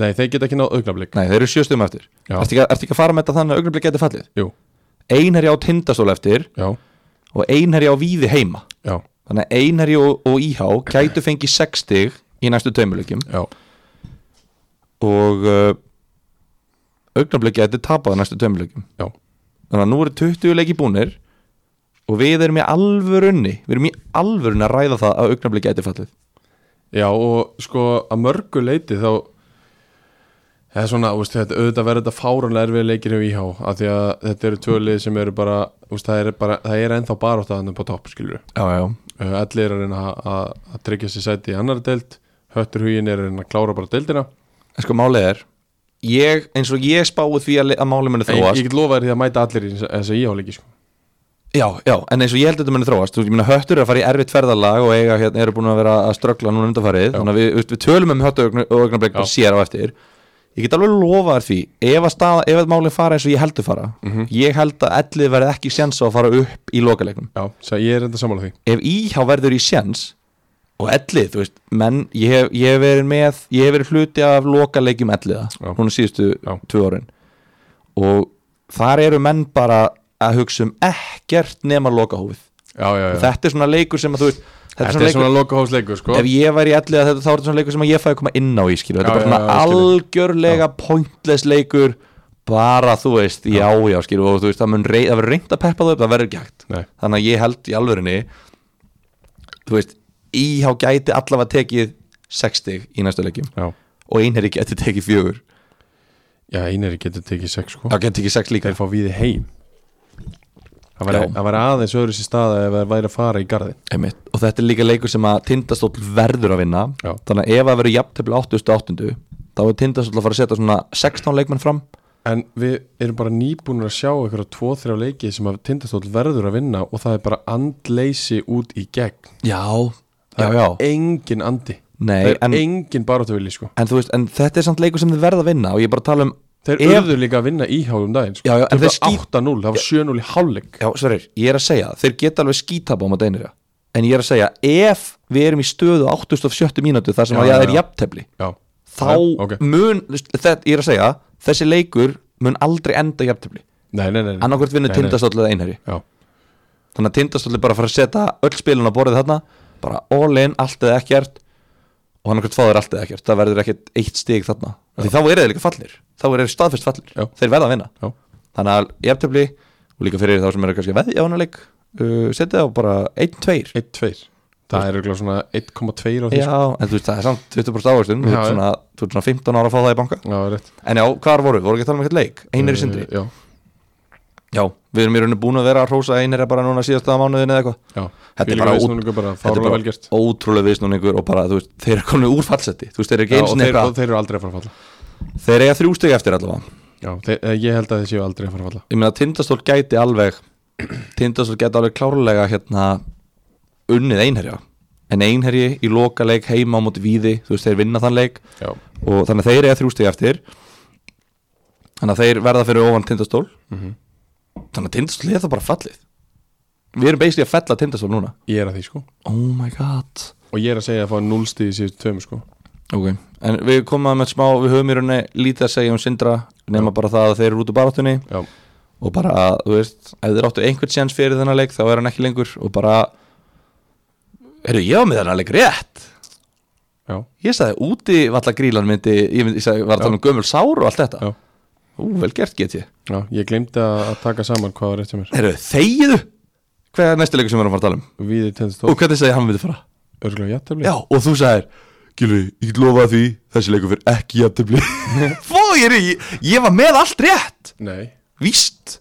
Speaker 1: nei þeir geta ekki náð augnablik
Speaker 2: Nei, þeir eru sjö stöðum eftir
Speaker 1: Já.
Speaker 2: ertu ekki, ertu ekki að fara með þetta þannig að augnablik geti fallið?
Speaker 1: Jú.
Speaker 2: Einherji á tindastól eftir
Speaker 1: já,
Speaker 2: og einherji á víði heima
Speaker 1: já,
Speaker 2: Þannig að einherji og, og íhá gætu fengið 6 stig í næstu taumilegjum
Speaker 1: já,
Speaker 2: og uh, augnablik geti tapað í næstu taumilegjum
Speaker 1: Já.
Speaker 2: Þannig að nú eru 20 leiki búnir og við erum í alvörunni við erum í alvörunni að ræða það að augnablik geti fallið
Speaker 1: Já og sko að mörgu leiti þá eða svona, úst, þetta, auðvitað verður þetta fáránlega erfið leikir hjá íhá af því að þetta eru tvölið sem eru bara, úst, það, er bara það er ennþá baróttaðanum på topp skilur
Speaker 2: já, já,
Speaker 1: Eh, Allir er að reyna að- að að tryggja sér sæti í annar deild Höttur hugin er að reyna að klára bara deildina
Speaker 2: en sko málið er ég, eins og ég spáði því að, le- að málið muni
Speaker 1: En Ég,
Speaker 2: þróast
Speaker 1: ég get lofa þér því að mæta allir í þess að íhá leiki sko.
Speaker 2: já, já, en eins og ég held að þetta muni þróast þú veist, ég meina höttur er að fara í erfitt ferðalag og eiga hérna eru búin að vera að ströggla núna undanfarið þannig að við, veist, við tölum um höttu og augnablik bara sér á eftir ég get alveg lofa þér því ef að, staða, ef að málið fara eins og ég held að fara
Speaker 1: Mhm.
Speaker 2: ég held að ellið verði ekki séns á að fara upp í lokaleiknum
Speaker 1: Já, svo ég er enda sammála því
Speaker 2: ef íhá verður í sjens og ellið, þú veist, menn ég hef, ég hef verið með, ég hef verið hluti af lokaleikjum elliða,
Speaker 1: Já.
Speaker 2: núna síðustu
Speaker 1: Já.
Speaker 2: tvö árin og þar eru menn bara að hugsa um ekkert nema lokahófið
Speaker 1: Já, já, já
Speaker 2: og þetta er svona leikur sem að þú veist þetta er
Speaker 1: Þetta
Speaker 2: svona
Speaker 1: er
Speaker 2: leikur,
Speaker 1: svona lokahófsleikur sko
Speaker 2: ef ég væri í elliða þetta þá er þetta svona leikur sem að ég fæði að koma inn á í skilu,
Speaker 1: Já,
Speaker 2: þetta er bara
Speaker 1: já,
Speaker 2: svona
Speaker 1: já, ég skil.
Speaker 2: algjörlega pointless leikur bara þú veist, já, já, já skilu og þú veist, það mun rey, það verður reynd að peppa þau upp, það verður ekki hægt
Speaker 1: Nei,
Speaker 2: þannig að ég held í alvörinni þú veist, íhá gæti allavega tekið 60 í næstu leikjum
Speaker 1: já
Speaker 2: og einherri gæti tekið fjögur
Speaker 1: Já, einari getur tekið sex sko
Speaker 2: það gæti tekið 6 líka
Speaker 1: Þeir fá við heim Það væri,
Speaker 2: Já.
Speaker 1: það væri aðeins öðru sér staða ef það væri að fara í garðin
Speaker 2: Einmitt. og þetta er líka leikur sem að tindastóll verður að vinna
Speaker 1: Já.
Speaker 2: þannig að ef það verður jafntefli 88 þá er tindastóll að fara að setja svona 16 leikmenn fram
Speaker 1: En við erum bara nýbúnir að sjá einhverja tvo, þrjá leiki sem að tindastóll verður að vinna og það er bara andleysi út í gegn
Speaker 2: já, já,
Speaker 1: Það
Speaker 2: já
Speaker 1: er engin andi
Speaker 2: Nei,
Speaker 1: Það er
Speaker 2: en,
Speaker 1: engin barátuvili sko
Speaker 2: en, þú veist, en þetta er samt leikur sem þið verða að vinna og ég er bara að tala um
Speaker 1: Þeir
Speaker 2: Ef-
Speaker 1: urðu líka að vinna íhjáðum daginn sko.
Speaker 2: Já, já, en
Speaker 1: Þeir
Speaker 2: þeir
Speaker 1: bara
Speaker 2: skýt-
Speaker 1: 8-0, það var 7-0 í hálfleik
Speaker 2: Já, sverir, ég er að segja, þeir geta alveg skítapa á maður einherja, en ég er að segja ef við erum í stöðu á 87 mínútu þar sem
Speaker 1: Já,
Speaker 2: að
Speaker 1: já,
Speaker 2: það er
Speaker 1: já.
Speaker 2: jafntefli
Speaker 1: Já,
Speaker 2: þá
Speaker 1: Nei, ok.
Speaker 2: mun, þetta, ég er að segja þessi leikur mun aldrei enda í jafntefli
Speaker 1: Nei, nei, nei, nei.
Speaker 2: annarkvort vinnur
Speaker 1: Mm. Nei, nei.
Speaker 2: tindastóllið einherji
Speaker 1: Já,
Speaker 2: þannig að tindastóllið bara að fara að setja öll spilun á borðið þarna bara all in, allt eða ekkert og annarkvort fá þeir allt eða ekkert það verður ekkert eitt stig þarna því þá eru þeir líka fallir, þá eru þeir staðfest fallir
Speaker 1: Já.
Speaker 2: þeir verða að vinna
Speaker 1: já,
Speaker 2: þannig að jafntefli og líka fyrir þá sem eru kannski að veðja á hana leik uh, setja á bara 1-2
Speaker 1: 1-2 Það er örugglega svona 1,2 á því
Speaker 2: Já,
Speaker 1: sko.
Speaker 2: en þú veist það er samt 20% ávöxtun þú
Speaker 1: Já,
Speaker 2: ert
Speaker 1: já.
Speaker 2: svona, þú ert svona 15 ára að fá það í banka
Speaker 1: Já, það er rétt
Speaker 2: En já, hvar voru, voru ekki að tala um eitthvað leik Einar í sindri,
Speaker 1: Eh, Já,
Speaker 2: já, við erum í rauninu búin að vera að hrósa Einar bara núna síðasta mánuðin eða eitthvað
Speaker 1: já
Speaker 2: Þetta er
Speaker 1: Þvílíkur
Speaker 2: bara út-
Speaker 1: viðsnúningur bara fárlega
Speaker 2: bara
Speaker 1: velgjert
Speaker 2: ótrúlega viðsnúningur og bara, þú veist, þeir eru komin úr fallseti Þú veist, þeir eru ekki
Speaker 1: Já, og þeir, og
Speaker 2: eins og eitthvað
Speaker 1: þeir eru aldrei að fara að falla
Speaker 2: Þeir eiga þrjú stig eftir allavega
Speaker 1: Já, þeir, eh, ég held að þeir séu aldrei að fara að falla
Speaker 2: Ég meina, tindastól gæti alveg Tindastól gæti alveg klárlega hérna unnið einherja En einherji í lokaleik heima á móti víði Þú veist, þeir vinna þann leik
Speaker 1: Já,
Speaker 2: og þannig að þeir eiga þrjú stig eftir þannig að þeir verða fyrir ofan tindastól
Speaker 1: Mhm.
Speaker 2: þannig að tindastól er það bara fallið við erum basically að fella tindastól núna
Speaker 1: ég er að því sko
Speaker 2: oh my god
Speaker 1: Og ég er að segja að fá 0 stíð í síðustu tveim sko
Speaker 2: ok, en við komum að með smá við höfum í rauninni lítið að segja um Sindra nema bara það að þeir eru út úr baráttunni
Speaker 1: Já,
Speaker 2: og bara, að, þú veist, ef þeir áttu einhvern sjans fyrir þennan leik þá er hann ekki lengur og bara eru ég á með þennan leik rétt
Speaker 1: já,
Speaker 2: ég sagði úti valla grílan myndi ég, myndi, ég sagði, var að tala um gömul sár og allt þetta
Speaker 1: Já.
Speaker 2: ú, vel gert get ég
Speaker 1: já Ég glemdi að að taka saman hvað var rétt hjá mér
Speaker 2: Herru, þegiðu Hvað er næstu leikur sem við erum að fara að tala um?
Speaker 1: Víði tennist
Speaker 2: Og
Speaker 1: þó,
Speaker 2: hvernig segir hann vilja fara?
Speaker 1: örgulega jættefli
Speaker 2: Já, og þú sagðir Gilvi, ég get lofað því Þessi leikur fyrir ekki jafntefli Fó, ég er í Ég var með allt rétt
Speaker 1: Nei,
Speaker 2: Víst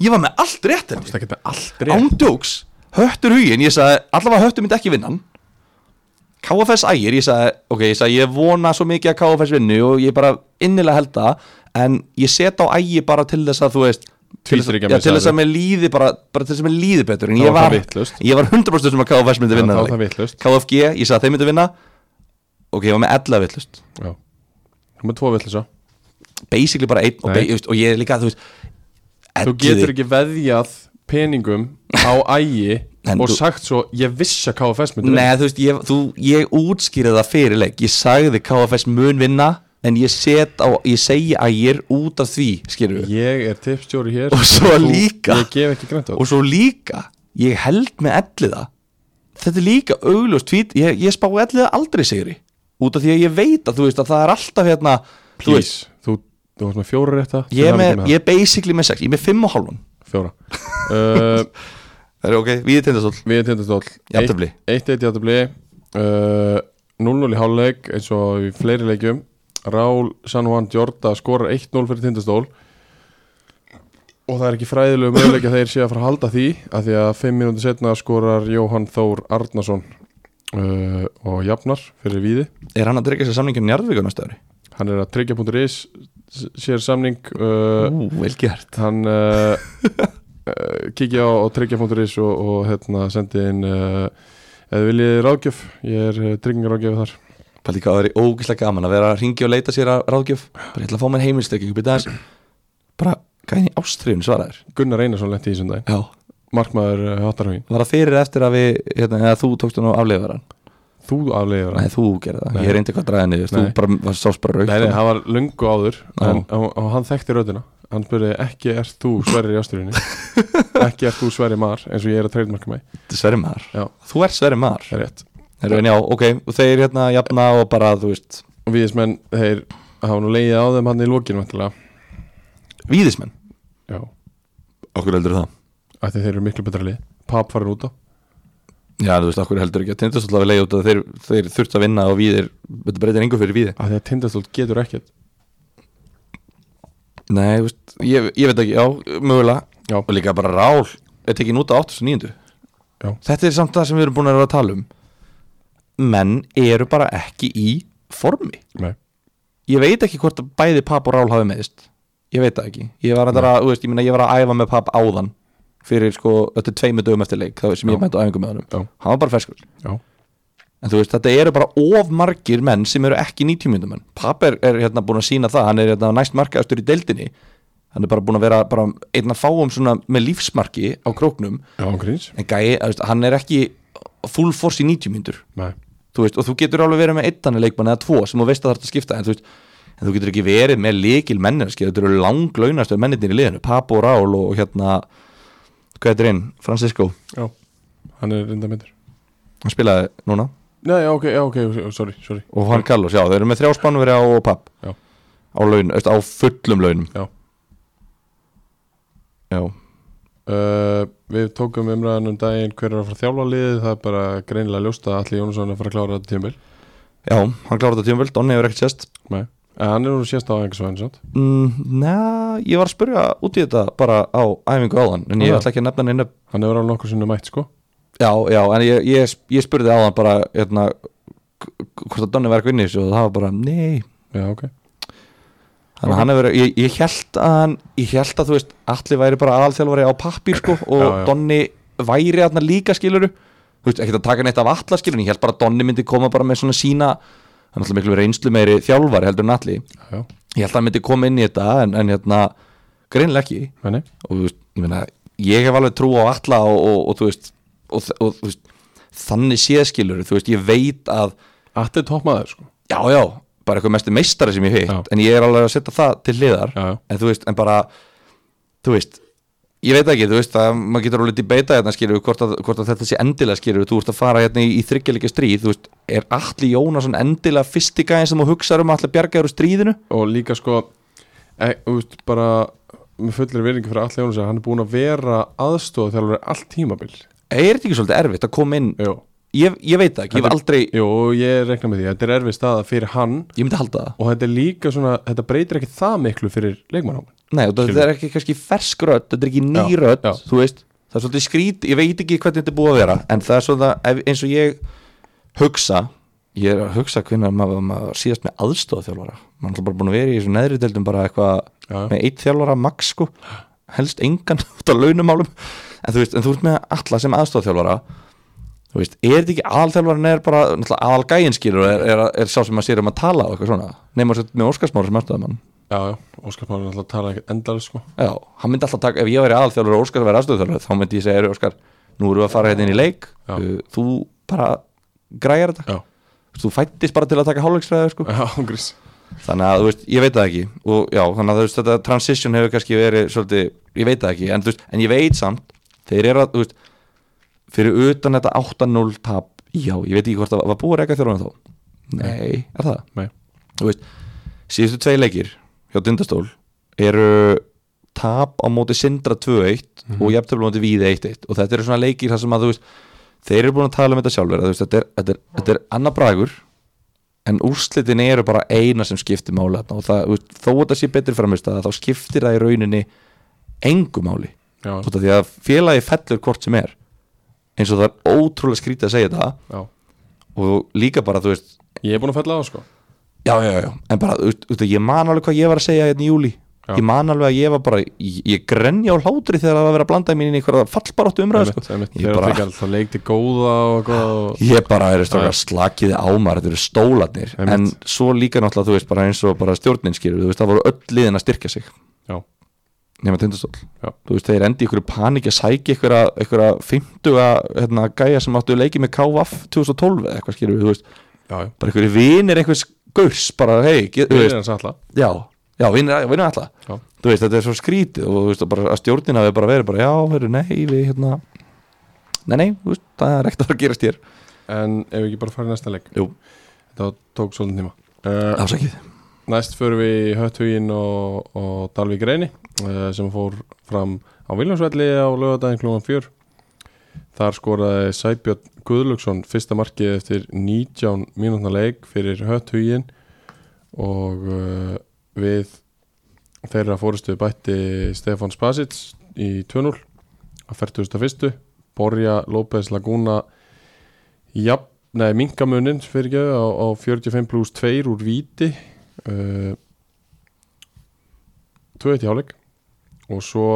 Speaker 2: Ég var með allt rétt
Speaker 1: það geta aldrei
Speaker 2: Ándjóks Höttur hugin Ég sagði Allavega höttur myndi ekki vinna hann KFS ægir Ég sagði Ok, ég sagði Ég vona svo mikið að KFS vinnu Og ég bara innilega held það En ég set á ægi bara til þess að þú veist til þess,
Speaker 1: Tvíþryggja
Speaker 2: já,
Speaker 1: mig,
Speaker 2: til þess að
Speaker 1: sagðirðu.
Speaker 2: mér líði bara, bara til þess að mér líði betur en
Speaker 1: Þá
Speaker 2: ég
Speaker 1: var það
Speaker 2: var,
Speaker 1: vitlaust.
Speaker 2: ég var 100% sem um að KFS myndi vinna
Speaker 1: Það
Speaker 2: þennan
Speaker 1: var það
Speaker 2: leik.
Speaker 1: vitlaust.
Speaker 2: KFG, ég sagði að þeim myndi vinna ok, ég var með 11 villust
Speaker 1: Já, þú með tvo villisa
Speaker 2: basically bara einn og,
Speaker 1: Nei.
Speaker 2: be, just, og ég er líka, þú veist
Speaker 1: Þú getur ekki veðjað peningum á ægi
Speaker 2: En
Speaker 1: og
Speaker 2: þú-
Speaker 1: sagt svo Ég vissi að KFS myndi
Speaker 2: Nei, þú veist, ég, þú, ég útskýrði það fyrir leik Ég sagði KFS mun vinna En ég set á, ég segi að ég er út af því Skýrðu
Speaker 1: vinna. Ég er tipstjóri hér
Speaker 2: Og svo
Speaker 1: þú-
Speaker 2: líka-
Speaker 1: Ég gef ekki grænt á
Speaker 2: Og svo líka, ég held með elliða Þetta er líka augljóst tvít Ég, ég spái elliða aldrei sigri Út af því að ég veit að þú veist að það er alltaf hérna Þú veist,
Speaker 1: Please, þú, þú varst með fjóra rétta
Speaker 2: ég er,
Speaker 1: hafa
Speaker 2: með,
Speaker 1: ekki
Speaker 2: ég er basically með sex Ég er með fimm og hálfan
Speaker 1: það. Fjóra uh,
Speaker 2: Það er ok, við tindastól
Speaker 1: Við erum tindastóll
Speaker 2: Jafntefli.
Speaker 1: Eitt eitt játtabli uh, 0-0 í hálfleik eins og í fleiri leikjum Rál San Juan Jorda skorar 1-0 fyrir tindastól og það er ekki fræðilegu möguleik að þeir sé að fara að halda því af því að 5 minúti setna skorar Jóhann Þór Arnason uh, og Jafnar fyrir Víði
Speaker 2: Er hann að tryggja sér samningin Njarðvíkur næsta ári?
Speaker 1: hann er að tryggja.is s- sér samning uh,
Speaker 2: Ú, vel gert
Speaker 1: hann uh, uh, kikið á, á tryggja.is og, og hérna sendi inn uh, eða viljið ráðgjöf ég er uh, tryggingaráðgjöf þar
Speaker 2: Paldi hvað það er ógislega gaman að vera að ringja og leita sér að ráðgjöf Bara ég ætla að fá mér heimilstekking Býta þess Bara gæðin í ástriðun svaraður
Speaker 1: Gunnar Einarsson lenti í þessum daginn
Speaker 2: Já
Speaker 1: markmaður uh, hattarhauðin
Speaker 2: Var það fyrir eða eftir að við hérna, eða þú tókst hann á afleifaran
Speaker 1: þú aflegur
Speaker 2: Nei, þú gerði það
Speaker 1: Nei.
Speaker 2: Ég reyndi hvað að draga niður Þú
Speaker 1: Nei.
Speaker 2: bara var sást bara raukt
Speaker 1: nei, nei, hann var lungu áður
Speaker 2: Já.
Speaker 1: en, og, og hann þekkti röddina hann spurði ekki ert þú sverri í ásturinni ekki ert þú sverri mar eins og ég er að treyðmarka mig
Speaker 2: Þetta er Sverri Mar
Speaker 1: Já.
Speaker 2: Þú ert Sverri Mar
Speaker 1: það er rétt
Speaker 2: Heru, en já, ok, og þeir hérna jafna og bara, þú veist,
Speaker 1: og viðismenn þeir hafa nú leiðið á þeim hann í lókinu vantilega
Speaker 2: víðismenn
Speaker 1: já
Speaker 2: Okkur heldur það
Speaker 1: af því þeir eru miklu betra lið pap farin út á
Speaker 2: Já, þú veist, okkur heldur ekki að tindast alltaf að leiða út að þeir, þeir þurft að vinna og víðir Þetta breytir engu fyrir víði
Speaker 1: af því að tindastólt getur ekkert
Speaker 2: Nei, þú veist, ég, ég veit ekki, já, mögulega
Speaker 1: Já.
Speaker 2: Og líka bara rál, er tekin út á 89
Speaker 1: Já.
Speaker 2: Þetta er samt það sem við erum búin að vera að tala um Menn eru bara ekki í formi
Speaker 1: nei
Speaker 2: Ég veit ekki hvort að bæði pap og rál hafi meðist Ég veit það ekki Ég var að, að, þú veist, ég, meina, ég var að æfa með pap áðan Fyrir sko, þetta er tveimur dögum eftir leik Það sem
Speaker 1: Já.
Speaker 2: ég mætti á æfingu með honum
Speaker 1: Já.
Speaker 2: Hann var bara ferskur
Speaker 1: Já.
Speaker 2: En þú veist, þetta eru bara of margir menn sem eru ekki 90 minnum menn Pap er, er hérna búin að sína það Hann er hérna næst markaðastur í deildinni Hann er bara búin að vera bara einn að fáum svona með lífsmarki á króknum
Speaker 1: já, án gríns
Speaker 2: En gæi, þú veist, hann er ekki full force í 90 minnur
Speaker 1: nei
Speaker 2: þú veist, og þú getur alveg verið með einn þannig leikmann eða tvo sem þú veist að það er að skipta en þú, veist, en þú getur ekki verið með líkil mennarski þetta eru langlaunastöð mennirnir í liðinu Papo Rál og, og hérna hvað heitir inn, Francisco
Speaker 1: já hann er reynda myndur
Speaker 2: hann spilaði núna
Speaker 1: nei, já, ok, já, ok, sorry, sorry
Speaker 2: og hann Carlos, já, þeir eru með þrjá spánverja og Pap
Speaker 1: Já.
Speaker 2: á, laun, veist, á fullum launum
Speaker 1: Já.
Speaker 2: já,
Speaker 1: Uh, við tókum umræðan um daginn hver er að fara að þjálfa liðið, það er bara greinilega ljóst að Alli Jónsson er að fara að klára þetta tímabil
Speaker 2: já hann kláraði þetta tíumvöld, Donni hefur ekkert sést
Speaker 1: Nei, en hann er nú sést á einhversvæðin sant?
Speaker 2: mm, neða, ég var að spurja út í þetta bara á æfingu áðan en ég
Speaker 1: Já.
Speaker 2: ætla ekki að nefna neina
Speaker 1: Hann hefur alveg nokkur sinni mætt sko
Speaker 2: Já, já, en ég, ég, ég spurði á hann bara hérna, k- k- hvort að Donni var ekki inn í þessu og það var bara, nei
Speaker 1: Já, ok
Speaker 2: Þannig að hann hefur, ég, ég held að hann ég held að þú veist, allir væri bara aðalþjálfari á pappír sko og
Speaker 1: Já, já.
Speaker 2: Donni væri hérna líka skiluru þú veist, ekkert að taka neitt af alla skilurinn ég held bara að Donni myndi koma bara með svona sína hann er alltaf miklu reynslu meiri þjálfari heldur en allir
Speaker 1: Já, já,
Speaker 2: ég held að hann myndi koma inn í þetta en, en hérna, greinlega ekki
Speaker 1: menni
Speaker 2: og þú veist, ég meina ég hef alveg trú á alla og, og, og þú veist og, og, þú veist, þannig séðskilur þú veist, ég veit að
Speaker 1: Alli er toppmaður sko
Speaker 2: já, já, bara eitthvað mestu meistari sem ég hitt,
Speaker 1: Já.
Speaker 2: en ég er alveg að setja það til hliðar,
Speaker 1: Já, já,
Speaker 2: en þú veist, en bara þú veist, ég veit ekki þú veist, að maður getur alveg debata hérna skilur hvort að, hvort að þetta sé endilega skilur þú ert að fara hérna í, í þryggjalika stríð, þú veist er Atli Jónasson endilega fyrsti gæðin sem þú hugsaður um að Atli bjargaður úr stríðinu
Speaker 1: og líka sko e, þú veist, bara með fullir veringi fyrir Alli Jónsson hann er búin að vera aðstóð þjálfur allt tímabil
Speaker 2: er þetta ekki svolítið erfitt að koma inn
Speaker 1: Jú,
Speaker 2: ég, ég veit það ekki, ég hef aldrei
Speaker 1: Jú og ég rekna með því, þetta er erfið staða fyrir hann
Speaker 2: ég myndi halda það
Speaker 1: og þetta er líka svona, þetta breytir ekki það miklu fyrir leikmannháman
Speaker 2: Nei, og þetta
Speaker 1: Skilur.
Speaker 2: er ekki kannski fersk rödd Þetta er ekki ný
Speaker 1: Já,
Speaker 2: rödd,
Speaker 1: já.
Speaker 2: þú veist Það er svolítið skrít, ég veit ekki hvernig þetta er búið að vera En það er svona, ef, eins og ég hugsa Ég er að hugsa hvernig maður, maður var síðast með aðstofa þjálfara Maður er alltaf bara búin að vera í þessu neðri deildum bara eitthvað
Speaker 1: Já.
Speaker 2: með eitt þjálfara max sko helst engan út á launumálum en þú veist, en þú ert með alla sem aðstofa þjálfara Þú veist, er þetta ekki aðalþjálfarinn er bara, náttúrulega aðalgæinn skilur er, er, er sá sem að sér um að tala og eitthvað svona Nefnum að með Óskarsmára sem aðstofaðamann
Speaker 1: Já, já, Óskar Pálin alltaf tala ekkert endal sko
Speaker 2: Já, hann myndi alltaf taka, ef ég væri aðalþjálfur og Óskar væri aðstöðuþjálfur, þá myndi ég segja, eru Óskar nú erum við að fara hérna inn í leik
Speaker 1: Já.
Speaker 2: uh, þú bara græjar
Speaker 1: Já,
Speaker 2: þetta þú fættist bara til að taka hálfleiksfræði sko.
Speaker 1: já, grís
Speaker 2: þannig að, þú veist, ég veit það ekki og já, þannig að þú veist, þetta transition hefur kannski verið svolítið, ég veit það ekki, en, þú veist, en ég veit samt, þeir eru að, þú veist fyrir utan þetta 8-0 tap, já, ég veit ekki hvort það var búið að reka þjálfuna þá, nei, er það
Speaker 1: Nei,
Speaker 2: þú veist, síðustu tvei leikir hjá Dundastól eru tap á móti Sindra 2-1 og jafntöflu á móti Víði 1-1 og þetta eru svona leikir þar sem að þú veist þeir eru búin að tala um þetta sjálfur að þú veist, þetta er, þetta er, þetta er annar bragur en úrslitin eru bara eina sem skiptir máli þarna og það, þú veist, þó að þetta sé betri framist að þá skiptir það í rauninni engu máli
Speaker 1: já,
Speaker 2: út af því að félagi fellur hvort sem er eins og það er ótrúlega skrítið að segja þetta
Speaker 1: já.
Speaker 2: og líka bara þú veist
Speaker 1: Ég er búin að fella á það sko
Speaker 2: já, já, já, en bara, þú veist, þú veist, ég man alveg hvað ég var að segja hérna í júli
Speaker 1: Já.
Speaker 2: ég man alveg að ég var bara, ég, ég grenja á hlátri þegar það var að vera að blanda mín inn í einhverja fallbaróttu umræðu
Speaker 1: Einmitt,
Speaker 2: sko.
Speaker 1: einmitt.
Speaker 2: ég
Speaker 1: Þeir eru
Speaker 2: bara,
Speaker 1: ekki alltaf leik til góða og góða og...
Speaker 2: ég bara er
Speaker 1: Já.
Speaker 2: stókar slakiði á maður, þetta eru stólarnir
Speaker 1: Einmitt.
Speaker 2: en svo líka náttúrulega, þú veist, bara eins og bara stjórnin skilur, þú veist, það voru öll liðin að styrkja sig
Speaker 1: Já,
Speaker 2: nema tindastól
Speaker 1: Já.
Speaker 2: þú veist, þeir endi í einhverju panik að sæki einhverja, einhverja 50 hérna, gæja sem áttu leiki með KVF 2012 eða eitthvað skilur, við, þú veist,
Speaker 1: já, já
Speaker 2: bara einhverju vinir einhvers gurs, bara, hei, get- þú
Speaker 1: Við
Speaker 2: veist
Speaker 1: erum alltaf
Speaker 2: já, já, vinir, já, vinir alla
Speaker 1: Já.
Speaker 2: þú veist, þetta er svo skrítið og þú veist, bara, að stjórnin hafi bara verið bara, já, heru, nei, við hérna nei, nei, þú veist, það er ekkert að fara að gerast hér
Speaker 1: En ef við ekki bara farið næsta leik
Speaker 2: Jú.
Speaker 1: Þetta tók svolítið tíma uh,
Speaker 2: afsakið,
Speaker 1: Næst förum við í Hötthugin og, og Dalvík Reyni uh, sem fór fram á Viljánsvelli á lögadaginn klúman fjör Þar skoraði Sæbjörn Guðlöksson fyrsta markið eftir 19 mínútna leik fyrir Hötthugin og uh, við þeirra fórustu bætti Stefan Spasic í 2-0 á 41. Borja López Laguna jafn, nei, minkamunin fyrir ekki á, á 45 pluss 2 úr víti uh, 2-1 í hálfleik og svo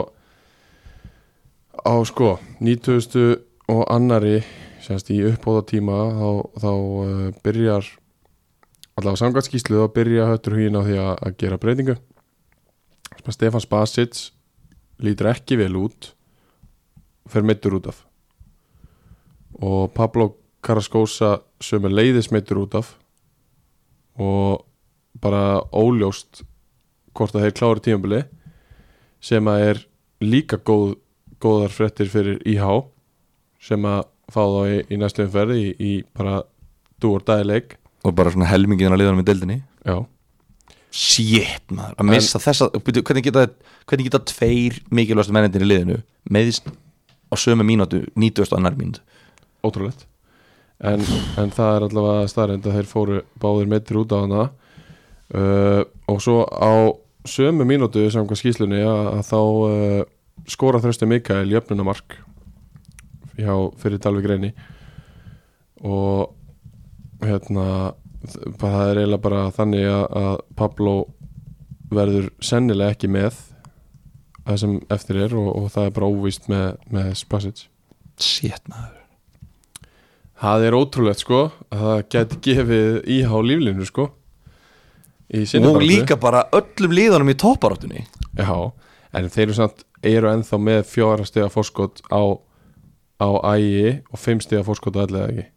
Speaker 1: á sko 90. og annari semst í uppbóða tíma þá, þá uh, byrjar allavega samkvæmskíslu þá byrja höttur hugin á því að, að gera breytingu Sem að Stefan Spasic lítur ekki vel út fer meittur út af og Pablo Karaskósa sömu leiðis meittur út af og bara óljóst hvort að þeir klári tímabili sem að er líka góð, góðar frettir fyrir IH sem að fá þá í, í næstu umferði í, í bara dúr dæleik
Speaker 2: og bara svona helmingin að liðanum í deildinni
Speaker 1: já,
Speaker 2: Shit maður, að missa þessa byrju, hvernig, geta, hvernig geta tveir mikilvægstu mennindin í liðinu meðist á sömu mínútu, 90. annar mínútu
Speaker 1: ótrúlegt en, en það er allavega staðrind að þeir fóru báðir meittir út á hana uh, og svo á sömu mínútu samkvæmt skýslunni að, að þá uh, skora þröstu Mikael jöfnunamark hjá fyrir Dalvik reyni og hérna þ- bara- það er eiginlega bara þannig að, að Pablo verður sennilega ekki með það sem eftir er og, og það er bara óvíst með, með Spasic
Speaker 2: Shit maður
Speaker 1: Það er ótrúlegt sko að það geti gefið íhá líflinu sko í sinni
Speaker 2: Og
Speaker 1: baráttu.
Speaker 2: líka bara öllum liðanum í topparáttunni
Speaker 1: Já, en þeir eru samt eru ennþá með fjóra stiga fórskot á, á ægi og fimm stiga fórskot á allega ekki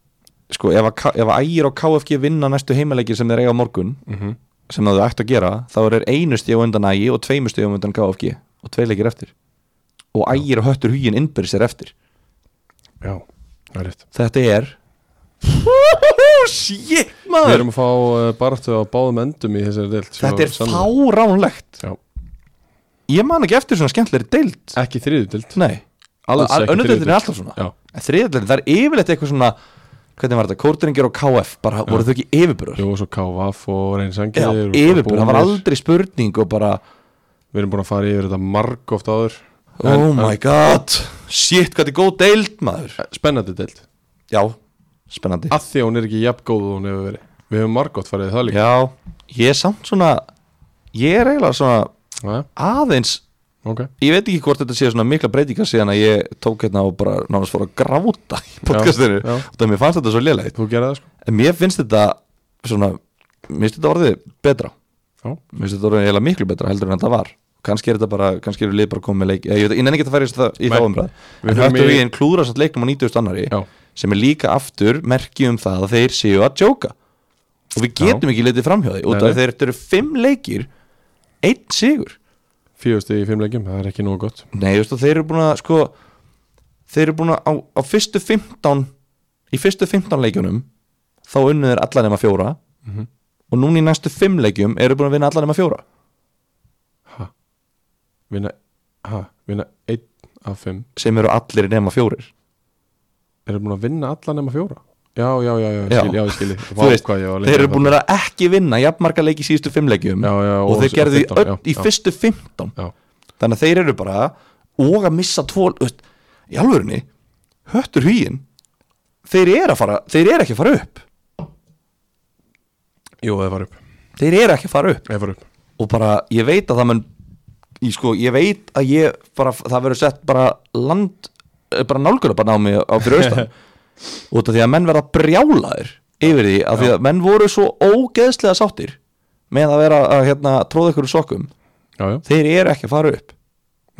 Speaker 2: Sko, ef að, K- ef að ægir og KFG vinna næstu heimaleiki sem þeir eiga á morgun
Speaker 1: mm -hmm.
Speaker 2: sem það þau ættu að gera, þá er einu stíð á undan ægi og tveimur stíð á undan KFG og tvei leikir eftir og ægir og höttur hugin innbyrðis er eftir
Speaker 1: Já, það er rétt
Speaker 2: Þetta er Shit
Speaker 1: Við
Speaker 2: maður
Speaker 1: erum að fá uh, baráttu á báðum endum í þessari deild svo
Speaker 2: Þetta er
Speaker 1: sannlega.
Speaker 2: fáránlegt
Speaker 1: Já.
Speaker 2: Ég man ekki eftir svona skemmtilegri deild
Speaker 1: Ekki þriðu deild
Speaker 2: Nei,
Speaker 1: Alls ekki
Speaker 2: önnudeildin
Speaker 1: þriðju
Speaker 2: er alltaf svona
Speaker 1: Já,
Speaker 2: Þriðdeildin, það er yfirleitt eitthvað svona Hvernig var þetta, kórtringir og KF Bara voru þau ekki yfirbyrður
Speaker 1: jú og svo KVF og
Speaker 2: Já,
Speaker 1: reynsangiðir
Speaker 2: yfirbyrður, það var aldrei spurning Og bara,
Speaker 1: Við erum búin að fara yfir þetta marg oft áður
Speaker 2: oh
Speaker 1: En-
Speaker 2: my god Shit, hvað þetta er góð deild maður
Speaker 1: en- Spennandi deild
Speaker 2: Já, spennandi
Speaker 1: að því að hún er ekki jafn góð og hún hefur verið við höfum margótt farið í það líka
Speaker 2: Já, ég er samt svona Ég er eiginlega svona
Speaker 1: ja,
Speaker 2: aðeins
Speaker 1: ok,
Speaker 2: Ég veit ekki hvort þetta sé svona mikla breytingar síðan að ég tók hérna og bara nánast fór að gráta í podcastinu
Speaker 1: Já, já.
Speaker 2: Þannig að mér fannst þetta svo lélegt
Speaker 1: þú gerði það sko
Speaker 2: En mér finnst þetta svona, mér finnst þetta orðið betra
Speaker 1: Já.
Speaker 2: Mér finnst þetta orðið eiginlega miklu betra heldur en þetta var Kannski er þetta bara, kannski eru lið bara komið með leik Ég, ég, veit- ég nenni ekki að færa í það- í
Speaker 1: Nei.
Speaker 2: þá umræð
Speaker 1: Við
Speaker 2: En
Speaker 1: höfum
Speaker 2: höfðu
Speaker 1: í-
Speaker 2: við einn klúra satt leiknum á 90. annari
Speaker 1: já,
Speaker 2: sem er líka aftur merki um það að þeir séu að jóka og við
Speaker 1: Já.
Speaker 2: getum ekki litið framhjóði út
Speaker 1: Nei,
Speaker 2: af að þeir þetta eru fimm leikir einn sigur
Speaker 1: fjögusti í fimm leikjum, það er ekki nógu gott
Speaker 2: Nei, þú veist, og þeir eru búin að sko, þeir eru búin að á, á fyrstu 15 í fyrstu 15 leikjunum þá unnu þeir allar nema fjóra
Speaker 1: Mhm.
Speaker 2: og núna í næstu 5 leikjum eru búin að vinna allar nema fjóra
Speaker 1: ha. vinna ha, vinna einn af fimm
Speaker 2: sem eru allir nema fjórir
Speaker 1: Eru búin að vinna alla nema fjóra? Já, já, já, já, ég
Speaker 2: Já.
Speaker 1: skil, já, ég skil
Speaker 2: Þú veist, þeir eru búin að vera ekki vinna jafnmarka leiki í síðustu fimmleikjum
Speaker 1: Já, já,
Speaker 2: og
Speaker 1: og-
Speaker 2: þeir
Speaker 1: og
Speaker 2: gerðu í
Speaker 1: 15,
Speaker 2: öll
Speaker 1: já,
Speaker 2: í
Speaker 1: já.
Speaker 2: fyrstu 15
Speaker 1: Já,
Speaker 2: þannig að þeir eru bara og að missa tvo þú veist, í alvörunni, höttur hugin þeir eru að fara þeir eru ekki að fara upp
Speaker 1: jú, það var upp
Speaker 2: þeir eru ekki að fara upp
Speaker 1: Það var upp
Speaker 2: og bara, ég veit að það mun ég, sko, ég veit að ég bara, það verður sett bara land eh, bara nálguna bara námi á fyrir austan út af því að menn verða brjálaðir yfir því, af því að menn voru svo ógeðslega sáttir með að vera að hérna, tróða ykkur úr sokkum
Speaker 1: Já, já,
Speaker 2: þeir eru ekki að fara upp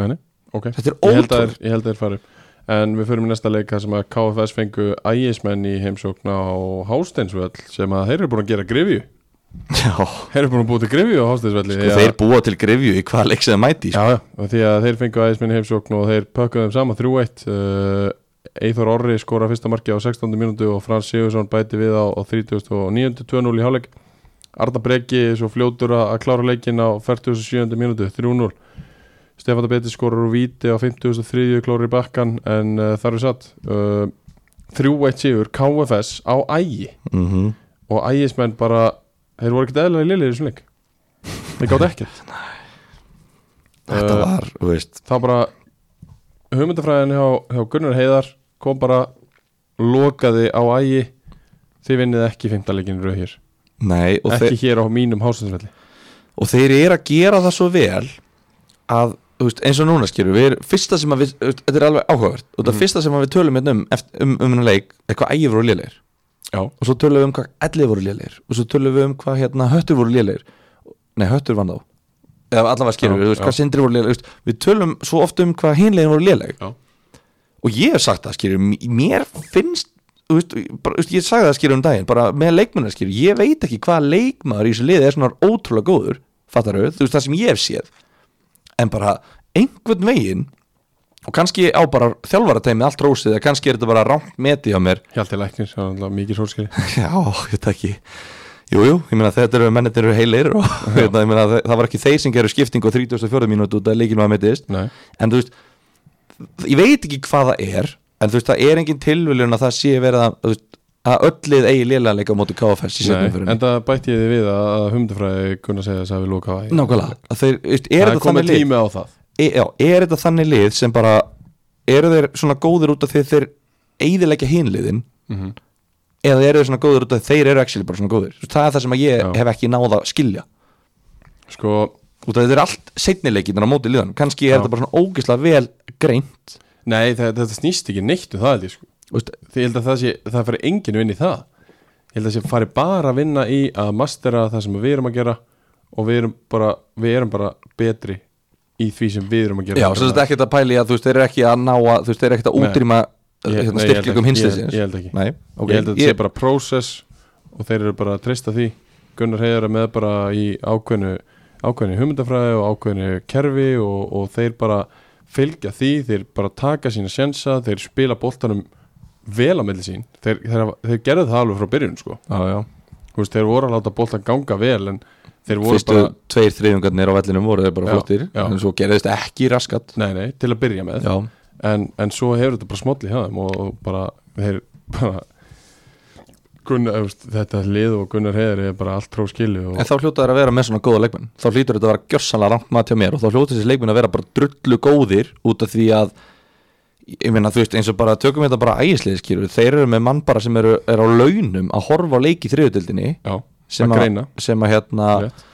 Speaker 1: nei, nei, ok
Speaker 2: Þetta er
Speaker 1: Ég held að
Speaker 2: ótrúlegt.
Speaker 1: þeir- Ég held að þeir fara upp En við förum í næsta leik þar sem að KFS fengu ægismenn í heimsókn á Hásteinsvöll sem að þeir eru búin að gera grifju
Speaker 2: Já,
Speaker 1: Þeir eru búin að búið til grifju á Hásteinsvelli
Speaker 2: og Sko, þeir búa til grefju í hvaða leik sem þeir mæti sko.
Speaker 1: Já, já, og því að þeir fengu aðeins í heimsókn og þeir pökkuðu þeim saman 3-1 uh, Eithor Orri skora fyrsta marki á 16. mínútu og Frans Sigursson bæti við á, á 39. 2-0 í hálfleik Arda Breki svo fljótur að að klára leikin á 47. mínútu 3-0 Stefán Dabeti skorur úr víti á 53. klóri í bakkan en uh, þar er satt uh, 3-1 sigur KFS á ægi
Speaker 2: mm
Speaker 1: Mhm. og ægismenn bara, þeir voru ekkert eðlilega liðir í þessum leik þeir gátt ekkert
Speaker 2: Þetta
Speaker 1: Eh,
Speaker 2: var, þú veist
Speaker 1: þá bara hugmyndafræðin hjá, hjá Gunnar Heiðar kom bara lokaði á ægi þið vinnið ekki fymtalegin rauð hér
Speaker 2: Nei, og,
Speaker 1: ekki hér á mínum hásinsvelli
Speaker 2: þeir, og þeir eru að gera það svo vel að, þú veist, eins og núna skilur við erum, fyrsta sem að við, þú veist, þetta er alveg áhugavert og það
Speaker 1: Mhm.
Speaker 2: fyrsta sem að við tölum hérna um eft- um, um hennar leik, eitthvað ægir voru lélegir
Speaker 1: Já.
Speaker 2: og svo tölum við um hvað ellið voru lélegir og svo tölum við um hvað hérna höttur voru lélegir Nei, höttur vann þá eða allavega
Speaker 1: Já,
Speaker 2: skilur við, þú veist,
Speaker 1: já.
Speaker 2: hvað sindri voru lélegir þú veist, við tölum svo oft um hvað hinlegin voru léleg
Speaker 1: Já.
Speaker 2: og ég hef sagt það skilur m- mér finnst þú veist, bara, þú veist, ég sagði það skilur um daginn bara með leikmennar skilur, ég veit ekki hvað leikmaður í þessu liði er svona ótrúlega góður fattar auð, þú veist það sem ég hef séð en bara einhvern veginn og kannski á bara þjálfarateimi allt rósið, eða kannski er þetta bara rangt meti á mér,
Speaker 1: Hjalti Læknir, það var alltaf mikið sólskeri
Speaker 2: já, ég veit það ekki Jújú, jú, ég meina þetta eru mennetir eru heilir og hérna, ég meina, það, það var ekki þeir sem gerur skiptingu á 34 mínútu út að leikinu að metist
Speaker 1: Nei,
Speaker 2: en þú veist ég veit ekki hvað það er en þú veist það er engin tilvöljun að það sé verið að, þú veist, að öll lið eigi liðlega leika á móti KFS í
Speaker 1: Nei.
Speaker 2: setjum fyrir
Speaker 1: en það bætti ég því við að að hugmyndafræði Gunnar segja þess að við lokaði á ægi
Speaker 2: nákvæmlega, að þeir, þú veist, er
Speaker 1: Það er
Speaker 2: þetta
Speaker 1: komið
Speaker 2: þannig lið
Speaker 1: tími á það
Speaker 2: e, já, er þetta þannig lið sem bara eru þeir svona góðir út af því að þeir eigðilegja hinliðin
Speaker 1: mm -hmm.
Speaker 2: eða eru þeir svona góðir út af því að þeir eru actually bara svona góðir Þú veist, það er það sem að ég
Speaker 1: Já.
Speaker 2: hef ekki náða að skilja
Speaker 1: Sko,
Speaker 2: út af því þetta er allt setnileikinar á móti liðan kannski er
Speaker 1: Já.
Speaker 2: þetta bara svona ógislega vel greint
Speaker 1: nei, þetta, þetta snýst ekki neitt um það held ég sko
Speaker 2: Þú veist,
Speaker 1: Því ég held að það sé, það fyrir enginn vinn í það Ég held að það sé fari bara að vinna í að mastera það sem við erum að gera og við erum bara, við erum bara betri í því sem við erum að gera
Speaker 2: Já, sem þetta er ekkert að pæli að þú veist, þeir eru ekki að ná að, þú veist, þeir eru ekkert að
Speaker 1: Nei.
Speaker 2: útrýma
Speaker 1: Ég- nei, ég held
Speaker 2: hérna,
Speaker 1: ekki-
Speaker 2: styrklegum
Speaker 1: ég-
Speaker 2: hinsliðsins
Speaker 1: Ég held ekki
Speaker 2: Nei, ok
Speaker 1: Ég held að þetta sé bara process og þeir eru bara að treysta því Gunnar Heiðar er með bara í ákveðnu ákveðnu hugmyndafræði og ákveðnu kerfi og, og þeir bara fylgja því, þeir bara taka sína sjensa þeir spila boltanum vel á milli sín, þeir, þeir, hafa- þeir gerðu það alveg frá byrjun sko
Speaker 2: já, já.
Speaker 1: Þú veist, þeir voru að láta boltan ganga vel en þeir voru
Speaker 2: Fyrstu
Speaker 1: bara,
Speaker 2: tveir þriðungarnir á vellinum voru þeir bara
Speaker 1: Já,
Speaker 2: flottir
Speaker 1: já.
Speaker 2: En svo gerðist ekki raskat
Speaker 1: nei nei, til að byrja með
Speaker 2: Já,
Speaker 1: en, en svo hefur þetta bara smolli hjá þeim og, og bara, þeir bara Gunnar, þú veist, þetta lið og Gunnar Heiðar er bara allt tróskilu og
Speaker 2: en þá hljóta þeir að vera með svona góða leikmenn Þá hlýtur þetta að vera gjörsanlega rangt mat hjá mér Og þá hljóta þessi leikmenn að vera bara drullu góðir Út af því að Ég meina, þú veist, eins og bara tökum þetta bara ægisliðskýru Þeir eru með mann bara sem eru, eru á launum Að horfa á leik í þriðutildinni
Speaker 1: já,
Speaker 2: Sem
Speaker 1: að
Speaker 2: að,
Speaker 1: greina
Speaker 2: sem að hérna
Speaker 1: rétt.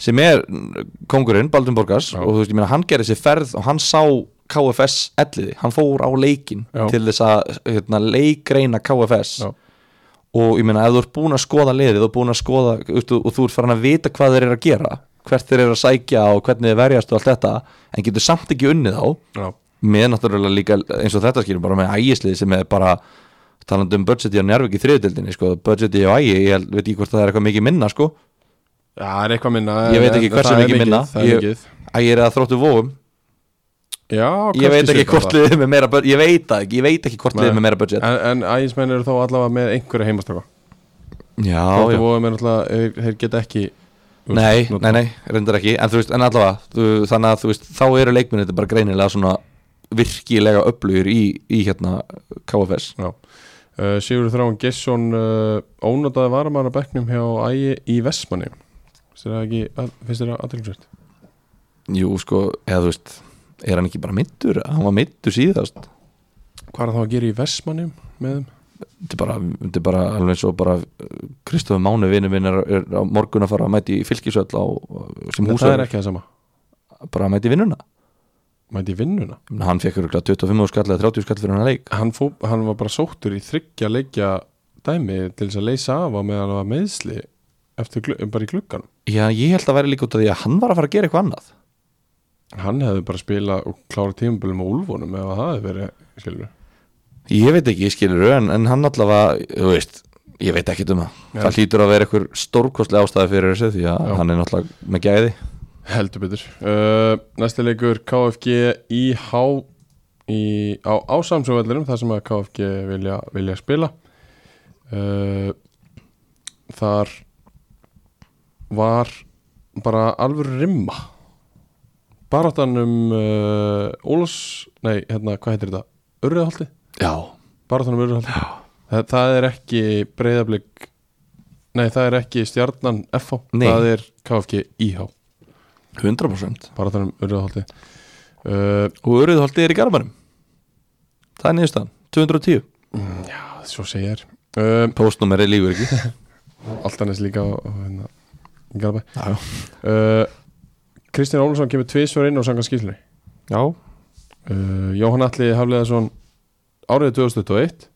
Speaker 2: sem er mm, kongurinn, Baldun Borgars
Speaker 1: Já.
Speaker 2: og þú veist, ég meina, hann gerði sér ferð og hann sá KFS elliði, hann fór á leikin
Speaker 1: Já.
Speaker 2: til þess að hérna, leikreina KFS
Speaker 1: Já.
Speaker 2: og ég meina, ef þú ert búin að skoða liðið og búin að skoða, veistu, og þú ert farin að vita hvað þeir eru að gera, hvert þeir eru að sækja og hvernig þeir verjast og allt þetta en getur samt ekki unnið á
Speaker 1: Já,
Speaker 2: með náttúrulega líka eins og þetta skilur bara með ægislið sem er bara talandi um budgeti á Njárvík í þriðutildinni sko, budgeti á ægi, ég held- veit ekki hvort það er eitthvað mikið minna sko,
Speaker 1: það er eitthvað minna
Speaker 2: Ég veit ekki
Speaker 1: en
Speaker 2: hversu
Speaker 1: það er
Speaker 2: mikið minna.
Speaker 1: Það er
Speaker 2: Ég-
Speaker 1: mikið
Speaker 2: ægi er að þróttu vóum
Speaker 1: Já, kannski
Speaker 2: ég veit ekki
Speaker 1: svipað
Speaker 2: hvort
Speaker 1: það.
Speaker 2: liðið með meira budget ég veit það ekki, ég veit ekki hvort
Speaker 1: Nei.
Speaker 2: liðið með meira budget
Speaker 1: En, en æginsmenn eru þá allavega með einhverja heimastrafa
Speaker 2: já,
Speaker 1: Þóttu
Speaker 2: já,
Speaker 1: vóðum er náttúrulega, þeir- þeir geta ekki þú
Speaker 2: nei,
Speaker 1: veist,
Speaker 2: nei, nei, reyndar ekki en þú veist, en allavega, þú, þannig að þú veist þá eru leikminni, þetta bara greinilega svona virkilega öflugir í, í hérna KFS
Speaker 1: Uh, Sigur Þráin Gesson uh, ónotaði varamann á bekknum hjá Ægi í Vestmanni finnst þér það ekki, að- finnst þér það aðeinsvægt?
Speaker 2: Jú, sko, eða þú veist er hann ekki bara middur? Hann var middur síðast
Speaker 1: Hvað er það þá að gera í Vestmanni með þeim?
Speaker 2: þetta er bara, þetta er bara alveg eins og bara Kristofur Mánu vinnu minn er, er á morgun að fara að mæti í fylkisöll á, sem
Speaker 1: Húsa það er
Speaker 2: húsar
Speaker 1: ekki það sama
Speaker 2: bara að mæti í vinnuna
Speaker 1: Mæti í vinnuna
Speaker 2: Ég meina, hann fekk örgulega 25 skall eða 30 skall fyrir hann leik
Speaker 1: hann, fó, hann var bara sóttur í þryggja leikja dæmi til þess að leysa af á meðan hann var meðsli eftir, glu- bara í gluggan
Speaker 2: já, ég held að væri líka út af því að hann var að fara að gera eitthvað annað
Speaker 1: hann hefði bara spilað og klára tímabölu með úlfunum ef það hefði verið skilur
Speaker 2: ég veit ekki, ég skilur en, en hann allavega, þú veist ég veit ekki um það,
Speaker 1: Já.
Speaker 2: það hlýtur að vera einhver stórkostlega ástæði fyrir þessu því að
Speaker 1: Já.
Speaker 2: hann er náttúrulega með gæði
Speaker 1: heldur betur uh, næsti leikur KFG IH í, á, á Samsung-vellinum þar sem að KFG vilja, vilja spila uh, þar var bara alvöru rimma baráttan um uh, Ólas, nei hérna hvað heitir þetta, Urriðaholti
Speaker 2: já,
Speaker 1: baráttan um Urriðaholti það, það er ekki breyðablík nei það er ekki stjarnan FH,
Speaker 2: Nei.
Speaker 1: það er KFG IH
Speaker 2: 100%
Speaker 1: baráttanum Urðaholti uh,
Speaker 2: og öruðhaldið er í garmanum það er niðurstaðan, 210
Speaker 1: Já, svo segir uh,
Speaker 2: postnúmeri lífur ekki
Speaker 1: Altanes líka á, á, hérna, í Garðabæ.
Speaker 2: Já, já.
Speaker 1: uh, Kristján Ólafsson kemur tvisvar inn á sanga skýrlunni
Speaker 2: Já,
Speaker 1: uh, Jóhann Atli Hafleðarsson árið 2021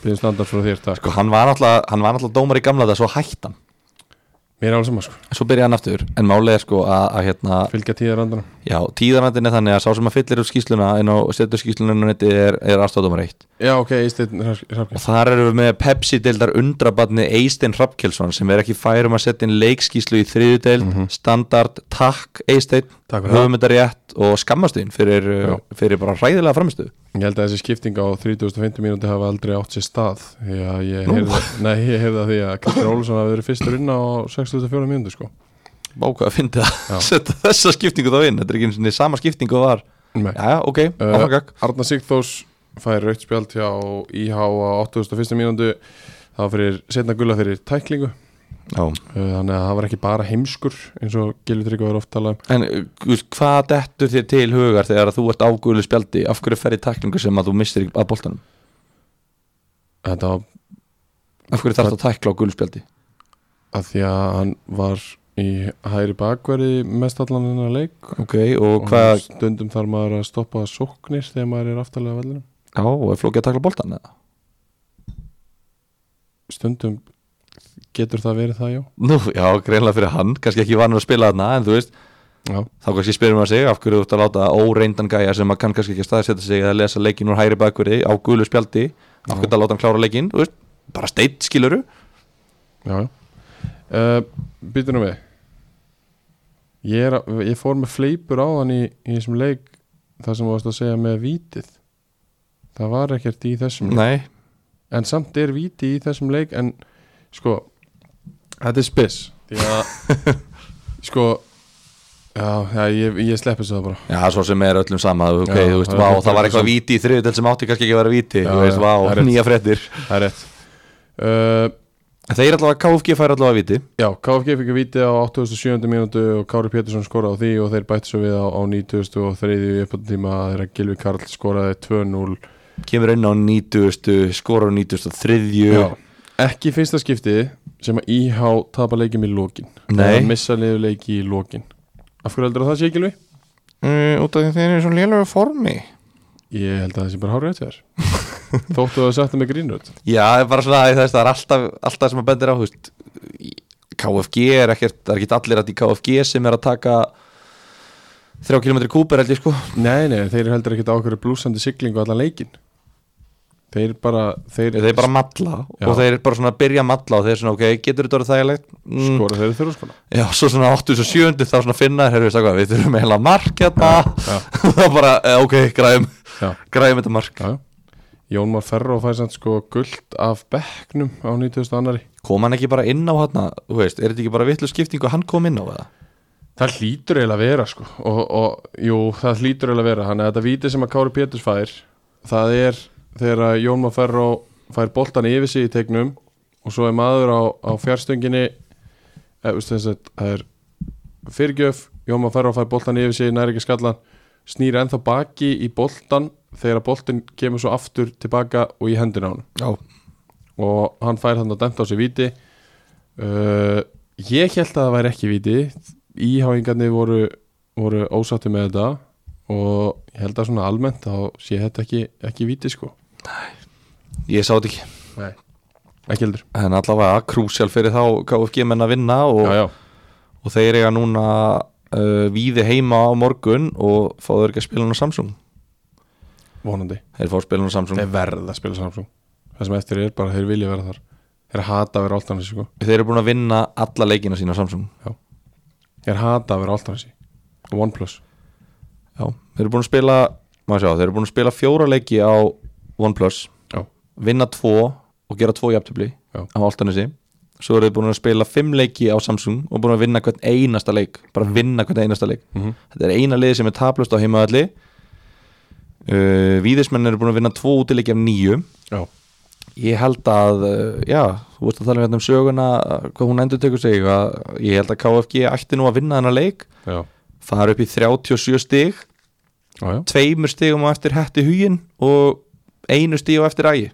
Speaker 1: Býðum standart frá þér takk
Speaker 2: sko, hann var náttúrulega, hann var náttúrulega dómar í gamla þetta svo hætt hann,
Speaker 1: Mér er alveg saman sko,
Speaker 2: svo byrjaði hann aftur en málið er sko að, að hérna
Speaker 1: fylgja tíðar andana
Speaker 2: já, tíðarvandin er þannig að sá sem að fyllir upp skýsluna inn á setur skýsluna inn á netti er, er aðstofdómar eitt
Speaker 1: Já, ok, Ísteinn Hrafkjörn
Speaker 2: og þar erum við með Pepsi-deildar undrabatni Eystein Hrafkjelsson sem er ekki færum að setja inn leikskýslu í þriðju deild standard, takk Eystein
Speaker 1: Takk fyrir það.
Speaker 2: höfumyndarétt og skammastin fyrir,
Speaker 1: Já.
Speaker 2: uh, fyrir bara hræðilega framistu
Speaker 1: Ég held að þessi skipting á 3050 mínúti hafa aldrei átt sér stað Því að ég
Speaker 2: Nú.
Speaker 1: heyrði, nei, ég heyrði að því að Kristján Ólafsson hafi verið fyrstur inn á 64 mínúti sko
Speaker 2: báka að finna
Speaker 1: Já.
Speaker 2: að setja þessa skiptingu þá inn þetta er ekki einu sinni sama skiptingu og var
Speaker 1: Nei.
Speaker 2: já, já, ok,
Speaker 1: Uh,
Speaker 2: áfram gakk
Speaker 1: Arna Sigþós fær raukt spjald hjá IH á 81. mínúndu það var fyrir setna gulla fyrir tæklingu uh,
Speaker 2: já.
Speaker 1: þannig að það var ekki bara heimskur eins og Gilvi Tryggva var oft talað um
Speaker 2: En uh, þú veist, hvað dettur þér til hugar þegar að þú ert ágúlu spjaldi af hverju ferði taklingu sem að þú mistir ekki að boltanum
Speaker 1: þetta var
Speaker 2: af hverju þarf það að tækla á gulu spjaldi
Speaker 1: að því að hann var í hægri bakverði mest allan hennar leik
Speaker 2: ok, og
Speaker 1: og
Speaker 2: hvað
Speaker 1: stundum þarf maður að stoppa sóknir þegar maður er aftalega á vellinum
Speaker 2: já, og er flókið að tækla boltan eða?
Speaker 1: stundum getur það verið það já,
Speaker 2: Nú, já, greinlega fyrir hann, kannski ekki vanur að spila þarna en þú veist,
Speaker 1: já.
Speaker 2: þá kannski spyrir maður sig af hverju þú ert að láta óreindan gæja sem að kann kannski ekki að staðsetja sig eða lesa leikin úr hægri bakverði á gulu spjaldi af hverju það láta hann klára leikin, þú veist, bara steitt skiluru
Speaker 1: Já, já uh, Býtum við ég, er, að- ég fór með fleipur á hann í, í þessum leik Það sem þú varst að segja með vítið Það var ekkert í þessum leik.
Speaker 2: nei,
Speaker 1: En samt er víti í þessum leik En sko Þetta er spes Því að Sko Já, já ég, ég sleppi þessu það bara
Speaker 2: já, svo sem er öllum sama ok,
Speaker 1: Já,
Speaker 2: þú veist,
Speaker 1: það er
Speaker 2: vá,
Speaker 1: bara-
Speaker 2: það var eitthvað víti í þriðutel sem átti kannski ekki að vera víti,
Speaker 1: Já,
Speaker 2: þú veist,
Speaker 1: já, það er
Speaker 2: vá,
Speaker 1: rétt.
Speaker 2: nýja fréttir
Speaker 1: Það er rétt uh,
Speaker 2: Þeir allavega, KFG fær allavega viti
Speaker 1: Já, KFG fikk að víti á 87. mínútu og Kári Pétursson skoraði á því og þeir bættu svo við á, á 90. og þriðju uppáttíma þegar Gilvi Karl skoraði 2-0
Speaker 2: Kemur inn á 90, skora á 93
Speaker 1: Já, ekki fyrsta skipti sem að IH tapa leikim í lokin
Speaker 2: Nei.
Speaker 1: Eða missa liður leiki í lokin Af hverju heldur það sé Gilvi?
Speaker 2: uh, Út af því þeir eru svo lélögu formi
Speaker 1: Ég held að það sé bara hárið þér Þóttu að það setja með grínröð
Speaker 2: Já, það er bara svona að þess, það er alltaf, alltaf sem að bendir á þú veist, í- KFG er ekkert, það er ekkert allir að í KFG sem er að taka 3 km kúper held ég sko
Speaker 1: Nei, nei, þeir heldur ekkert á okkur blúsandi siglingu allan leikin Þeir bara Þeir,
Speaker 2: Þeir bara matla
Speaker 1: Já.
Speaker 2: og þeir bara svona byrja að matla og þeir svona ok, getur þetta orðið þægilegt? Mm,
Speaker 1: skora þeir þurfa skona
Speaker 2: Já, svo svona 87 þá svona finna þeir, heyrðu, veist það hvað, við þurfum eiginlega mark hérna
Speaker 1: já.
Speaker 2: þá bara, eh, ok, græðum
Speaker 1: Já.
Speaker 2: græðum þetta mark
Speaker 1: Já, já Jón Már Ferro fær samt sko guld af bekknum á 92. annari
Speaker 2: kom hann ekki bara inn á hann þú veist, er þetta ekki bara vitlu skiptingu að hann kom inn á það
Speaker 1: Það hlýtur eiginlega að vera sko og, og jú, það hlýtur eiginlega að vera þannig að þetta víti sem að Kári Péturs fær það er þegar að Jón Már Ferró fær boltan yfir sig í tegnum og svo er maður á, á fjarstöngini eða veist þess að það er fyrirgjöf, Jón Már Ferró fær boltan yfir sig nær ekki skallan, snýr ennþá baki í boltan þegar að boltin kemur svo aftur tilbaka og í hendina á hann
Speaker 2: Já,
Speaker 1: og hann fær þannig að dæmt á sig viti uh, ég held að það væri ekki viti íháingarnir voru, voru ósátti með þetta og ég held að svona almennt þá sé þetta ekki, ekki viti sko
Speaker 2: ég sá þetta ekki
Speaker 1: Nei. ekki heldur
Speaker 2: En allavega, krúsjál fyrir þá KFG menn að vinna og,
Speaker 1: já, já.
Speaker 2: og þeir eiga núna uh, víði heima á morgun og fáðu ekki að spila hann á Samsung
Speaker 1: vonandi
Speaker 2: Þeir fá að spila hann á Samsung
Speaker 1: þeir verða að spila Samsung það sem eftir er bara að þeir vilja vera þar þeir hata að vera áltanesi sko
Speaker 2: Þeir eru búin að vinna alla leikina sína á Samsung
Speaker 1: þeir hata að vera áltanesi OnePlus
Speaker 2: Já, þeir eru búin að spila maður sjá, þeir eru búin að spila fjóra leiki á OnePlus,
Speaker 1: já,
Speaker 2: vinna tvo og gera tvo jafntöfli
Speaker 1: Já.
Speaker 2: á Altanesi Svo eru þeir búin að spila fimm leiki á Samsung og búin að vinna hvern einasta leik bara vinna hvern einasta leik
Speaker 1: Mhm.
Speaker 2: Þetta er eina liði sem er taplust á heimaðalli uh, Víðismenn eru búin að vinna tvo útileiki af nýju
Speaker 1: já.
Speaker 2: Ég held að, uh, já, þú veist að tala um hérna um söguna uh, hvað hún endur tekur sig að ég held að KFG ætti nú að vinna þennan leik
Speaker 1: já.
Speaker 2: fara upp í 37 stig
Speaker 1: já, já.
Speaker 2: tveimur stigum á eftir hætti hugin og einu stig á eftir ægi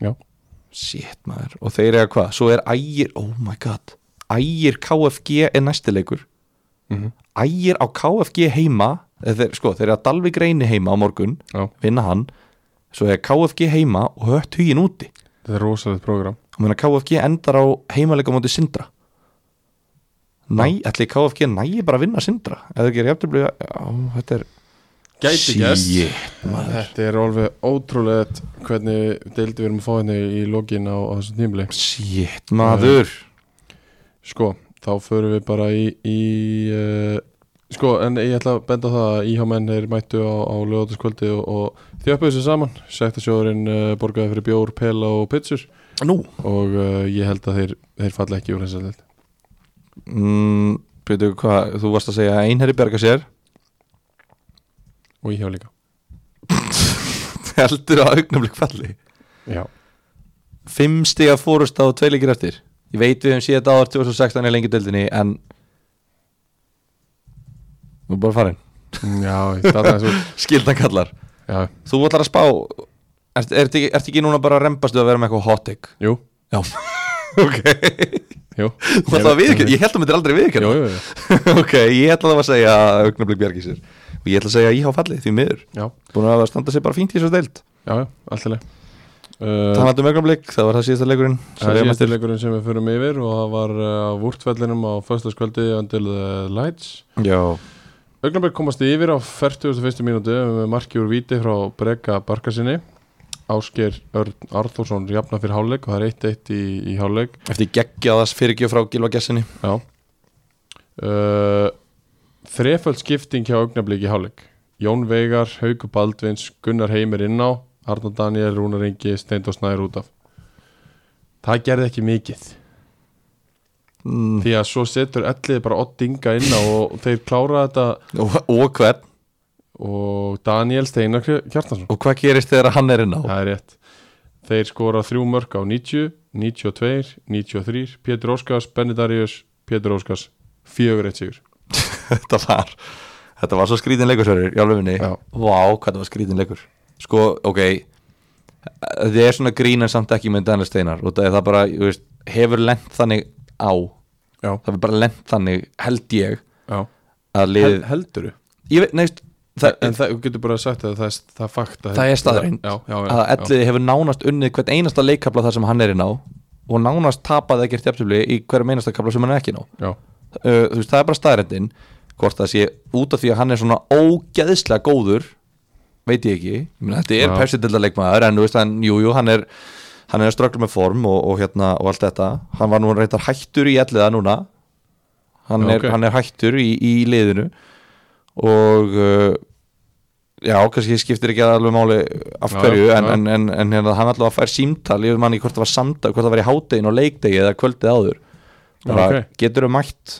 Speaker 1: Já.
Speaker 2: Shit maður, og þeir eiga hvað svo er ægir, oh my god ægir KFG er næstileikur
Speaker 1: Mhm.
Speaker 2: ægir á KFG heima eða þeir, sko, þeir eru að Dalvik reyni heima á morgun,
Speaker 1: já.
Speaker 2: vinna hann svo er KFG heima og hött hugin úti
Speaker 1: þetta er rosalegt program
Speaker 2: og meina KFG endar á heimalega móti Sindra Næ, ætli KFG nægi bara að vinna Sindra eða þeir gera jafntöflu já, þetta er
Speaker 1: gæti gæst
Speaker 2: Shit, maður.
Speaker 1: Þetta er alveg ótrúlega hvernig deildi við erum að fá henni í lokin á, á þessum tímli.
Speaker 2: Shit, maður
Speaker 1: Sko, þá förum við bara í, í uh, sko, en ég ætla að benda á það að IH menn er mættu á, á lögataskvöldi og, og þjöppuðu sér saman. Sektasjóðurinn uh, borgaði fyrir bjór, pela og pitsur
Speaker 2: Nú
Speaker 1: og uh, ég held að þeir, þeir falla ekki úr þessar deild.
Speaker 2: mm, Byrju, hvað, þú varst að segja að einherri berga sér
Speaker 1: Og IH líka.
Speaker 2: Heldur að augnablik falli
Speaker 1: Já.
Speaker 2: Fimm stiga fórust á tveileikir eftir Ég veit við höfum síðan þetta áður 2016 í lengi dildinni en Nú er bara farin
Speaker 1: Já, ég starta þessu. út.
Speaker 2: Skildan kallar
Speaker 1: Já,
Speaker 2: Þú ætlar að spá Ertu er, ekki, ert ekki núna bara að rempastu að vera með eitthvað hot take?
Speaker 1: jú,
Speaker 2: Já Ok
Speaker 1: jú.
Speaker 2: Þú ætlar að viðkjörn Ég held að myndir aldrei viðkjörn
Speaker 1: Jú, jú, jú.
Speaker 2: ok, ég ætla það að segja að augnablik bjargi sér og ég ætla að segja að íhá fallið því miður
Speaker 1: Já,
Speaker 2: búin að standa sér bara fínt í þessu deild
Speaker 1: já, já, alltilega. Uh,
Speaker 2: talandi um augnablik, það var það síðasta leikurinn
Speaker 1: Það er
Speaker 2: síðasta
Speaker 1: síðastir leikurinn sem við förum yfir og það var uh, á vúrtvellinum á föstaskvöldi undir the lights.
Speaker 2: já,
Speaker 1: Augnabæk komast yfir á 41. mínútu með marki úr viti frá Breka Barkasinni. Ásker Örn Arþórsson jafna fyrir hálfleik og það er 1-1 í, í hálfleik.
Speaker 2: eftir geggjaðas fyrirgjöf frá Gilva Gessinni
Speaker 1: Já. Uh, þreföld skipting hjá Augnablik í hálfleik. Jón Veigar, Hauku Baldvins, Gunnar Heimir inn á, Arnald Daniel, Rúnar Ingi, Steindor Snæður út af. Það gerði ekki mikið.
Speaker 2: mm.
Speaker 1: því að svo setur ellið bara ott dinga inn á og þeir klára þetta
Speaker 2: og, og hvern,
Speaker 1: og Daniel Steinar Kjartansson
Speaker 2: og hvað gerist þegar hann er inn á
Speaker 1: það er rétt þeir skora þrjú mörg á 90 92, 93, Pétur Óskars Benni Darius, Pétur Óskars fjögur eitt sigur
Speaker 2: þetta var þetta var svo skrítin leikur sverjur, í alveg minni
Speaker 1: Já.
Speaker 2: vá, hvað það var skrítin leikur sko, ok þið er svona grín en samt ekki með Daniel Steinar og það er bara, ég veist, hefur lent þannig á,
Speaker 1: já,
Speaker 2: það er bara lent þannig held ég
Speaker 1: já.
Speaker 2: að
Speaker 1: Hel,
Speaker 2: liðið
Speaker 1: helduru
Speaker 2: ég veit, neist, það,
Speaker 1: en það, þú getur bara sagt að það, það er fakta
Speaker 2: það er staðreind
Speaker 1: já, já, já,
Speaker 2: að elliði hefur nánast unnið hvert einasta leikkabla þar sem hann er inn á og nánast tapaði ekkert jafntöfli í hverjum einasta kabla sem hann er ekki inn á
Speaker 1: já, já,
Speaker 2: uh, þú veist, það er bara staðrendin hvort það sé út af því að hann er svona ógeðslega góður veit ég ekki, ég meina, þetta er
Speaker 1: Já.
Speaker 2: pepsitilda leikmaður en þú veist, hann, jú, jú, hann er hann er að ströggla með form og, og hérna og allt þetta, hann var nú reyndar hættur í elliða núna hann,
Speaker 1: Já,
Speaker 2: er,
Speaker 1: ok.
Speaker 2: hann er hættur í, í liðinu og uh, já, kannski skiptir ekki alveg máli af
Speaker 1: Já,
Speaker 2: hverju
Speaker 1: já,
Speaker 2: en,
Speaker 1: já.
Speaker 2: en, en, en hérna, hann allavega fær símtal ég man ekki hvort það var samtal, hvort það var í hádegin og leikdegi eða kvöldið áður
Speaker 1: Já,
Speaker 2: bara,
Speaker 1: ok.
Speaker 2: getur þau mætt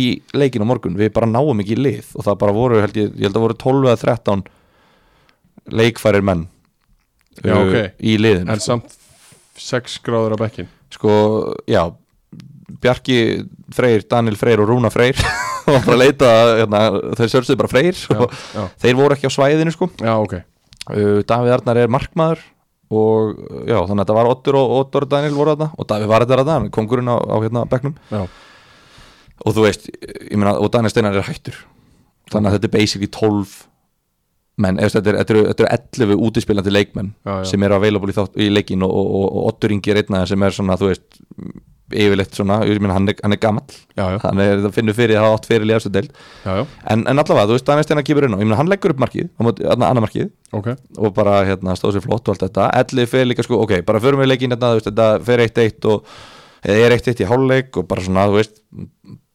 Speaker 2: í leikin á morgun við bara náum ekki í lið og það bara voru, held ég, ég held að voru 12 eða 13 leikfærir menn
Speaker 1: Já,
Speaker 2: uh,
Speaker 1: ok.
Speaker 2: í liðin
Speaker 1: En samt 6 gráður á bekkin
Speaker 2: sko, já Bjarki Freyr, Daniel Freyr og Rúna Freyr og bara leita hérna, þeir sörstu bara Freyr
Speaker 1: Já,
Speaker 2: sko.
Speaker 1: já,
Speaker 2: þeir voru ekki á svæðinu sko
Speaker 1: já ok
Speaker 2: uh, Davíð Arnar er markmaður og uh, já, þannig að þetta var Ottur og Ottur og Daniel voru þarna og Davíð var þetta þarna, kongurinn á, á hérna bekknum
Speaker 1: Já,
Speaker 2: og þú veist, ég meina, og Daniel Steinar er hættur þannig að þetta er basically 12 menn, eða þú veist, þetta er- þetta eru þetta eru 11 útispilandi leikmenn
Speaker 1: já, já.
Speaker 2: sem eru available í, þátt, í leikin og, og, og, og Ottur Ingi er einna sem er svona, þú veist yfirleitt svona, ég meina, hann er, hann er gamall
Speaker 1: já, já,
Speaker 2: hann er það finnur fyrir að hafa átt fyrir í efstu deild,
Speaker 1: já, já,
Speaker 2: en, en allavega, þú veist, Daniel Steinar kýpur inn á, ég meina, hann leggur upp markið, á móti- þarna annað markið
Speaker 1: ok
Speaker 2: og bara hérna stóð sér flott og allt þetta Elli fer líka sko, ok, bara förum við leikinn hérna, þú veist, þetta fer eitt eitt og eða er eitt eitt í hálfleik og bara svona, þú veist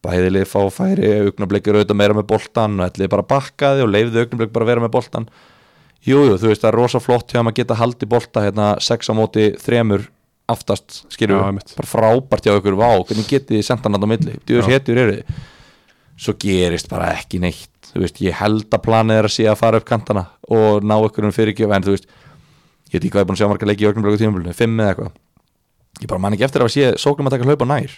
Speaker 2: bæðilið fá færi, augnablikir auðvitað meira með boltan og Elli bara bakkaði og leifði augnablik bara að vera með boltan Jújú, jú, þú veist, það er rosa flott hjá maður geta haldi bolta hérna 6 á móti þremur aftast,
Speaker 1: Já,
Speaker 2: skilur við,
Speaker 1: einmitt.
Speaker 2: bara frábært hjá ykkur, vá, hvernig getið þið sendan hann á milli, djúður
Speaker 1: Já.
Speaker 2: hétur eru þið svo gerist bara ekki neitt þú veist, ég held að planið er að sé að fara upp kantana og ná ykkur um fyrirgjöf en þú veist, ég veit ekki hvað ég er búin að sjá marga leiki í augnumblöku tímabölinu, fimm eða eitthvað ég bara man ekki eftir að sé sóknum að taka hlaupa nær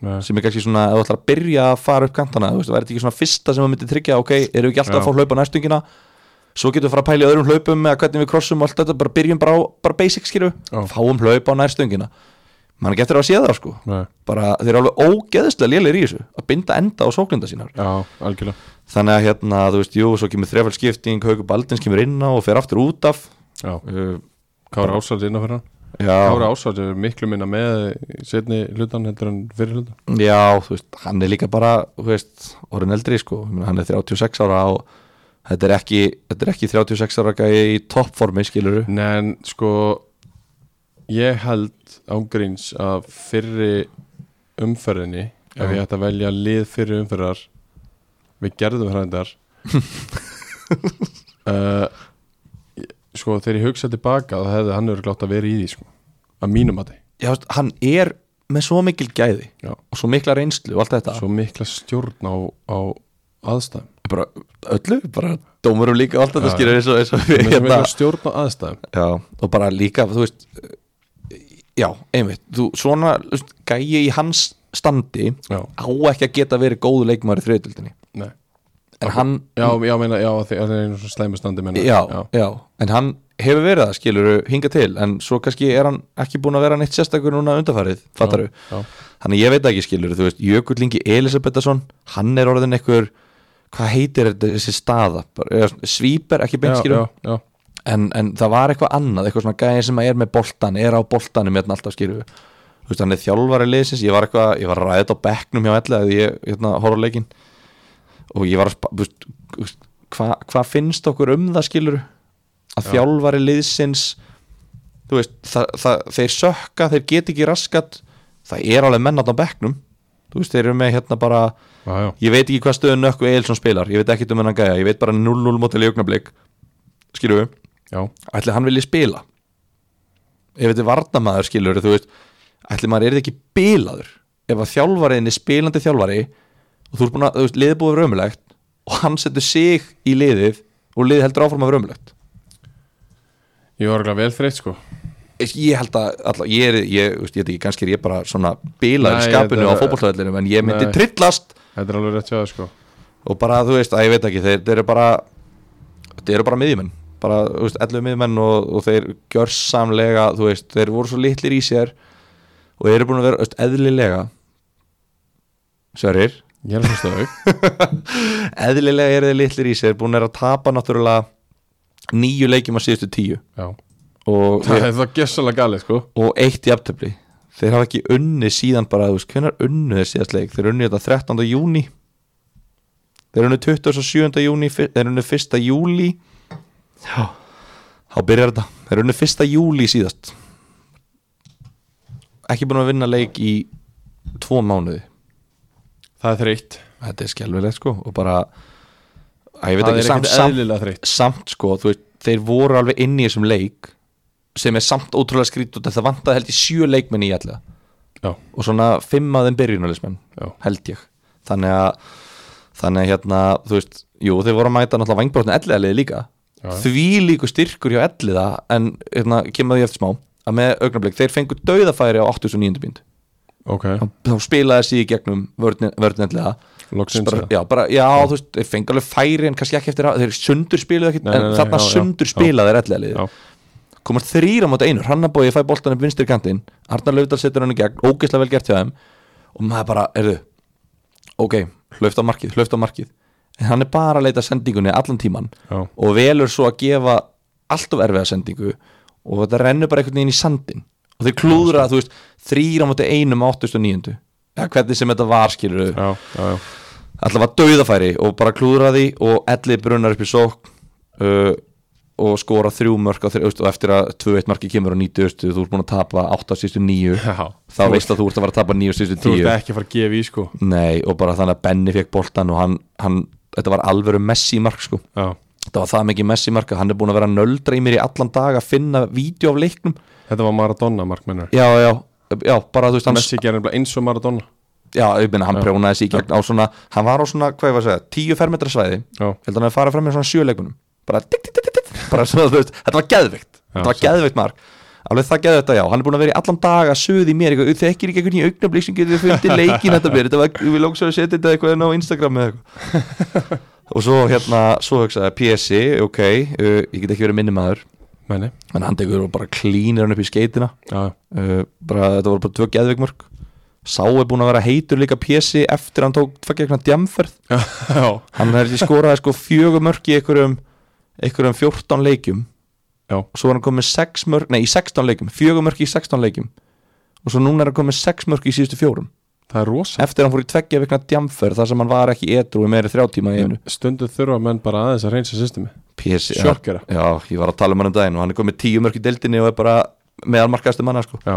Speaker 1: Nei.
Speaker 2: sem er kannski svona, ef þú ætlar að byrja að fara upp kantana þú veist, það væri þetta ekki svona fyrsta sem við myndi tryggja ok, erum við ekki alltaf
Speaker 1: Já.
Speaker 2: að fá hlaupa næstöngina svo getum við að fara að pæla í öðrum hlaupum eða hvernig við krossum og allt þetta, bara byrjum bara, á, bara basic skilu,
Speaker 1: Já.
Speaker 2: fáum hlaupa á nærstöngina man ekki eftir að sé það sko
Speaker 1: Nei.
Speaker 2: bara, þeir eru alveg ógeðslega lélir í þessu að binda enda á sóknenda sínar
Speaker 1: Já, algjörlega
Speaker 2: þannig að hérna, þú veist, jú, svo kemur þrefald skipting Haukur Baldins kemur inn á og fer aftur út af
Speaker 1: Já,
Speaker 2: uh,
Speaker 1: Kára Ásald inn á fyrir hann
Speaker 2: já,
Speaker 1: Eh, Kára Ásald er miklu minna með í setni hlutan heldur en fyrir hlutan
Speaker 2: já, þú veist, hann er líka bara þú veist, orðin eldri, sko Ég meina, hann er 36 ára og þetta er ekki, þetta er ekki 36 ára gæi í toppformi, skilur
Speaker 1: Nei, en sko ég held ángríns að fyrri umferðinni ef
Speaker 2: Já.
Speaker 1: ég ætti að velja lið fyrri umferðar við gerðum hrændar uh, ég- sko þegar ég hugsa tilbaka þá hefði hann örglátt að vera í því sko að mínum að
Speaker 2: já, þú veist, hann er með svo mikil gæði
Speaker 1: Já.
Speaker 2: og svo mikla reynslu og allt þetta
Speaker 1: svo mikla stjórn á, á aðstæðum
Speaker 2: bara öllu, bara dómurum líka og allt þetta
Speaker 1: Já.
Speaker 2: skilur eins og, eins og við,
Speaker 1: Svo
Speaker 2: hérna,
Speaker 1: mikla stjórn á aðstæðum
Speaker 2: Já, og bara líka, þú veist Já, einmitt, þú svona þú veist, gæi í hans standi
Speaker 1: já,
Speaker 2: á ekki að geta verið góðu leikmaður í þriðutöldinni
Speaker 1: nei
Speaker 2: en hann,
Speaker 1: Já, já, meina, já, því að það er einu svona slæmustandi meina
Speaker 2: já,
Speaker 1: já,
Speaker 2: já, en hann hefur verið það, skiluru, hinga til en svo kannski er hann ekki búin að vera neitt sérstakur núna undarfarið, fattaru
Speaker 1: já,
Speaker 2: þannig ég veit ekki, skiluru, þú veist, Jökull Ingi Elisabethason, hann er orðin einhver hvað heitir þetta, þessi staða bara, eða svíper, ekki beint,
Speaker 1: já,
Speaker 2: skiluru
Speaker 1: já, já,
Speaker 2: en, en það var eitthvað annað, eitthvað svona gæði sem er með boltan, er á boltanum hérna alltaf skýrðu, þú veist hann er þjálfari liðsins, ég var eitthvað, ég var að ræða þetta á bekknum hjá ætla að ég, hérna, horf á leikin og ég var að, spa- þú veist, þú veist, hvað hva finnst okkur um það skilur að
Speaker 1: Já.
Speaker 2: þjálfari liðsins þú veist, það, það, þeir sökka þeir get ekki raskat, það er alveg menn þarna á bekknum, þú veist, þeir eru með hérna bara,
Speaker 1: já, já.
Speaker 2: ég veit ekki hvað stöðun Nökku Eilsson spilar, ég veit ekki um hennan gæja ég veit bara 0-0 mótil í augnablik skilur
Speaker 1: Já,
Speaker 2: ætli hann vilji spila ef þetta er varnamaður skilur þú veist, ætli maður er þetta ekki bilaður ef að þjálfariðin er spilandi þjálfari og þú ert búin að, þú veist, liðið búið raumulegt og hann setur sig í liðið og liðið heldur áfram að raumulegt
Speaker 1: ég var alveg vel þreytt sko
Speaker 2: ég held að, alltaf, ég er, ég, þú veist, ég veit ekki kannski er ég bara svona bilaður
Speaker 1: Nei,
Speaker 2: í skapinu
Speaker 1: þetta
Speaker 2: á
Speaker 1: er-
Speaker 2: fótbolltöðlinu, en ég myndi
Speaker 1: Nei.
Speaker 2: trillast
Speaker 1: Þetta er alveg rétt hjá það sko
Speaker 2: og bara, þú veist, að ég veit ekki, þeir, þeir eru bara þeir eru bara miðjumenn bara, þú veist, 11 miðjumenn og, og þeir gjörsamlega, þú veist, þeir voru svo litlir í sér og þeir eru búin að vera, þú veist, eðlilega Sverir
Speaker 1: Ég er að hlusta á þau
Speaker 2: eðlilega eru þeir litlir í sér, búin að vera að tapa náttúrulega nýju leikjum á síðustu tíu
Speaker 1: Já
Speaker 2: og,
Speaker 1: Það er það gessalega galið sko
Speaker 2: og eitt í aftöfli þeir hafa ekki unni síðan bara, þú veist, hvenær unnu þeir síðast leik, þeir unnu þetta 13. júni þeir unnu 27. júni þeir unnu 1. júli já, þá byrjar þetta þeir unnu 1. júli síðast ekki búin að vinna leik í tvo mánuði
Speaker 1: Það er þreytt
Speaker 2: þetta er skelvilegt sko og bara, að ég veit
Speaker 1: Það
Speaker 2: ekki,
Speaker 1: er
Speaker 2: samt,
Speaker 1: ekkert
Speaker 2: samt,
Speaker 1: eðlilega þreytt
Speaker 2: samt sko, þú veist, þeir voru alveg inni í þessum leik sem er samt ótrúlega skrýt og þetta vantaði held í sjö leikmenn í allega
Speaker 1: Já,
Speaker 2: og svona fimm af þeim byrjunalismenn
Speaker 1: já,
Speaker 2: held ég þannig að þannig að hérna, þú veist, jú þeir voru að mæta náttúrulega vangbrótna elliðalið líka
Speaker 1: Já.
Speaker 2: því líku styrkur hjá elliða en hérna, kemur því eftir smá að með augnablik, þeir fengu dauðafæri á 89. bínd
Speaker 1: ok,
Speaker 2: þá spilaði þessi í gegnum vörnin, vörnin elliða
Speaker 1: loksins
Speaker 2: bara,
Speaker 1: eða?
Speaker 2: já, bara, já, þú veist, þeir fengu alveg færi en kannski ekki eftir að, þeir sundur spilaði ekki
Speaker 1: Nei,
Speaker 2: en
Speaker 1: nei, nei,
Speaker 2: þarna
Speaker 1: já, já,
Speaker 2: sundur
Speaker 1: já.
Speaker 2: spilaði þeir elliðalið
Speaker 1: Já,
Speaker 2: komast þrýra móta einur, Hannabói fæ boltan upp vinstri kantinn, Arnar Laudal setur hann í gegn ógeðslega vel gert hjá þeim og maður bara, erðu, ok hlauft á markið, hlauft á markið en hann er bara að leita að sendingunni allan tíman
Speaker 1: já,
Speaker 2: og velur svo að gefa allt of erfiða sendingu og þetta rennur bara einhvern veginn í sandin og þeir klúðra, þú veist, þrýra móta einum á 89. Ja, hvernig sem þetta var
Speaker 1: já,
Speaker 2: skilur
Speaker 1: já, já.
Speaker 2: alltaf var dauðafæri og bara klúðraði og elli brunnar upp í sók uh, og skora þrjú mörk á þrjú, veist, og eftir að 2-1 marki kemur á 90 þú ert búin að tapa 8 sístu 9
Speaker 1: já.
Speaker 2: þá veist að þú ert að fara að tapa 9 sístu
Speaker 1: Þú ert
Speaker 2: 10
Speaker 1: ekki að fara að gefa í sko
Speaker 2: nei og bara þannig að Benni fekk boltan og hann, hann þetta var alvöru Messi mark sko
Speaker 1: Já,
Speaker 2: þetta var það mikið Messi mark að hann er búin að vera að nöldra í mér í allan dag að finna vídeo af leiknum
Speaker 1: þetta var Maradona markmennur
Speaker 2: já já Já, bara þú veist, hann,
Speaker 1: Messi gerði nefnilega eins og Maradona
Speaker 2: já, ég meina, hann prjónaði sig í gegn á svona, hann var á svona, hvað ég var að segja, 10 fermetra svæði,
Speaker 1: Já,
Speaker 2: held að hann að fara fram með svona sjöleikunum bara tikk, tikk, tikk, tikk, tikk, bara svona þú veist þetta var geðveikt, þetta var
Speaker 1: svo.
Speaker 2: geðveikt mark alveg það geðveikt að já, hann er búin að vera í allan dag að suði mér eitthvað, þekkir ekki einhvern í augnablík sem getur fundið leikin þetta mér, þetta var, við lóksum að setja þetta eitthvað inn á Instagram eða eitthvað og svo hérna, svo hugsaði PSI ok, uh, ég get ekki verið minni maður
Speaker 1: menni
Speaker 2: en hann tekur og bara klínir hann upp í skeitina
Speaker 1: Já,
Speaker 2: uh, bara, þetta voru bara tvö geðveik mörg Sá er búin að vera heitur líka PSI eftir að hann tók tveggja eitthvað djamferð
Speaker 1: já,
Speaker 2: hann er ekki skoraði sko fjögur mörk í einhverjum, einhverjum 14 leikjum
Speaker 1: Já.
Speaker 2: og svo er hann komið 6 mörk, nei í 16 leikjum, fjögur mörk í 16 leikjum og svo núna er hann komið 6 mörk í síðustu fjórum
Speaker 1: það er rosa
Speaker 2: eftir að hann fór í tveggja vikna djamferð þar sem hann var ekki edru í meiri þrjá tíma í einu
Speaker 1: Stundu þurfa menn bara aðeins að reynsa systemi
Speaker 2: PSI, já,
Speaker 1: Sjokkera
Speaker 2: já, ég var að tala um hann um daginn og hann er komið 10 mörk í deildinni og er bara meðalmarkaðastu manna sko
Speaker 1: Já,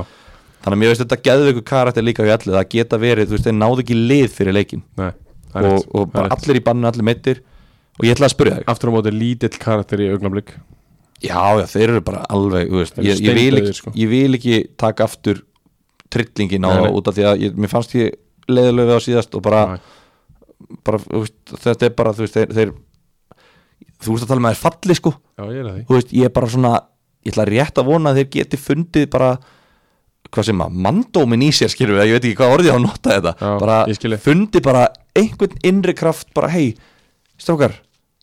Speaker 2: þannig að mér veist þetta geðveiku karakter líka hjá allir það geta verið, þú veist, þeir náðu ekki lið fyrir leikin
Speaker 1: nei, það er
Speaker 2: og,
Speaker 1: rétt,
Speaker 2: og
Speaker 1: það er
Speaker 2: bara
Speaker 1: rétt.
Speaker 2: allir í bannu, allir meittir og ég ætla að spyrja þig
Speaker 1: Aftur á móti lítill karakter í augnablík
Speaker 2: Já, já, þeir eru bara alveg þú veist,
Speaker 1: Þeir eru
Speaker 2: ég, ég, vil
Speaker 1: steindauðir,
Speaker 2: ekki,
Speaker 1: sko.
Speaker 2: ég vil ekki taka aftur trillingin á
Speaker 1: Nei,
Speaker 2: það
Speaker 1: nei.
Speaker 2: út af því að ég, mér fannst ég leiðilegu við á síðast og bara,
Speaker 1: Nei.
Speaker 2: bara þú veist, þetta er bara þú veist, þeir, þeir þú veist að tala með þeir falli sko
Speaker 1: Já, ég er að því
Speaker 2: þú veist, ég er bara svona ég ætla rétt að vona að þeir geti fundið bara hvað sem að mandómin í sér skilur við, ég veit ekki hvað orðið á að nota þetta
Speaker 1: Já, ég skil
Speaker 2: bara
Speaker 1: þig.
Speaker 2: fundið bara einhvern innri kraft bara hei, strákar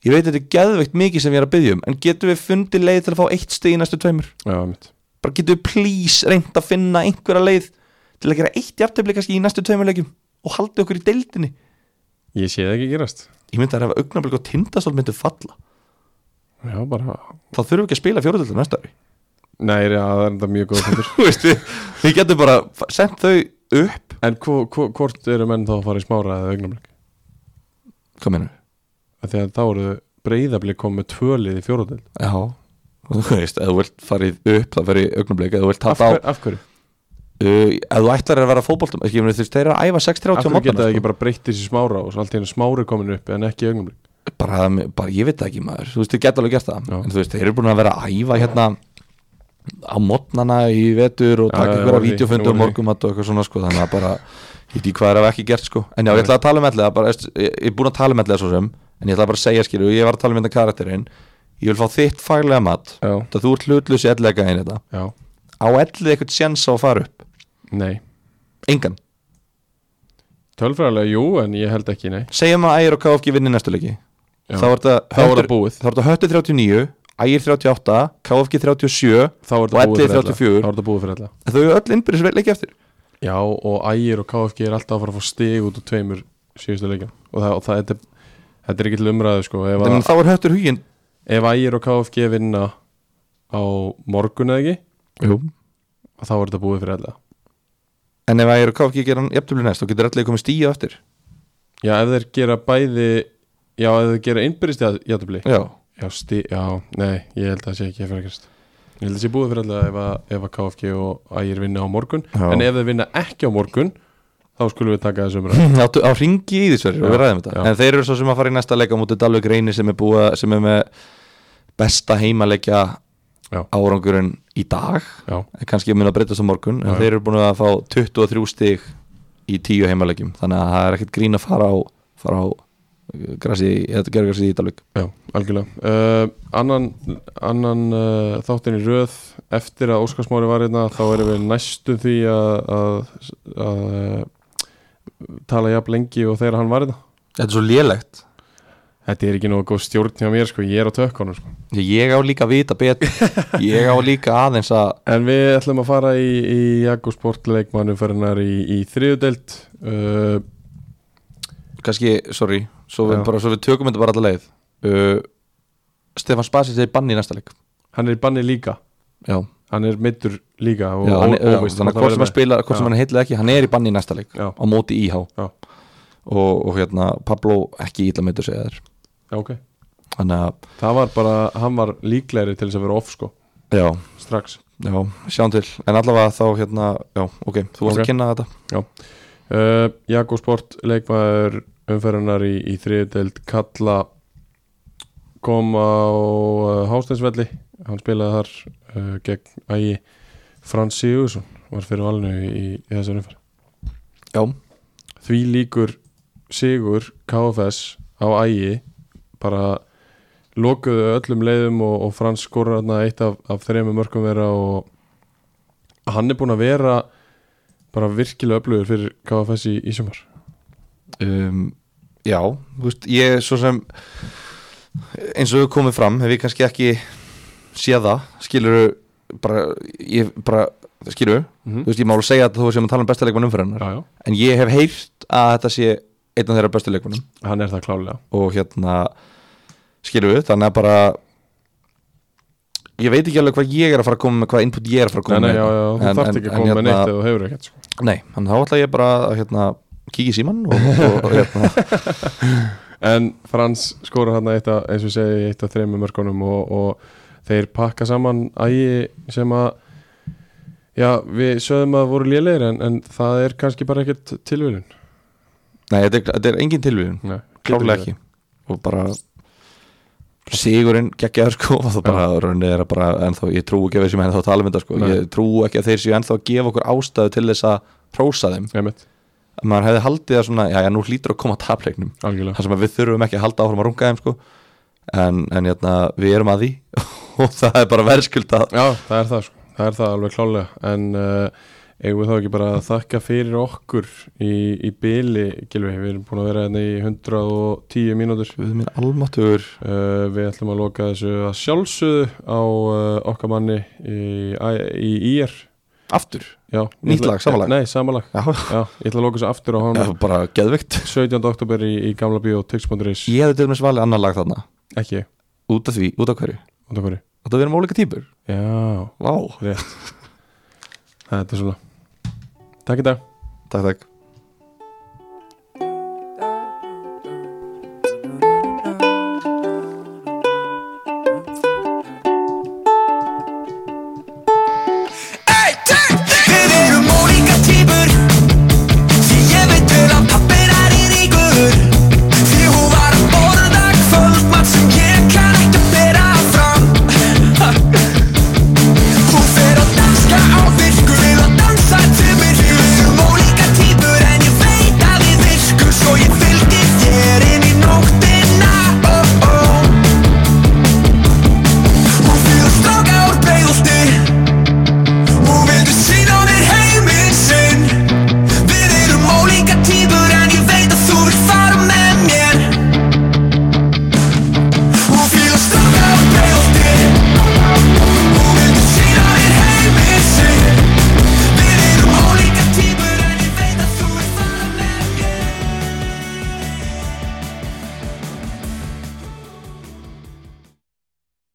Speaker 2: ég veit þetta er geðveikt mikið sem ég er að byggja um en getum við fundið leið til að fá eitt stig í næstu tveimur
Speaker 1: Já, mitt
Speaker 2: bara getum við please reynd að finna einhverja leið til að gera eitt jafntefli kannski í næstu tveimur leikjum og haldið okkur í deildinni
Speaker 1: Ég sé það ekki gerast
Speaker 2: ég myndi að ef augnablik og tindastól myndi falla
Speaker 1: Já, bara
Speaker 2: þá þurfum við ekki að spila fjóruðöldur næsta ári
Speaker 1: Nei, já, það er enda mjög góð fundur
Speaker 2: Þú veist, við, við getum bara sendt þau upp
Speaker 1: En hvo- hvo- hvort eru menn þá að fara í smára eða augnablík?
Speaker 2: hvað mennum
Speaker 1: Þegar þá eru breyðablík komið tvölið í fjóraðil
Speaker 2: já Og þú veist, ef þú vilt farið upp þá fyrir augnablik, ef þú vilt
Speaker 1: af,
Speaker 2: tapa á
Speaker 1: hver, af hverju?
Speaker 2: uh, ef þú ætlar að vera fótboltum ekki, ég meni, þú veist, þeir eru að æfa
Speaker 1: Af
Speaker 2: 6.30 á
Speaker 1: hverju geta
Speaker 2: mótana
Speaker 1: það
Speaker 2: sko.
Speaker 1: ekki bara breytt þessi smára og svo allt í hennu smári komin upp en ekki augnablík?
Speaker 2: bara, bara, ég veit það ekki maður, þú veist, þeir geta alveg gert það
Speaker 1: Já.
Speaker 2: en þú veist, þeir eru búin að vera að æfa hérna á mótnana í vetur og
Speaker 1: Já,
Speaker 2: taka
Speaker 1: já,
Speaker 2: ykkur
Speaker 1: voru
Speaker 2: að
Speaker 1: því,
Speaker 2: vídeofundur
Speaker 1: voru því.
Speaker 2: morgumat og eitthvað svona sko, þannig að bara, ég veit ekki hvað er að ekki gert sko. en já, ég
Speaker 1: Nei.
Speaker 2: ætla að tala um allega bara, veist, ég, ég er búin að tala um allega svo sem en ég ætla bara að segja skilju, ég var að tala um þetta karakterinn ég vil fá þitt faglega mat
Speaker 1: Já,
Speaker 2: það þú ert hlutlus í ellega einn þetta
Speaker 1: já,
Speaker 2: á ellið eitthvað sjens á að fara upp
Speaker 1: nei
Speaker 2: engan,
Speaker 1: Tölfræðilega, jú, en ég held ekki, nei
Speaker 2: segjum að ægir og KFG vinni næstu leiki
Speaker 1: Já.
Speaker 2: þá er
Speaker 1: Þá er það
Speaker 2: þetta
Speaker 1: búið
Speaker 2: þá er þetta höttu 39 ægir 38, KFG 37
Speaker 1: Þá er
Speaker 2: Og
Speaker 1: það búið
Speaker 2: 11
Speaker 1: fyrir alla Þá er það búið fyrir alla
Speaker 2: þau eru öll innbyrðis leiki eftir
Speaker 1: Já, og ægir og KFG er alltaf að fara að fá stig út úr tveimur síðustu leikja Og það, og það þetta, er- þetta er ekki til umræðu, sko Ef, að,
Speaker 2: Þannig að þá er höttur hugin
Speaker 1: ef ægir og KFG vinna á morgun eða ekki
Speaker 2: Jú.
Speaker 1: Þá er þetta búið fyrir alla
Speaker 2: en ef ægir og KFG gera hann jafntöflu næst þá getur öll leik komið stíja eftir
Speaker 1: Já, ef þeir gera bæði Já, ef þeir gera innbyrðist játubli
Speaker 2: já,
Speaker 1: Já, sti, já, nei, ég held að það sé ekki að fyrir að gerast Ég held að það sé búið fyrir alla ef, að- ef að KFG og ægir vinna á morgun
Speaker 2: Já.
Speaker 1: En ef þeir vinna ekki á morgun Þá skulum við taka þessu umræðu
Speaker 2: á, á ringi í þessari og við
Speaker 1: Já,
Speaker 2: ræðum þetta
Speaker 1: já.
Speaker 2: en þeir eru svo sem að fara í næsta leika mútið Dalvik Reyni sem er, búa, sem er með besta heimaleikja
Speaker 1: Já.
Speaker 2: árangurinn í dag
Speaker 1: Já,
Speaker 2: kannski mun að breytast á morgun en
Speaker 1: Já, já.
Speaker 2: þeir eru búin að fá 23 stig í tíu heimalegjum þannig að það er ekkert grín að fara á fara á grasi, eða gergrasi í Ítalvík
Speaker 1: Já, algjörlega uh, Annan, annan uh, þáttin í röð eftir að Óskarsmári var hérna þá erum við næstu því að, að, að uh, tala jafn lengi og þegar hann var hérna
Speaker 2: Þetta er svo lélegt
Speaker 1: Þetta er ekki nógu góð stjórn hjá mér sko, ég er á tökkanum sko.
Speaker 2: Ég á líka að vita betur Ég á líka aðeins að
Speaker 1: En við ætlum að fara í, í Jakko Sportleikmannu fyrirnar í, í þriðudelt uh,
Speaker 2: kannski, sorry svo við,
Speaker 1: Já.
Speaker 2: bara, svo við tökum þetta bara alla leið uh, Stefan Spasi segir banni í næsta leik
Speaker 1: Hann er í banni líka
Speaker 2: Já,
Speaker 1: Hann er meittur líka og
Speaker 2: já, hann,
Speaker 1: ó-
Speaker 2: er- já
Speaker 1: óvíst
Speaker 2: þannig að
Speaker 1: hvort
Speaker 2: hvort sem
Speaker 1: hann
Speaker 2: hann spila hvort sem
Speaker 1: Já.
Speaker 2: hann heitlega ekki, hann er í banni í næsta leik
Speaker 1: Já.
Speaker 2: á móti íhá
Speaker 1: Já.
Speaker 2: og, og hérna, Pablo ekki ítla með þetta segja þér
Speaker 1: verður með. Já, okay.
Speaker 2: Þannig að,
Speaker 1: Það var bara, hann var líklegri til þess að vera off sko,
Speaker 2: já,
Speaker 1: strax
Speaker 2: já, sjáum til En allavega þá, hérna, já, ok Þú varst
Speaker 1: Ok.
Speaker 2: að kynna þetta
Speaker 1: Uh, Jakko Sport, leikmaður umferðunar í, í þriðdeild Kalla kom á uh, Hásteinsvelli hann spilaði þar uh, gegn ægi Frans Sigurðsson var fyrir valinu í, í þessar umferð
Speaker 2: Já,
Speaker 1: því líkur Sigur KFS á ægi bara lokuðu öllum leiðum og, og Frans skorur þarna eitt af, af þrejum mörgum vera og hann er búinn að vera bara virkilega öflugur fyrir KFS í, í sumar
Speaker 2: um, já, þú veist, ég er svo sem eins og við komum fram hef ég kannski ekki séð það skiluru bara, ég bara, skiluru
Speaker 1: Mhm.
Speaker 2: þú veist, ég má alveg segja að þú sem að tala um besta leikmann umfyrirnar
Speaker 1: já, já.
Speaker 2: en ég hef heyrt að þetta sé einn af þeirra bestu leikmannum
Speaker 1: hann er það klálega
Speaker 2: og hérna skiluru, þannig að bara ég veit ekki alveg hvað ég er að fara að koma með hvað input ég er að fara að
Speaker 1: nei,
Speaker 2: koma
Speaker 1: nei,
Speaker 2: með
Speaker 1: já, já, þú
Speaker 2: En-
Speaker 1: þarft
Speaker 2: en-
Speaker 1: ekki að
Speaker 2: en
Speaker 1: koma með
Speaker 2: hérna-
Speaker 1: neitt ef þú hefur ekkert sko.
Speaker 2: nei, en þá ætla ég bara að hérna, kíkja í síman og, og, og hérna
Speaker 1: en Frans skora hann eitt að eins og ég segi eitt að þrejum mörgunum og, og þeir pakka saman ægi sem að já, við sögum að voru lélegir en, en það er kannski bara ekkert tilvílun
Speaker 2: Nei, þetta er, þetta er engin tilvíðun, klálega ekki og bara sigurinn geggjaður sko og það bara raunni er að bara ennþá, ég trú ekki að við sem ennþá tala um þetta sko,
Speaker 1: Nei.
Speaker 2: ég trú ekki að þeir séu ennþá að gefa okkur ástæðu til þess að prósa þeim,
Speaker 1: Einmitt,
Speaker 2: að maður hefði haldið að svona, já, já, nú hlýtur að koma tapleiknum
Speaker 1: algjörlega
Speaker 2: þar sem að við þurfum ekki að halda áfram að runga þeim sko en, en hérna, við erum að því og það er bara verðskulda
Speaker 1: Já, það er það sko, það er það alveg klálega en uh, eigum við þá ekki bara að þakka fyrir okkur í, í byli, Gilvi, við erum búin að vera hérna í 110 mínútur
Speaker 2: við minn almáttur
Speaker 1: Uh, við ætlum að loka þessu að sjálfsögðu á uh, okkar manni í, í, í IR
Speaker 2: aftur,
Speaker 1: Já, ég
Speaker 2: Nýtt
Speaker 1: ætla-
Speaker 2: lag, sama lag?
Speaker 1: Nei, samalag
Speaker 2: já,
Speaker 1: Já, ég ætla að loka þessu aftur á hann
Speaker 2: bara geðvikt
Speaker 1: 17. oktober í, í gamla bíó tix.is
Speaker 2: ég hefði til og með svalið annar lag þarna
Speaker 1: Ekki,
Speaker 2: út af því, út af hverju
Speaker 1: út af hverju
Speaker 2: Þetta við erum ólíka típur
Speaker 1: Já,
Speaker 2: Vá
Speaker 1: rétt Þetta er svona Takk í dag
Speaker 2: Takk, takk